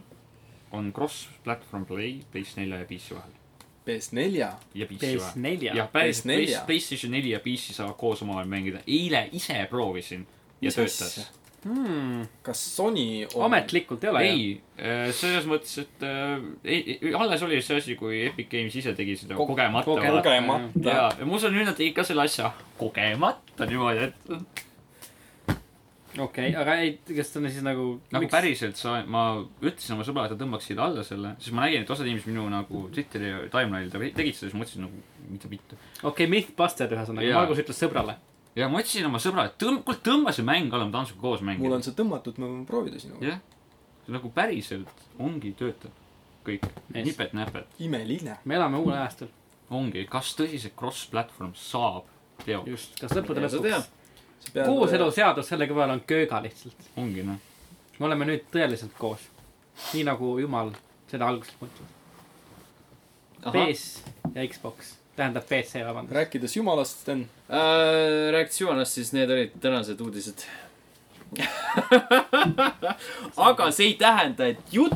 [SPEAKER 3] on cross-platform play PS4 ja PC vahel .
[SPEAKER 4] PS4
[SPEAKER 3] ja PC vahel .
[SPEAKER 2] PS4
[SPEAKER 3] jah , päris
[SPEAKER 4] PS4.
[SPEAKER 3] Play- PlayStation neli ja PC saavad koos omavahel mängida . eile ise proovisin ja
[SPEAKER 4] Mis asja?
[SPEAKER 3] töötas .
[SPEAKER 2] hmm, .
[SPEAKER 4] kas Sony on...
[SPEAKER 2] ametlikult ei ole ju .
[SPEAKER 3] ei , selles mõttes , et äh, ei, ei- alles oli see asi , kui Epic Games ise tegi seda
[SPEAKER 4] Ko-
[SPEAKER 3] kogemata .
[SPEAKER 2] kogemata.
[SPEAKER 4] kogemata
[SPEAKER 3] ja , ja ma usun , nüüd nad tegid ka selle asja kogemata niimoodi , et
[SPEAKER 2] okei okay, , aga ei , kas ta on siis nagu .
[SPEAKER 3] nagu Miks? päriselt sa , ma ütlesin oma sõbrale , et ta tõmbaks siia alla selle , siis ma nägin , et osad inimesed minu nagu Twitteri timeline'il te- tegid seda , siis ma mõtlesin nagu mitte , mitte .
[SPEAKER 2] okei okay, , Mythbuster ühesõnaga ,
[SPEAKER 3] Jaa.
[SPEAKER 2] Margus ütles sõbrale .
[SPEAKER 3] ja ma ütlesin oma sõbrale , et tõmb- , kuule tõmba see mäng alla , ma tahan sinuga koos
[SPEAKER 4] mul
[SPEAKER 3] mängida
[SPEAKER 4] on . see tõmmatud , me võime proovida sinuga .
[SPEAKER 3] jah , nagu päriselt ongi , töötab kõik ,
[SPEAKER 2] Yes.
[SPEAKER 3] nipet-näpet ,
[SPEAKER 4] imeline .
[SPEAKER 2] me elame uuel ajastul .
[SPEAKER 3] ongi , kas tõsiselt cross-platform saab teoks ,
[SPEAKER 2] just , kas lõppude
[SPEAKER 1] Mine sa tea.
[SPEAKER 2] lõpuks .
[SPEAKER 4] äh,
[SPEAKER 2] kooseluseadus selle kõrval on kööga lihtsalt .
[SPEAKER 3] ongi noh .
[SPEAKER 2] me oleme nüüd tõeliselt koos . nii nagu jumal seda alguses mõtles . PS ja Xbox , tähendab PC , vabandust .
[SPEAKER 4] rääkides jumalast , Sten ,
[SPEAKER 1] Äh, reaktsioonist siis need olid tänased uudised aga see ei tähenda , et jutt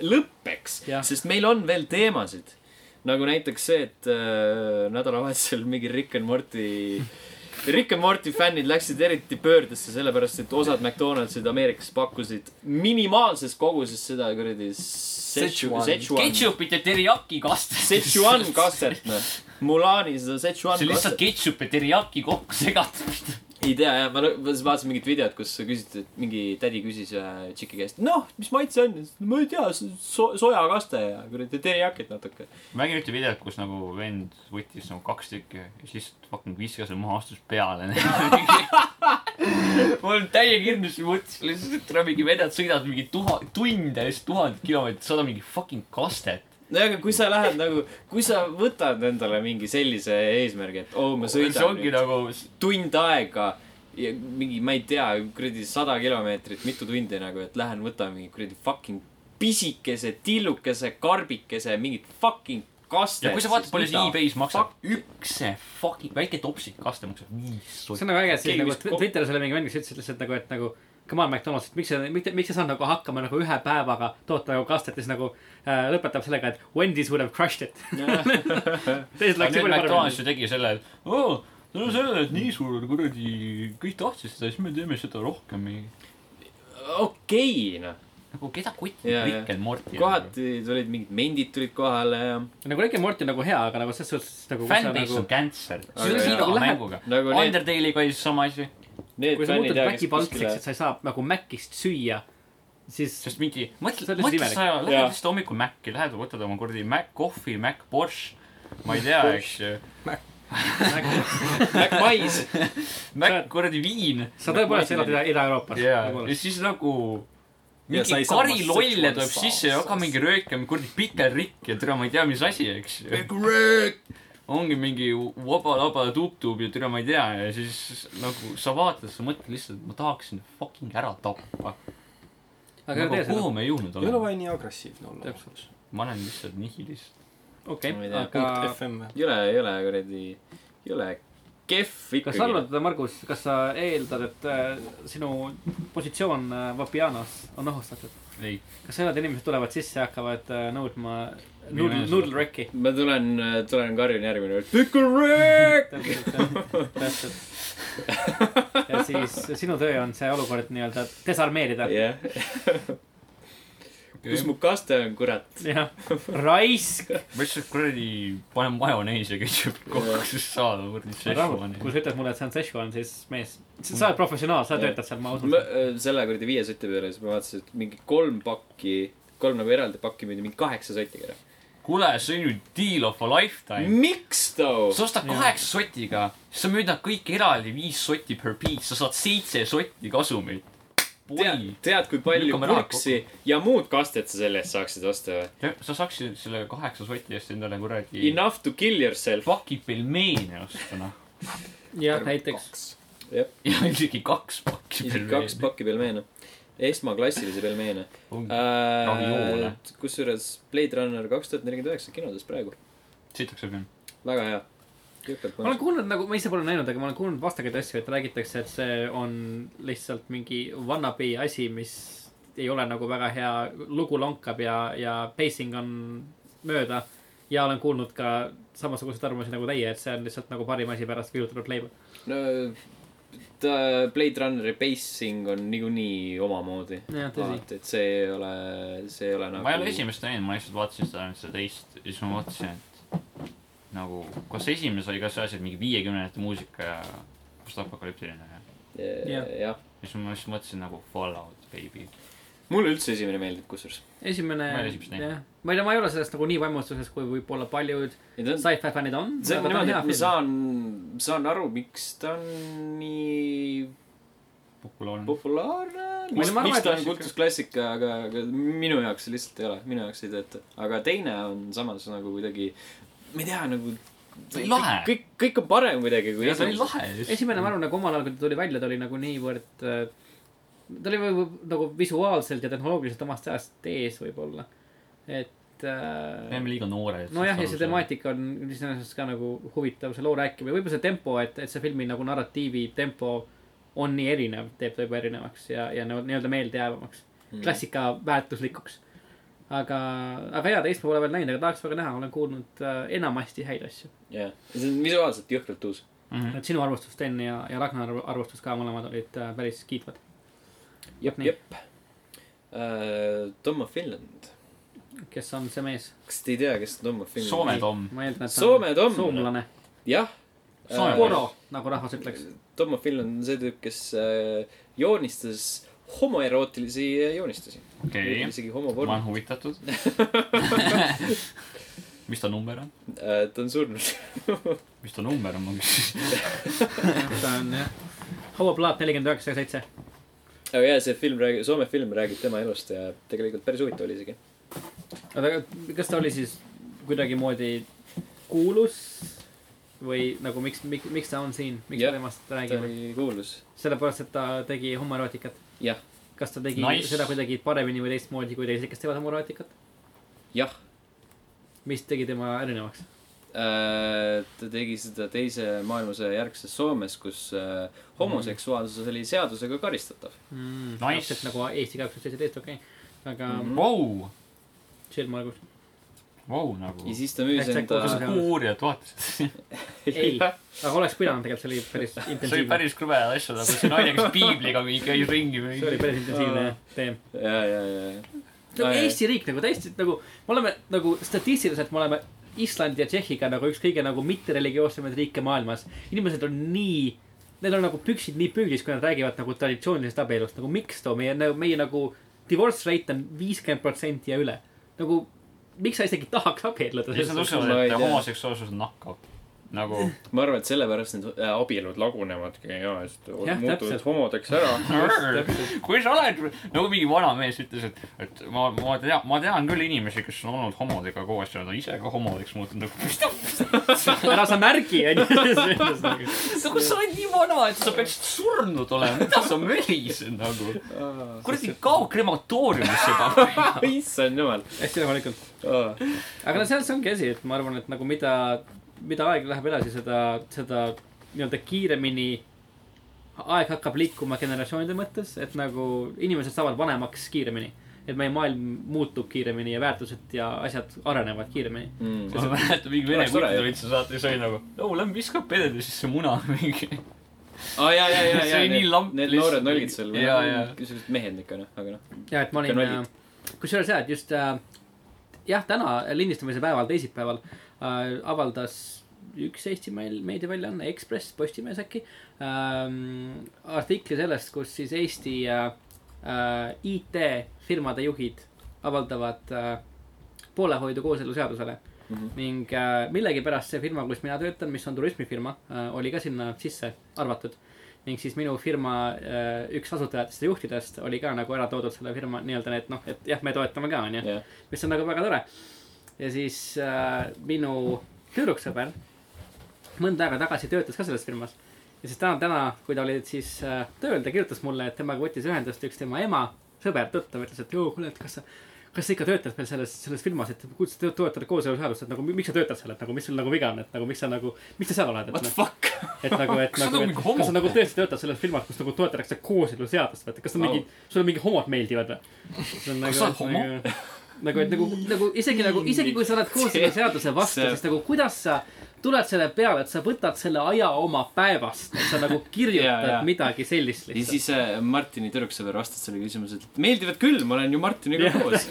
[SPEAKER 1] lõpeks ,
[SPEAKER 2] Jah.
[SPEAKER 1] sest meil on veel teemasid . nagu näiteks see , et äh, nädalavahetusel mingi Rick and Morty , Rick and Morty fännid läksid eriti pöördesse , sellepärast et osad McDonaldsid Ameerikas pakkusid minimaalses koguses seda kuradi Szechuan ,
[SPEAKER 4] Szechuan.
[SPEAKER 1] Szechuan ,
[SPEAKER 3] ketšupit ja teriyaki kastes .
[SPEAKER 1] Szechuan kastet , noh . Mulani seda Szechuan
[SPEAKER 3] see on lihtsalt
[SPEAKER 1] kastet .
[SPEAKER 3] ketšup ja teriyaki kokku segatud .
[SPEAKER 1] ei tea jah , ma lõ- ma siis vaatasin mingit videot , kus küsiti , et mingi tädi küsis ühe tšiki käest , noh , mis maitse on ? ma ei tea , so- , sojakaste ja kuradi terijakit natuke .
[SPEAKER 3] ma nägin ühte videot , kus nagu vend võttis nagu kaks tükki ja siis lihtsalt fucking viskas selle maha , astus peale . ma olen täie kindlasti mõtlesin lihtsalt , et täna mingi vennad sõidavad mingi tuhat , tunde , siis tuhanded kilomeetrid , saada mingi fucking kastet .
[SPEAKER 1] nojah , aga kui sa lähed nagu , kui sa võtad endale mingi sellise eesmärgi , et oo oh, , ma
[SPEAKER 3] see
[SPEAKER 1] sõidan
[SPEAKER 3] ongi
[SPEAKER 1] nüüd
[SPEAKER 3] nagu ,
[SPEAKER 1] tund aega ja mingi , ma ei tea , kuradi sada kilomeetrit , mitu tundi nagu , et lähen võtan mingi kuradi fucking pisikese , tillukese , karbikese , mingit fucking kastet .
[SPEAKER 3] ja kui sa E vaatad , palju see e-base maksab , üks see fucking väike topsik kaste maksab viis
[SPEAKER 2] see
[SPEAKER 3] sotti .
[SPEAKER 2] on nagu äge , siis
[SPEAKER 1] Keegi
[SPEAKER 2] nagu
[SPEAKER 1] vist
[SPEAKER 2] Tw-
[SPEAKER 1] ko-
[SPEAKER 2] Twitteris oli mingi vend , kes ütles lihtsalt nagu , et nagu . Come on , McDonalds , et miks sa , miks , miks sa saad nagu hakkama nagu ühe päevaga toota nagu kastet ja siis nagu äh, lõpetab sellega , et Wendy's would have crushed it .
[SPEAKER 1] Noh,
[SPEAKER 2] teised läksid
[SPEAKER 3] aga nüüd
[SPEAKER 2] palju
[SPEAKER 3] McDonalds
[SPEAKER 2] paremini .
[SPEAKER 3] ju tegi selle , et oo , tänu sellele , et nii suur kuradi , kõik tahtsid seda , siis me teeme seda rohkem .
[SPEAKER 1] okei , noh .
[SPEAKER 3] nagu keda kotib
[SPEAKER 1] Jaa,
[SPEAKER 3] Rick
[SPEAKER 1] jaa.
[SPEAKER 3] and Morty ?
[SPEAKER 1] kohati tulid mingid mendid tulid kohale ja
[SPEAKER 2] nagu Rick and Morty on nagu hea , aga nagu selles suhtes nagu .
[SPEAKER 3] fännbase on cancer . see
[SPEAKER 1] Aga
[SPEAKER 3] on
[SPEAKER 1] jah.
[SPEAKER 3] iga
[SPEAKER 2] Läheb-
[SPEAKER 3] mänguga .
[SPEAKER 1] nagu need-
[SPEAKER 3] Undertale'iga oli sama asi ,
[SPEAKER 1] need
[SPEAKER 2] kui sa
[SPEAKER 1] fännid
[SPEAKER 2] muutud
[SPEAKER 1] jah , kes
[SPEAKER 2] vägipaltsiks ,
[SPEAKER 1] kuskile
[SPEAKER 2] et sa ei saa nagu Macist süüa , siis
[SPEAKER 3] sest mingi , mõtle
[SPEAKER 2] See , on lihtsalt
[SPEAKER 3] mõtle ,
[SPEAKER 2] imelik.
[SPEAKER 3] sa lähed
[SPEAKER 1] Jaa.
[SPEAKER 3] lihtsalt hommikul Maci , lähed ja võtad oma kuradi Mac kohvi , Mac Bosch , ma ei tea , eks ju .
[SPEAKER 1] MacWise ,
[SPEAKER 3] Mac kuradi viin .
[SPEAKER 2] sa tõepoolest elad Ida , Ida-Euroopas .
[SPEAKER 3] jaa , ja siis nagu
[SPEAKER 4] Ja sa
[SPEAKER 3] mingi
[SPEAKER 4] ei saa omast
[SPEAKER 3] karilolle tuleb
[SPEAKER 4] seksuaalsust
[SPEAKER 3] sisse ja hakkab mingi röökima kuradi pikerrikk ja türa , ma ei tea , mis asi , eks ju . ongi mingi vaba-laba tuktub ja türa , ma ei tea , ja siis nagu sa vaatad , sa mõtled lihtsalt , ma tahaksin fucking ära tappa .
[SPEAKER 2] aga ei
[SPEAKER 3] aga
[SPEAKER 2] tee seda
[SPEAKER 3] nagu kuhu . me jõudnud
[SPEAKER 4] ei ole
[SPEAKER 3] oleme ?
[SPEAKER 4] vaja nii agressiivne olla .
[SPEAKER 2] täpselt .
[SPEAKER 3] ma olen lihtsalt nihilist .
[SPEAKER 2] okei
[SPEAKER 1] Ma ei , tea.
[SPEAKER 2] aga
[SPEAKER 4] FM või ?
[SPEAKER 1] ei ole , ei ole kuradi , ei ole kehv
[SPEAKER 2] kas
[SPEAKER 1] ikkagi
[SPEAKER 2] sa . arvad , Margus , kas sa eeldad , et äh, sinu positsioon äh, Vapianos on ohustatud ?
[SPEAKER 3] ei ,
[SPEAKER 2] kas sa eeldad , inimesed tulevad sisse ja hakkavad äh, nõudma
[SPEAKER 3] Mine
[SPEAKER 2] noodle ,
[SPEAKER 3] seda.
[SPEAKER 2] noodle rack'i ?
[SPEAKER 1] ma tulen , tulen karjun järgmine kord , Pickle Rick .
[SPEAKER 2] täpselt , täpselt . ja siis sinu töö on see olukord nii-öelda desarmeerida .
[SPEAKER 1] jah , kus mu kaste on , kurat ?
[SPEAKER 2] jah , raisk .
[SPEAKER 3] ma lihtsalt kuradi panen majoneesi ja ketšupit kokku , siis saad kuradi
[SPEAKER 2] kui
[SPEAKER 3] šefuani .
[SPEAKER 2] sa ütled mulle , et see on Szechuan , siis mees , sa oled professionaal , sa
[SPEAKER 1] Jah.
[SPEAKER 2] töötad seal , ma usun
[SPEAKER 1] ma . äh, selle kuradi viie sotti peale , siis ma vaatasin , et mingi kolm pakki , kolm nagu eraldi pakki müüdi mingi kaheksa sotiga ära .
[SPEAKER 3] kuule , see on ju deal of a
[SPEAKER 1] Mm.
[SPEAKER 3] lifetime .
[SPEAKER 1] miks too ?
[SPEAKER 3] sa ostad kaheksa sotiga , sa müüd nad kõik eraldi viis sotti per piece , sa saad seitse sotti kasumit .
[SPEAKER 1] tead
[SPEAKER 3] oi ,,
[SPEAKER 1] tead , kui palju
[SPEAKER 3] Lükkame raha
[SPEAKER 1] kurksi ja muud kastet sa selle eest saaksid osta või ?
[SPEAKER 3] sa saaksid selle kaheksa soti eest endale kuradi
[SPEAKER 1] Enough to kill yourself .
[SPEAKER 3] fucking pelmeene osta , noh .
[SPEAKER 2] jah , näiteks .
[SPEAKER 1] Jep.
[SPEAKER 3] ja isegi kaks pakki
[SPEAKER 1] isegi kaks pakki pelmeene . esmaklassilisi pelmeene
[SPEAKER 3] pakki .
[SPEAKER 1] äh,
[SPEAKER 3] Raviole. .
[SPEAKER 1] kusjuures Blade Runner kaks tuhat nelikümmend üheksa kinodes praegu .
[SPEAKER 3] sitaks on küll .
[SPEAKER 1] väga hea . jõhkralt
[SPEAKER 2] ma olen
[SPEAKER 1] mõnus .
[SPEAKER 2] kuulnud nagu , ma ise pole näinud , aga ma olen kuulnud vastakaid asju , et räägitakse , et see on lihtsalt mingi wannabe asi , mis ei ole nagu väga hea , lugu lonkab ja , ja pacing on mööda . ja olen kuulnud ka samasuguseid arvamusi nagu teie , et see on lihtsalt nagu parim asi pärast kirjutatud leiba .
[SPEAKER 1] no ta Blade Runneri pacing on niikuinii omamoodi .
[SPEAKER 2] jah , tõsi .
[SPEAKER 1] vaata , et see ei ole , see ei ole nagu .
[SPEAKER 3] ma ei ole esimest näinud , ma lihtsalt vaatasin seda , nüüd seda teist ja siis ma mõtlesin , et nagu , kas see esimene sai ka see asi , et mingi viiekümnendate muusika ja postapokalüptiline ja
[SPEAKER 2] Jah.
[SPEAKER 1] jah ,
[SPEAKER 3] ja siis ma just mõtlesin nagu Fallout baby .
[SPEAKER 1] mulle üldse esimene meeldib kusjuures .
[SPEAKER 2] esimene
[SPEAKER 3] Ma ei ole esimest , näinud.
[SPEAKER 2] jah , ma ei tea , ma ei ole sellest nagu nii vaimustuses , kui võib-olla paljud
[SPEAKER 1] ja ta on ,
[SPEAKER 2] sci-fi fännid on .
[SPEAKER 1] see on niimoodi , et ma saan , saan aru , miks ta on nii
[SPEAKER 3] populaarne .
[SPEAKER 1] populaarne .
[SPEAKER 2] Ma ei
[SPEAKER 1] mis
[SPEAKER 2] tea, ma arvan,
[SPEAKER 1] mis
[SPEAKER 2] et
[SPEAKER 1] ta on
[SPEAKER 2] klassika-
[SPEAKER 1] kultusklassika , aga , aga minu jaoks see lihtsalt ei ole , minu jaoks ei tööta . aga teine on samas nagu kuidagi , ma ei tea , nagu .
[SPEAKER 3] Ta oli lahe.
[SPEAKER 1] kõik , kõik on parem kuidagi kui
[SPEAKER 3] see oli . lahe .
[SPEAKER 2] esimene , ma arvan , nagu omal ajal , kui ta tuli välja , ta oli nagu niivõrd , ta oli võib- võib- nagu visuaalselt ja tehnoloogiliselt omast ajast ees võib-olla , et
[SPEAKER 3] me
[SPEAKER 2] äh,
[SPEAKER 3] oleme liiga noored .
[SPEAKER 2] nojah , ja see . temaatika on iseenesest ka nagu huvitav , see loo rääkimine , võib-olla see tempo , et , et see filmi nagu narratiivi tempo on nii erinev , teeb ta juba erinevaks ja , ja nagu nii-öelda meeldejäävamaks ,
[SPEAKER 3] Mm.
[SPEAKER 2] klassika väärtuslikuks . aga , aga jaa , teist ma pole veel näinud , aga tahaks väga näha , olen kuulnud äh, enamasti häid asju .
[SPEAKER 1] jah , see on visuaalselt jõhkralt uus .
[SPEAKER 2] et sinu arvustus , Sten ja , ja Ragnar arvustus ka mõlemad olid äh, päris kiitvad .
[SPEAKER 1] jep ,
[SPEAKER 2] Nii.
[SPEAKER 1] jep . Tom of Finland .
[SPEAKER 2] kes on see mees ?
[SPEAKER 1] kas te ei tea , kes Tom of Finland
[SPEAKER 3] Soome Tom .
[SPEAKER 2] ma eeldan , et ta
[SPEAKER 1] Soome
[SPEAKER 2] on
[SPEAKER 1] Tom.
[SPEAKER 2] soomlane .
[SPEAKER 1] on ? jah .
[SPEAKER 3] Soome
[SPEAKER 2] Poro , nagu rahvas ütleks .
[SPEAKER 1] Tom of Finland on see tüüp , kes äh, joonistas homoerootilisi äh, joonistusi .
[SPEAKER 3] okei ,
[SPEAKER 1] isegi
[SPEAKER 3] ma
[SPEAKER 1] homoporno
[SPEAKER 3] olen . huvitatud . mis ta number on ?
[SPEAKER 1] Äh, ta on surnud .
[SPEAKER 3] mis ta number on , ma küsin .
[SPEAKER 2] ta on jah , hauaplaat nelikümmend üheksa ja seitse .
[SPEAKER 1] aga jaa , see film räägib , Soome film räägib tema elust ja tegelikult päris huvitav oli isegi .
[SPEAKER 2] oota , kas ta oli siis kuidagimoodi kuulus või nagu miks , miks , miks ta on siin , miks
[SPEAKER 1] Jah,
[SPEAKER 2] me temast
[SPEAKER 1] ta
[SPEAKER 2] räägime ?
[SPEAKER 1] oli kuulus .
[SPEAKER 2] sellepärast , et ta tegi homoerootikat .
[SPEAKER 1] jah ,
[SPEAKER 2] kas ta tegi
[SPEAKER 3] Nice.
[SPEAKER 2] nice. seda kuidagi paremini või teistmoodi kui teised , kes teevad homoerootikat ?
[SPEAKER 1] jah .
[SPEAKER 2] mis tegi tema erinevaks ?
[SPEAKER 1] Äh, ta tegi seda teise maailmasõja järgses Soomes , kus äh, homoseksuaalsus oli seadusega karistatav .
[SPEAKER 2] mm, .
[SPEAKER 3] Nice.
[SPEAKER 2] täpselt nagu Eesti kaks tuhat seitseteist , okei okay. . aga mm -hmm.
[SPEAKER 3] Vau ,
[SPEAKER 2] chill , Margus .
[SPEAKER 3] vau nagu
[SPEAKER 1] ja . siis ta müüs
[SPEAKER 2] Täitsa
[SPEAKER 1] enda .
[SPEAKER 2] kodus-
[SPEAKER 3] uurijad vaatasid .
[SPEAKER 2] ei , aga oleks pidanud tegelikult , see oli päris intensiivne .
[SPEAKER 3] see oli päris krõbe asja , nagu see naine , kes piibliga mingi käis ringi või
[SPEAKER 2] see oli päris intensiivne
[SPEAKER 1] Aa.
[SPEAKER 2] teem .
[SPEAKER 1] ja , ja , ja , ja .
[SPEAKER 2] nagu
[SPEAKER 1] Ai, ai.
[SPEAKER 2] Eesti riik nagu täiesti nagu , me oleme nagu statistiliselt me oleme Islandi ja Tšehhiga nagu üks kõige nagu mittereligioossemaid riike maailmas . inimesed on nii , neil on nagu püksid nii püügis , kui nad räägivad nagu traditsioonilisest abielust , nagu miks too meie , meie nagu divorce rate on viiskümmend protsenti ja üle . nagu miks sa isegi tahaks abielluda ?
[SPEAKER 3] ja siis nad
[SPEAKER 1] Ma
[SPEAKER 3] usuvad ,
[SPEAKER 1] ei
[SPEAKER 3] et
[SPEAKER 1] tea.
[SPEAKER 3] homoseksuaalsus nakkab . nagu
[SPEAKER 1] ma arvan , et sellepärast need äh, abielud lagunevadki ja , sest
[SPEAKER 2] Jah,
[SPEAKER 1] muutuvad
[SPEAKER 2] täpselt.
[SPEAKER 1] homodeks ära .
[SPEAKER 3] kui sa oled , nagu mingi vana mees ütles , et , et ma , ma tean , ma tean küll inimesi , kes on olnud homodega koos ja nad on ise ka homodeks muutunud , nagu mis ta ,
[SPEAKER 2] ära sa märgi , onju .
[SPEAKER 3] nagu sa oled nii vana , et sa peaksid surnud olema , mida sa mölised nagu . kuradi , kao krematooriumisse juba .
[SPEAKER 1] issand jumal .
[SPEAKER 2] hästi rahulikult . aga no seal see ongi asi , et ma arvan , et nagu mida , mida aeg läheb edasi , seda , seda nii-öelda kiiremini aeg hakkab liikuma generatsioonide mõttes , et nagu inimesed saavad vanemaks kiiremini . et meie maailm muutub kiiremini ja väärtused ja asjad arenevad kiiremini .
[SPEAKER 1] Mm.
[SPEAKER 3] ma mäletan , mingi vene
[SPEAKER 1] Oleks tore,
[SPEAKER 3] kutt
[SPEAKER 1] jah.
[SPEAKER 3] olid seal saates , oli nagu , no lähme viskab pedede sisse muna mingi .
[SPEAKER 1] aa , ja , ja , ja ,
[SPEAKER 3] See
[SPEAKER 1] ja
[SPEAKER 3] oli . nii lamp
[SPEAKER 1] Need
[SPEAKER 3] lihtsalt.
[SPEAKER 1] noored nalgid seal .
[SPEAKER 3] Jaa, jaa.
[SPEAKER 1] niisugused mehed ikka noh , aga noh .
[SPEAKER 2] ja et ma olin
[SPEAKER 1] Ikka nalgid. ,
[SPEAKER 2] kusjuures ja , et just äh, jah , täna lindistamise päeval , teisipäeval äh, avaldas üks Eesti meil- meediaväljaanne , Ekspress , Postimees äkki ähm, , artikli sellest , kus siis Eesti äh, äh, IT-firmade juhid avaldavad äh, poolehoidu kooseluseadusele mm -hmm. ning äh, millegipärast see firma , kus mina töötan , mis on turismifirma äh, , oli ka sinna sisse arvatud ning siis minu firma äh, üks asutajatest ja juhtidest oli ka nagu ära toodud selle firma nii-öelda , et noh , et jah , me toetame ka , onju .
[SPEAKER 1] jah ,
[SPEAKER 2] mis on nagu väga tore . ja siis äh, minu tüdruksõber mõnda aega tagasi töötas ka selles firmas ja siis täna , täna , kui ta oli siis äh, tööl , ta kirjutas mulle , et temaga võttis ühendust üks tema ema , sõber , tuttav , ütles , et joo , kuule , et kas sa , kas sa ikka töötad veel selles , selles firmas , et kuidas sa toetad kooseluseadust , et nagu mi- miks sa töötad seal , et nagu mis sul nagu viga on , et nagu miks sa nagu , miks sa seal oled , et
[SPEAKER 3] What the
[SPEAKER 2] noh ,
[SPEAKER 3] fuck ?
[SPEAKER 2] et nagu , et
[SPEAKER 3] Kas sa
[SPEAKER 2] nagu ,
[SPEAKER 3] oled
[SPEAKER 2] et
[SPEAKER 3] mingi homo?
[SPEAKER 2] kas sa nagu tõesti töötad selles firmas , kus nagu toetatakse kooseluseadust , vaata , kas sa mingi , sulle mingi homod meeldivad või ?
[SPEAKER 3] Kas sa oled homo? ?
[SPEAKER 2] nagu , et nagu , nagu isegi nagu , isegi kui sa oled kooseluseaduse vastu ,
[SPEAKER 1] See-
[SPEAKER 2] siis nagu kuidas sa tuled selle peale , et sa võtad selle aja oma päevast , et sa nagu kirjutad
[SPEAKER 1] Jaa,
[SPEAKER 2] ja,
[SPEAKER 1] jaa.
[SPEAKER 2] midagi sellist
[SPEAKER 1] ja
[SPEAKER 2] lihtsalt .
[SPEAKER 1] siis äh, Martini tüdruksõber vastas selle küsimusele , et meeldivad küll , ma olen ju Martiniga
[SPEAKER 2] Jah.
[SPEAKER 1] koos .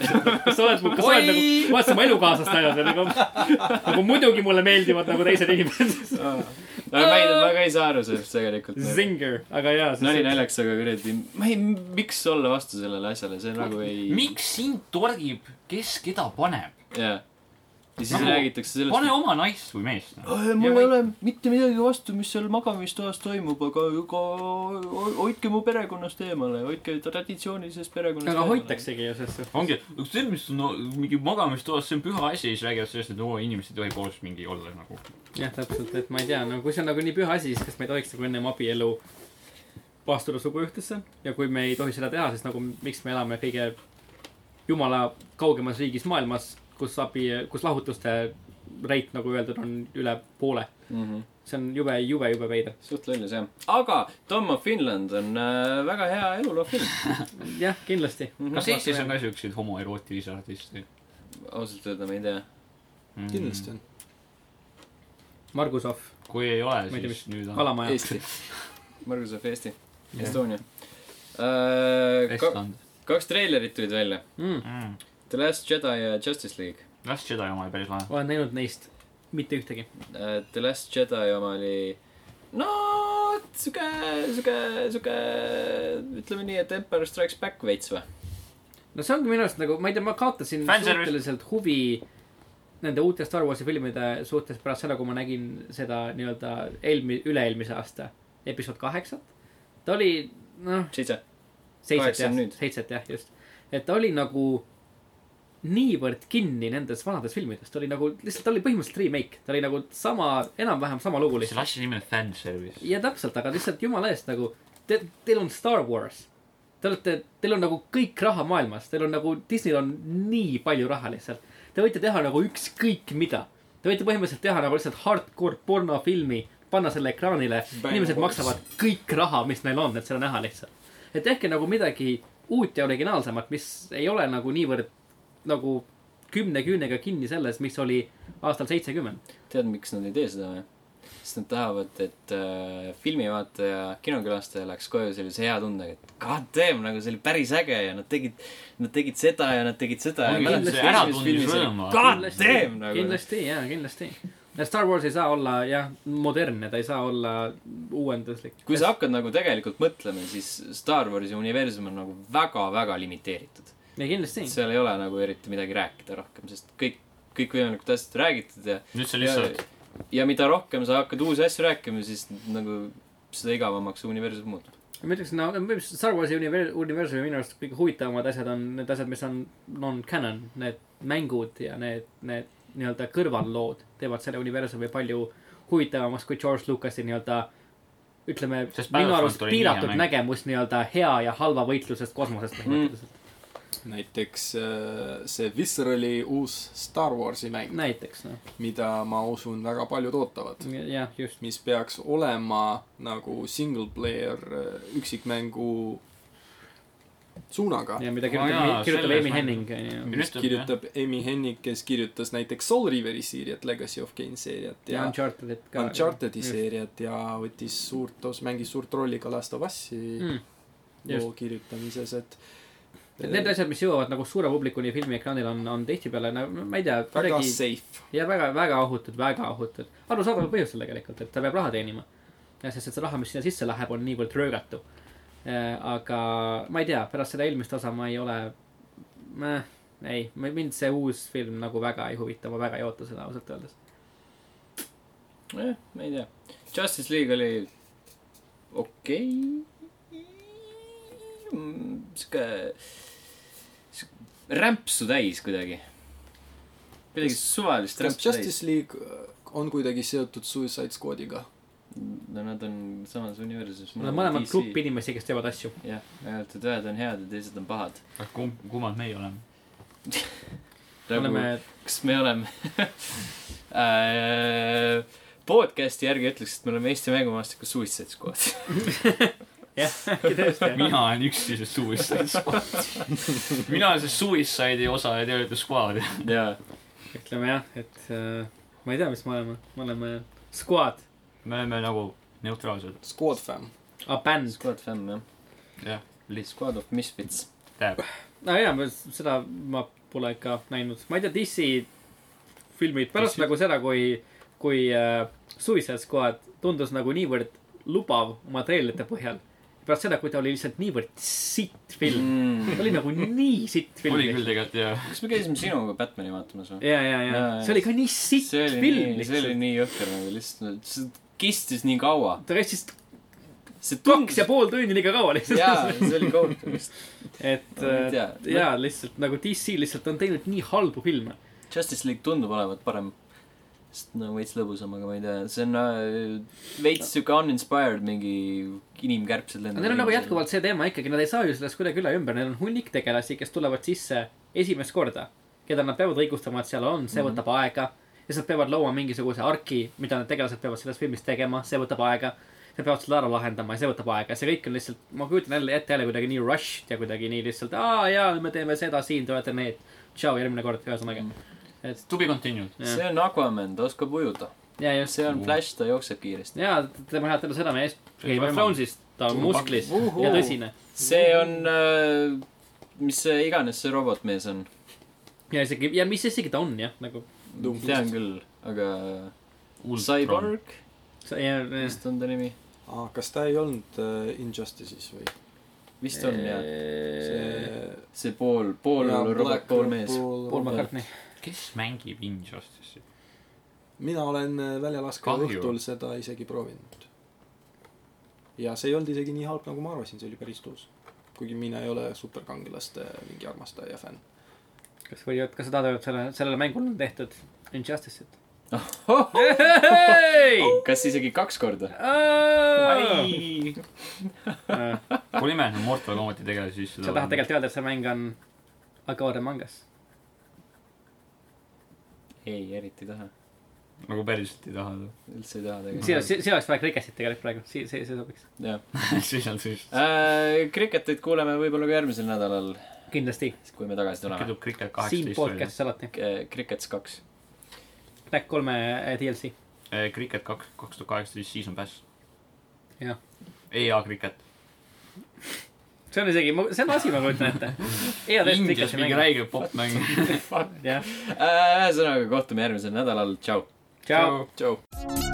[SPEAKER 2] kas sa oled , kas sa
[SPEAKER 1] Oi!
[SPEAKER 2] oled nagu , oled sa oma elukaaslast ajanud ja nagu , nagu muidugi mulle meeldivad nagu teised inimesed .
[SPEAKER 1] aga ma ei , ma ka ei saa aru sellest tegelikult .
[SPEAKER 2] Zinger , aga jaa .
[SPEAKER 1] nali . naljaks , aga kuradi , ma ei , miks olla vastu sellele asjale , see nagu ei .
[SPEAKER 3] miks sind torgib , kes keda paneb ?
[SPEAKER 1] jaa . ja siis
[SPEAKER 3] Nagu-
[SPEAKER 1] räägitakse sellest .
[SPEAKER 3] pane oma naist või noh. meest .
[SPEAKER 1] Ah, mul ei ole mitte midagi vastu , mis seal magamistoas toimub , aga , aga ho- hoidke mu perekonnast eemale , hoidke traditsioonilisest perekonnast
[SPEAKER 2] aga . hoitaksegi ju , sest
[SPEAKER 3] ongi , kas see , mis on no, mingi magamistoas , see on püha asi , siis räägivad sellest , et oo , inimesed ei tohi koos mingi olla nagu .
[SPEAKER 2] jah , täpselt , et ma ei tea , no kui see on nagu nii püha asi , siis kas me ei tohiks nagu ennem abielu vastuolu suguühtesse ja kui me ei tohi seda teha , siis nagu miks me elame kõige jumala kaugemas riigis maailmas , kus abi , kus lahutuste reit , nagu öeldud , on üle poole .
[SPEAKER 1] Mm -hmm.
[SPEAKER 2] see on jube , jube , jube veider .
[SPEAKER 1] suht lollis jah , aga Tom of Finland on äh, väga hea eluloo film ,
[SPEAKER 2] jah , kindlasti .
[SPEAKER 3] Mhm. kas Eestis on ka siukseid homoerootilisi artiste
[SPEAKER 1] ausalt öelda ma ei tea .
[SPEAKER 3] mm. ?
[SPEAKER 4] kindlasti . on .
[SPEAKER 2] Margusov ,
[SPEAKER 3] kui ei ole ,
[SPEAKER 2] Ma ei tea,
[SPEAKER 3] siis nüüd on .
[SPEAKER 2] Kalamaja .
[SPEAKER 1] Eesti , Margus of Eesti ,
[SPEAKER 3] Jah.
[SPEAKER 1] Estonia äh, . Ka,
[SPEAKER 3] Estland
[SPEAKER 1] kaks treilerit tulid välja ,
[SPEAKER 3] mm. .
[SPEAKER 1] The Last Jedi ja Justice League
[SPEAKER 3] Last Jedi oma oli päris lahe .
[SPEAKER 2] olen näinud neist mitte ühtegi .
[SPEAKER 1] äh, . The Last Jedi oma oli no sihuke , sihuke , sihuke ütleme nii , et Empire Strikes Back veits või ?
[SPEAKER 2] no see ongi minu arust nagu , ma ei tea , ma kaotasin
[SPEAKER 3] Fanservice.
[SPEAKER 2] suhteliselt huvi nende uute Star Warsi filmide suhtes pärast seda , kui ma nägin seda nii-öelda eelmi- , üle-eelmise aasta episood kaheksat . ta oli , noh ,
[SPEAKER 1] seitse .
[SPEAKER 2] seitset
[SPEAKER 1] Kaheksa
[SPEAKER 2] jah
[SPEAKER 1] on nüüd. ,
[SPEAKER 2] seitset jah , just . et ta oli nagu niivõrd kinni nendes vanades filmides , ta oli nagu , lihtsalt ta oli põhimõtteliselt remake , ta oli nagu sama , enam-vähem sama lugu
[SPEAKER 3] selle
[SPEAKER 2] lihtsalt .
[SPEAKER 3] asja nimi on fanservice .
[SPEAKER 2] ja täpselt , aga lihtsalt jumala eest nagu , te , teil on Star Wars . Te olete , teil on nagu kõik raha maailmas , teil on nagu , Disneyl on nii palju raha lihtsalt . Te võite teha nagu ükskõik mida . Te võite põhimõtteliselt teha nagu lihtsalt hardcore pornofilmi , panna selle ekraanile ,
[SPEAKER 4] Bang
[SPEAKER 2] inimesed
[SPEAKER 4] Wars.
[SPEAKER 2] maksavad kõik raha , mis neil on , et seda näha lihtsalt . et tehke nagu midagi uut ja originaalsemat , mis ei ole nagu niivõrd nagu kümne küünega kinni selles , mis oli aastal seitsekümmend .
[SPEAKER 1] tead , miks nad ei tee seda või ? sest nad tahavad , et äh, filmivaataja , kinokülastaja läheks koju sellise hea tundega , et god damn , nagu see oli päris äge ja nad tegid , nad tegid seda ja nad tegid seda .
[SPEAKER 3] Ongi, see äratundmisrõõm, vaata.
[SPEAKER 1] god Ah, damn nagu .
[SPEAKER 2] kindlasti jaa , kindlasti . Star Wars ei saa olla jah , modernne , ta ei saa olla uuenduslik .
[SPEAKER 1] kui sa hakkad nagu tegelikult mõtlema , siis Star Warsi universum on nagu väga-väga limiteeritud .
[SPEAKER 2] ja kindlasti .
[SPEAKER 1] seal ei ole nagu eriti midagi rääkida rohkem , sest kõik , kõikvõimalikud asjad räägitud ja ,
[SPEAKER 3] nüüd see
[SPEAKER 1] ja
[SPEAKER 3] lihtsalt ,,
[SPEAKER 1] ja mida rohkem sa hakkad uusi asju rääkima , siis nagu seda igavamaks see universum muutub .
[SPEAKER 2] ma ütleks , no mis- Star Warsi univer- universumi minu arust kõige huvitavamad asjad on need asjad , mis on non-canon , need mängud ja need , need nii-öelda kõrvallood teevad selle universumi palju huvitavamaks kui George Lucasi nii-öelda ütleme ,
[SPEAKER 3] Sest
[SPEAKER 2] minu
[SPEAKER 3] Battlefront
[SPEAKER 2] arust
[SPEAKER 3] oli nii hea
[SPEAKER 2] piiratud
[SPEAKER 3] mäng.
[SPEAKER 2] nägemus nii-öelda hea ja halva võitlusest kosmoses põhimõtteliselt mm. .
[SPEAKER 4] näiteks äh, see Viscerali uus Star Warsi
[SPEAKER 3] Mm.
[SPEAKER 4] mäng ,
[SPEAKER 2] näiteks noh ,
[SPEAKER 4] mida ma usun , väga paljud ootavad .
[SPEAKER 2] jah , just .
[SPEAKER 4] mis peaks olema nagu single player äh, üksikmängu suunaga .
[SPEAKER 2] ja mida
[SPEAKER 3] Aa,
[SPEAKER 2] kirjutab
[SPEAKER 3] Ah, jaa, ,
[SPEAKER 2] kirjutab
[SPEAKER 3] selles
[SPEAKER 2] Amy
[SPEAKER 3] ma-
[SPEAKER 2] Henning , onju .
[SPEAKER 4] mis
[SPEAKER 3] Kirjutab,
[SPEAKER 4] kirjutab Amy Hennig , kes kirjutas näiteks Soul Riveri seeriat , Legacy of Kane seeriat
[SPEAKER 2] ja
[SPEAKER 4] ja
[SPEAKER 2] Uncharted'it ka .
[SPEAKER 4] Uncharted'i seeriat ja võttis suurt os- , mängis suurt rolli ka Last of Us'i
[SPEAKER 2] Mm.
[SPEAKER 4] loo kirjutamises , et
[SPEAKER 2] et need asjad , mis jõuavad nagu suure publikuni filmiekraanil on , on tihtipeale nagu , ma ei tea ,
[SPEAKER 4] väga
[SPEAKER 2] kuidagi
[SPEAKER 4] safe .
[SPEAKER 2] ja väga , väga ohutud , väga ohutud . arusaadaval põhjusel tegelikult , et ta peab raha teenima . sest et see raha , mis sinna sisse läheb , on niivõrd röögatu . aga ma ei tea , pärast seda eelmist osa ma ei ole , ei , mind see uus film nagu väga ei huvita , ma väga ei oota seda ausalt öeldes .
[SPEAKER 1] nojah , ma ei tea . Justice League oli okei okay. . sihuke , rämpsu täis kuidagi . midagi suvalist
[SPEAKER 4] kas
[SPEAKER 1] rämpsu täis .
[SPEAKER 4] Justice League äh, on kuidagi seotud Suicide Squadiga ?
[SPEAKER 1] no nad on samas universumis .
[SPEAKER 2] Nad on mõlemad grupp . inimesi , kes teevad asju .
[SPEAKER 1] jah , ainult et ühed on head ja teised on pahad .
[SPEAKER 3] kumb , kummad meie oleme ?
[SPEAKER 2] oleme ,
[SPEAKER 1] kas me oleme Äh, podcast'i järgi ütleks , et me oleme Eesti mängumaastikus Suicide Squad .
[SPEAKER 2] jah , tõesti jah.
[SPEAKER 3] mina olen üks sellest Suicide Squad . mina olen see Suicide'i osa ja teie olete Squad .
[SPEAKER 1] jaa ,
[SPEAKER 2] ütleme jah , et äh, ma ei tea , mis me oleme , me oleme squad ,
[SPEAKER 3] me oleme nagu neutraalsed .
[SPEAKER 4] Squad fam .
[SPEAKER 2] a band .
[SPEAKER 1] Squad fam jah .
[SPEAKER 3] Jah. .
[SPEAKER 1] Squad of Misfits .
[SPEAKER 3] tähendab ,
[SPEAKER 2] no ja , seda ma pole ikka näinud , ma ei tea , DC filmid pärast
[SPEAKER 3] DC.
[SPEAKER 2] DC. nagu seda , kui , kui äh, Suicide Squad tundus nagu niivõrd lubav oma treenerite põhjal . pärast seda , kui ta oli lihtsalt niivõrd sitt film mm. , ta oli nagu nii sitt film .
[SPEAKER 3] oli küll tegelikult jah .
[SPEAKER 1] kas me käisime sinuga Batman'i vaatamas või ?
[SPEAKER 2] ja , ja , ja
[SPEAKER 1] Jaa,
[SPEAKER 2] see oli ka nii sitt
[SPEAKER 1] see oli
[SPEAKER 2] film
[SPEAKER 1] nii , see oli
[SPEAKER 2] lihtsalt .
[SPEAKER 1] nii jõhker nagu lihtsalt , see kistis nii kaua .
[SPEAKER 2] ta kestis
[SPEAKER 1] see
[SPEAKER 2] kaks ja . pool tundi liiga kaua lihtsalt .
[SPEAKER 1] jaa , see oli kohutav vist .
[SPEAKER 2] et
[SPEAKER 1] Ma ei tea.
[SPEAKER 2] äh, ja lihtsalt nagu DC lihtsalt on teinud nii halbu filme .
[SPEAKER 1] Justice League tundub olevat parem . sest no veits lõbusam , aga ma ei tea , see on äh, veits siuke uninspired mingi inimkärbsed
[SPEAKER 2] aga neil on nagu . jätkuvalt see teema ikkagi , nad ei saa ju sellest kuidagi üle ümber , neil on hunnik tegelasi , kes tulevad sisse esimest korda , keda nad peavad õigustama , et seal on , see
[SPEAKER 1] Mhm.
[SPEAKER 2] võtab aega . ja siis nad peavad looma mingisuguse arki , mida need tegelased peavad selles filmis tegema , see võtab aega . Nad peavad selle ära lahendama ja see võtab aega , see kõik on lihtsalt , ma kujutan jälle ette jälle kuidagi nii rushed ja kuidagi nii lihtsalt , aa jaa , me teeme seda siin , te olete need . tšau , järgmine kord , ühesõnaga .
[SPEAKER 3] To be continued .
[SPEAKER 1] see on Aquaman , ta oskab ujuda .
[SPEAKER 2] ja just ,
[SPEAKER 1] see on Flash , ta jookseb kiiresti .
[SPEAKER 2] ja tema head tänu seda meest , Game of Thronesist , ta on musklis
[SPEAKER 1] Uhuu.
[SPEAKER 2] ja tõsine .
[SPEAKER 1] see on äh, , mis see iganes see robotmees on .
[SPEAKER 2] ja isegi , ja mis isegi ta on jah , nagu .
[SPEAKER 1] tean küll , aga . Cyborg , vist on ta nimi .
[SPEAKER 4] aa , kas ta ei olnud äh, Injustice'is või ?
[SPEAKER 1] vist on jah .
[SPEAKER 4] see .
[SPEAKER 1] see pool , pool robot , pool mees .
[SPEAKER 2] Äh, Paul McCartney .
[SPEAKER 3] kes mängib Injustice'i ?
[SPEAKER 4] mina olen äh, väljalaskja
[SPEAKER 3] Kahju.
[SPEAKER 4] õhtul seda isegi proovinud . ja see ei olnud isegi nii halb , nagu ma arvasin , see oli päris tuus . kuigi mina ei ole superkangelaste mingi armastaja ja fänn .
[SPEAKER 2] kas või , kas sa tahad öelda , et selle , sellele mängule on tehtud Injustice'it ?
[SPEAKER 1] kas isegi kaks korda ?
[SPEAKER 2] sa
[SPEAKER 3] mul imeline , Mortal Combati tegelasi sisse
[SPEAKER 2] tahad . tegelikult öelda , et see mäng on Agora mangas ?
[SPEAKER 1] ei , eriti ei taha .
[SPEAKER 3] nagu päriselt ei taha .
[SPEAKER 1] üldse ei taha
[SPEAKER 2] siin ,
[SPEAKER 1] tegelikult .
[SPEAKER 2] siin siin oleks vaja kriketit tegelikult praegu , see , see , see sobiks .
[SPEAKER 1] jah .
[SPEAKER 3] siis on siis .
[SPEAKER 1] Äh, Kriketit kuuleme võib-olla ka järgmisel nädalal ,
[SPEAKER 2] kindlasti .
[SPEAKER 1] kui me tagasi tuleme .
[SPEAKER 3] kütub Cricket
[SPEAKER 2] siin
[SPEAKER 3] kaheksateist .
[SPEAKER 2] podcast'is alati .
[SPEAKER 1] Krikets kaks .
[SPEAKER 2] Black kolme äh, DLC .
[SPEAKER 3] Cricket kaks , kaks tuhat kaheksateist , siis on Bass .
[SPEAKER 2] Jah. .
[SPEAKER 3] EA Cricket .
[SPEAKER 2] see on isegi , see on asi , ma kujutan ette . ja tõesti ,
[SPEAKER 3] Indias
[SPEAKER 2] kriketit
[SPEAKER 3] mingi
[SPEAKER 2] mängib .
[SPEAKER 3] räige popmäng .
[SPEAKER 1] Äh,
[SPEAKER 2] jah ,
[SPEAKER 1] ühesõnaga kohtume järgmisel nädalal , tšau .
[SPEAKER 2] tšau .
[SPEAKER 4] tšau .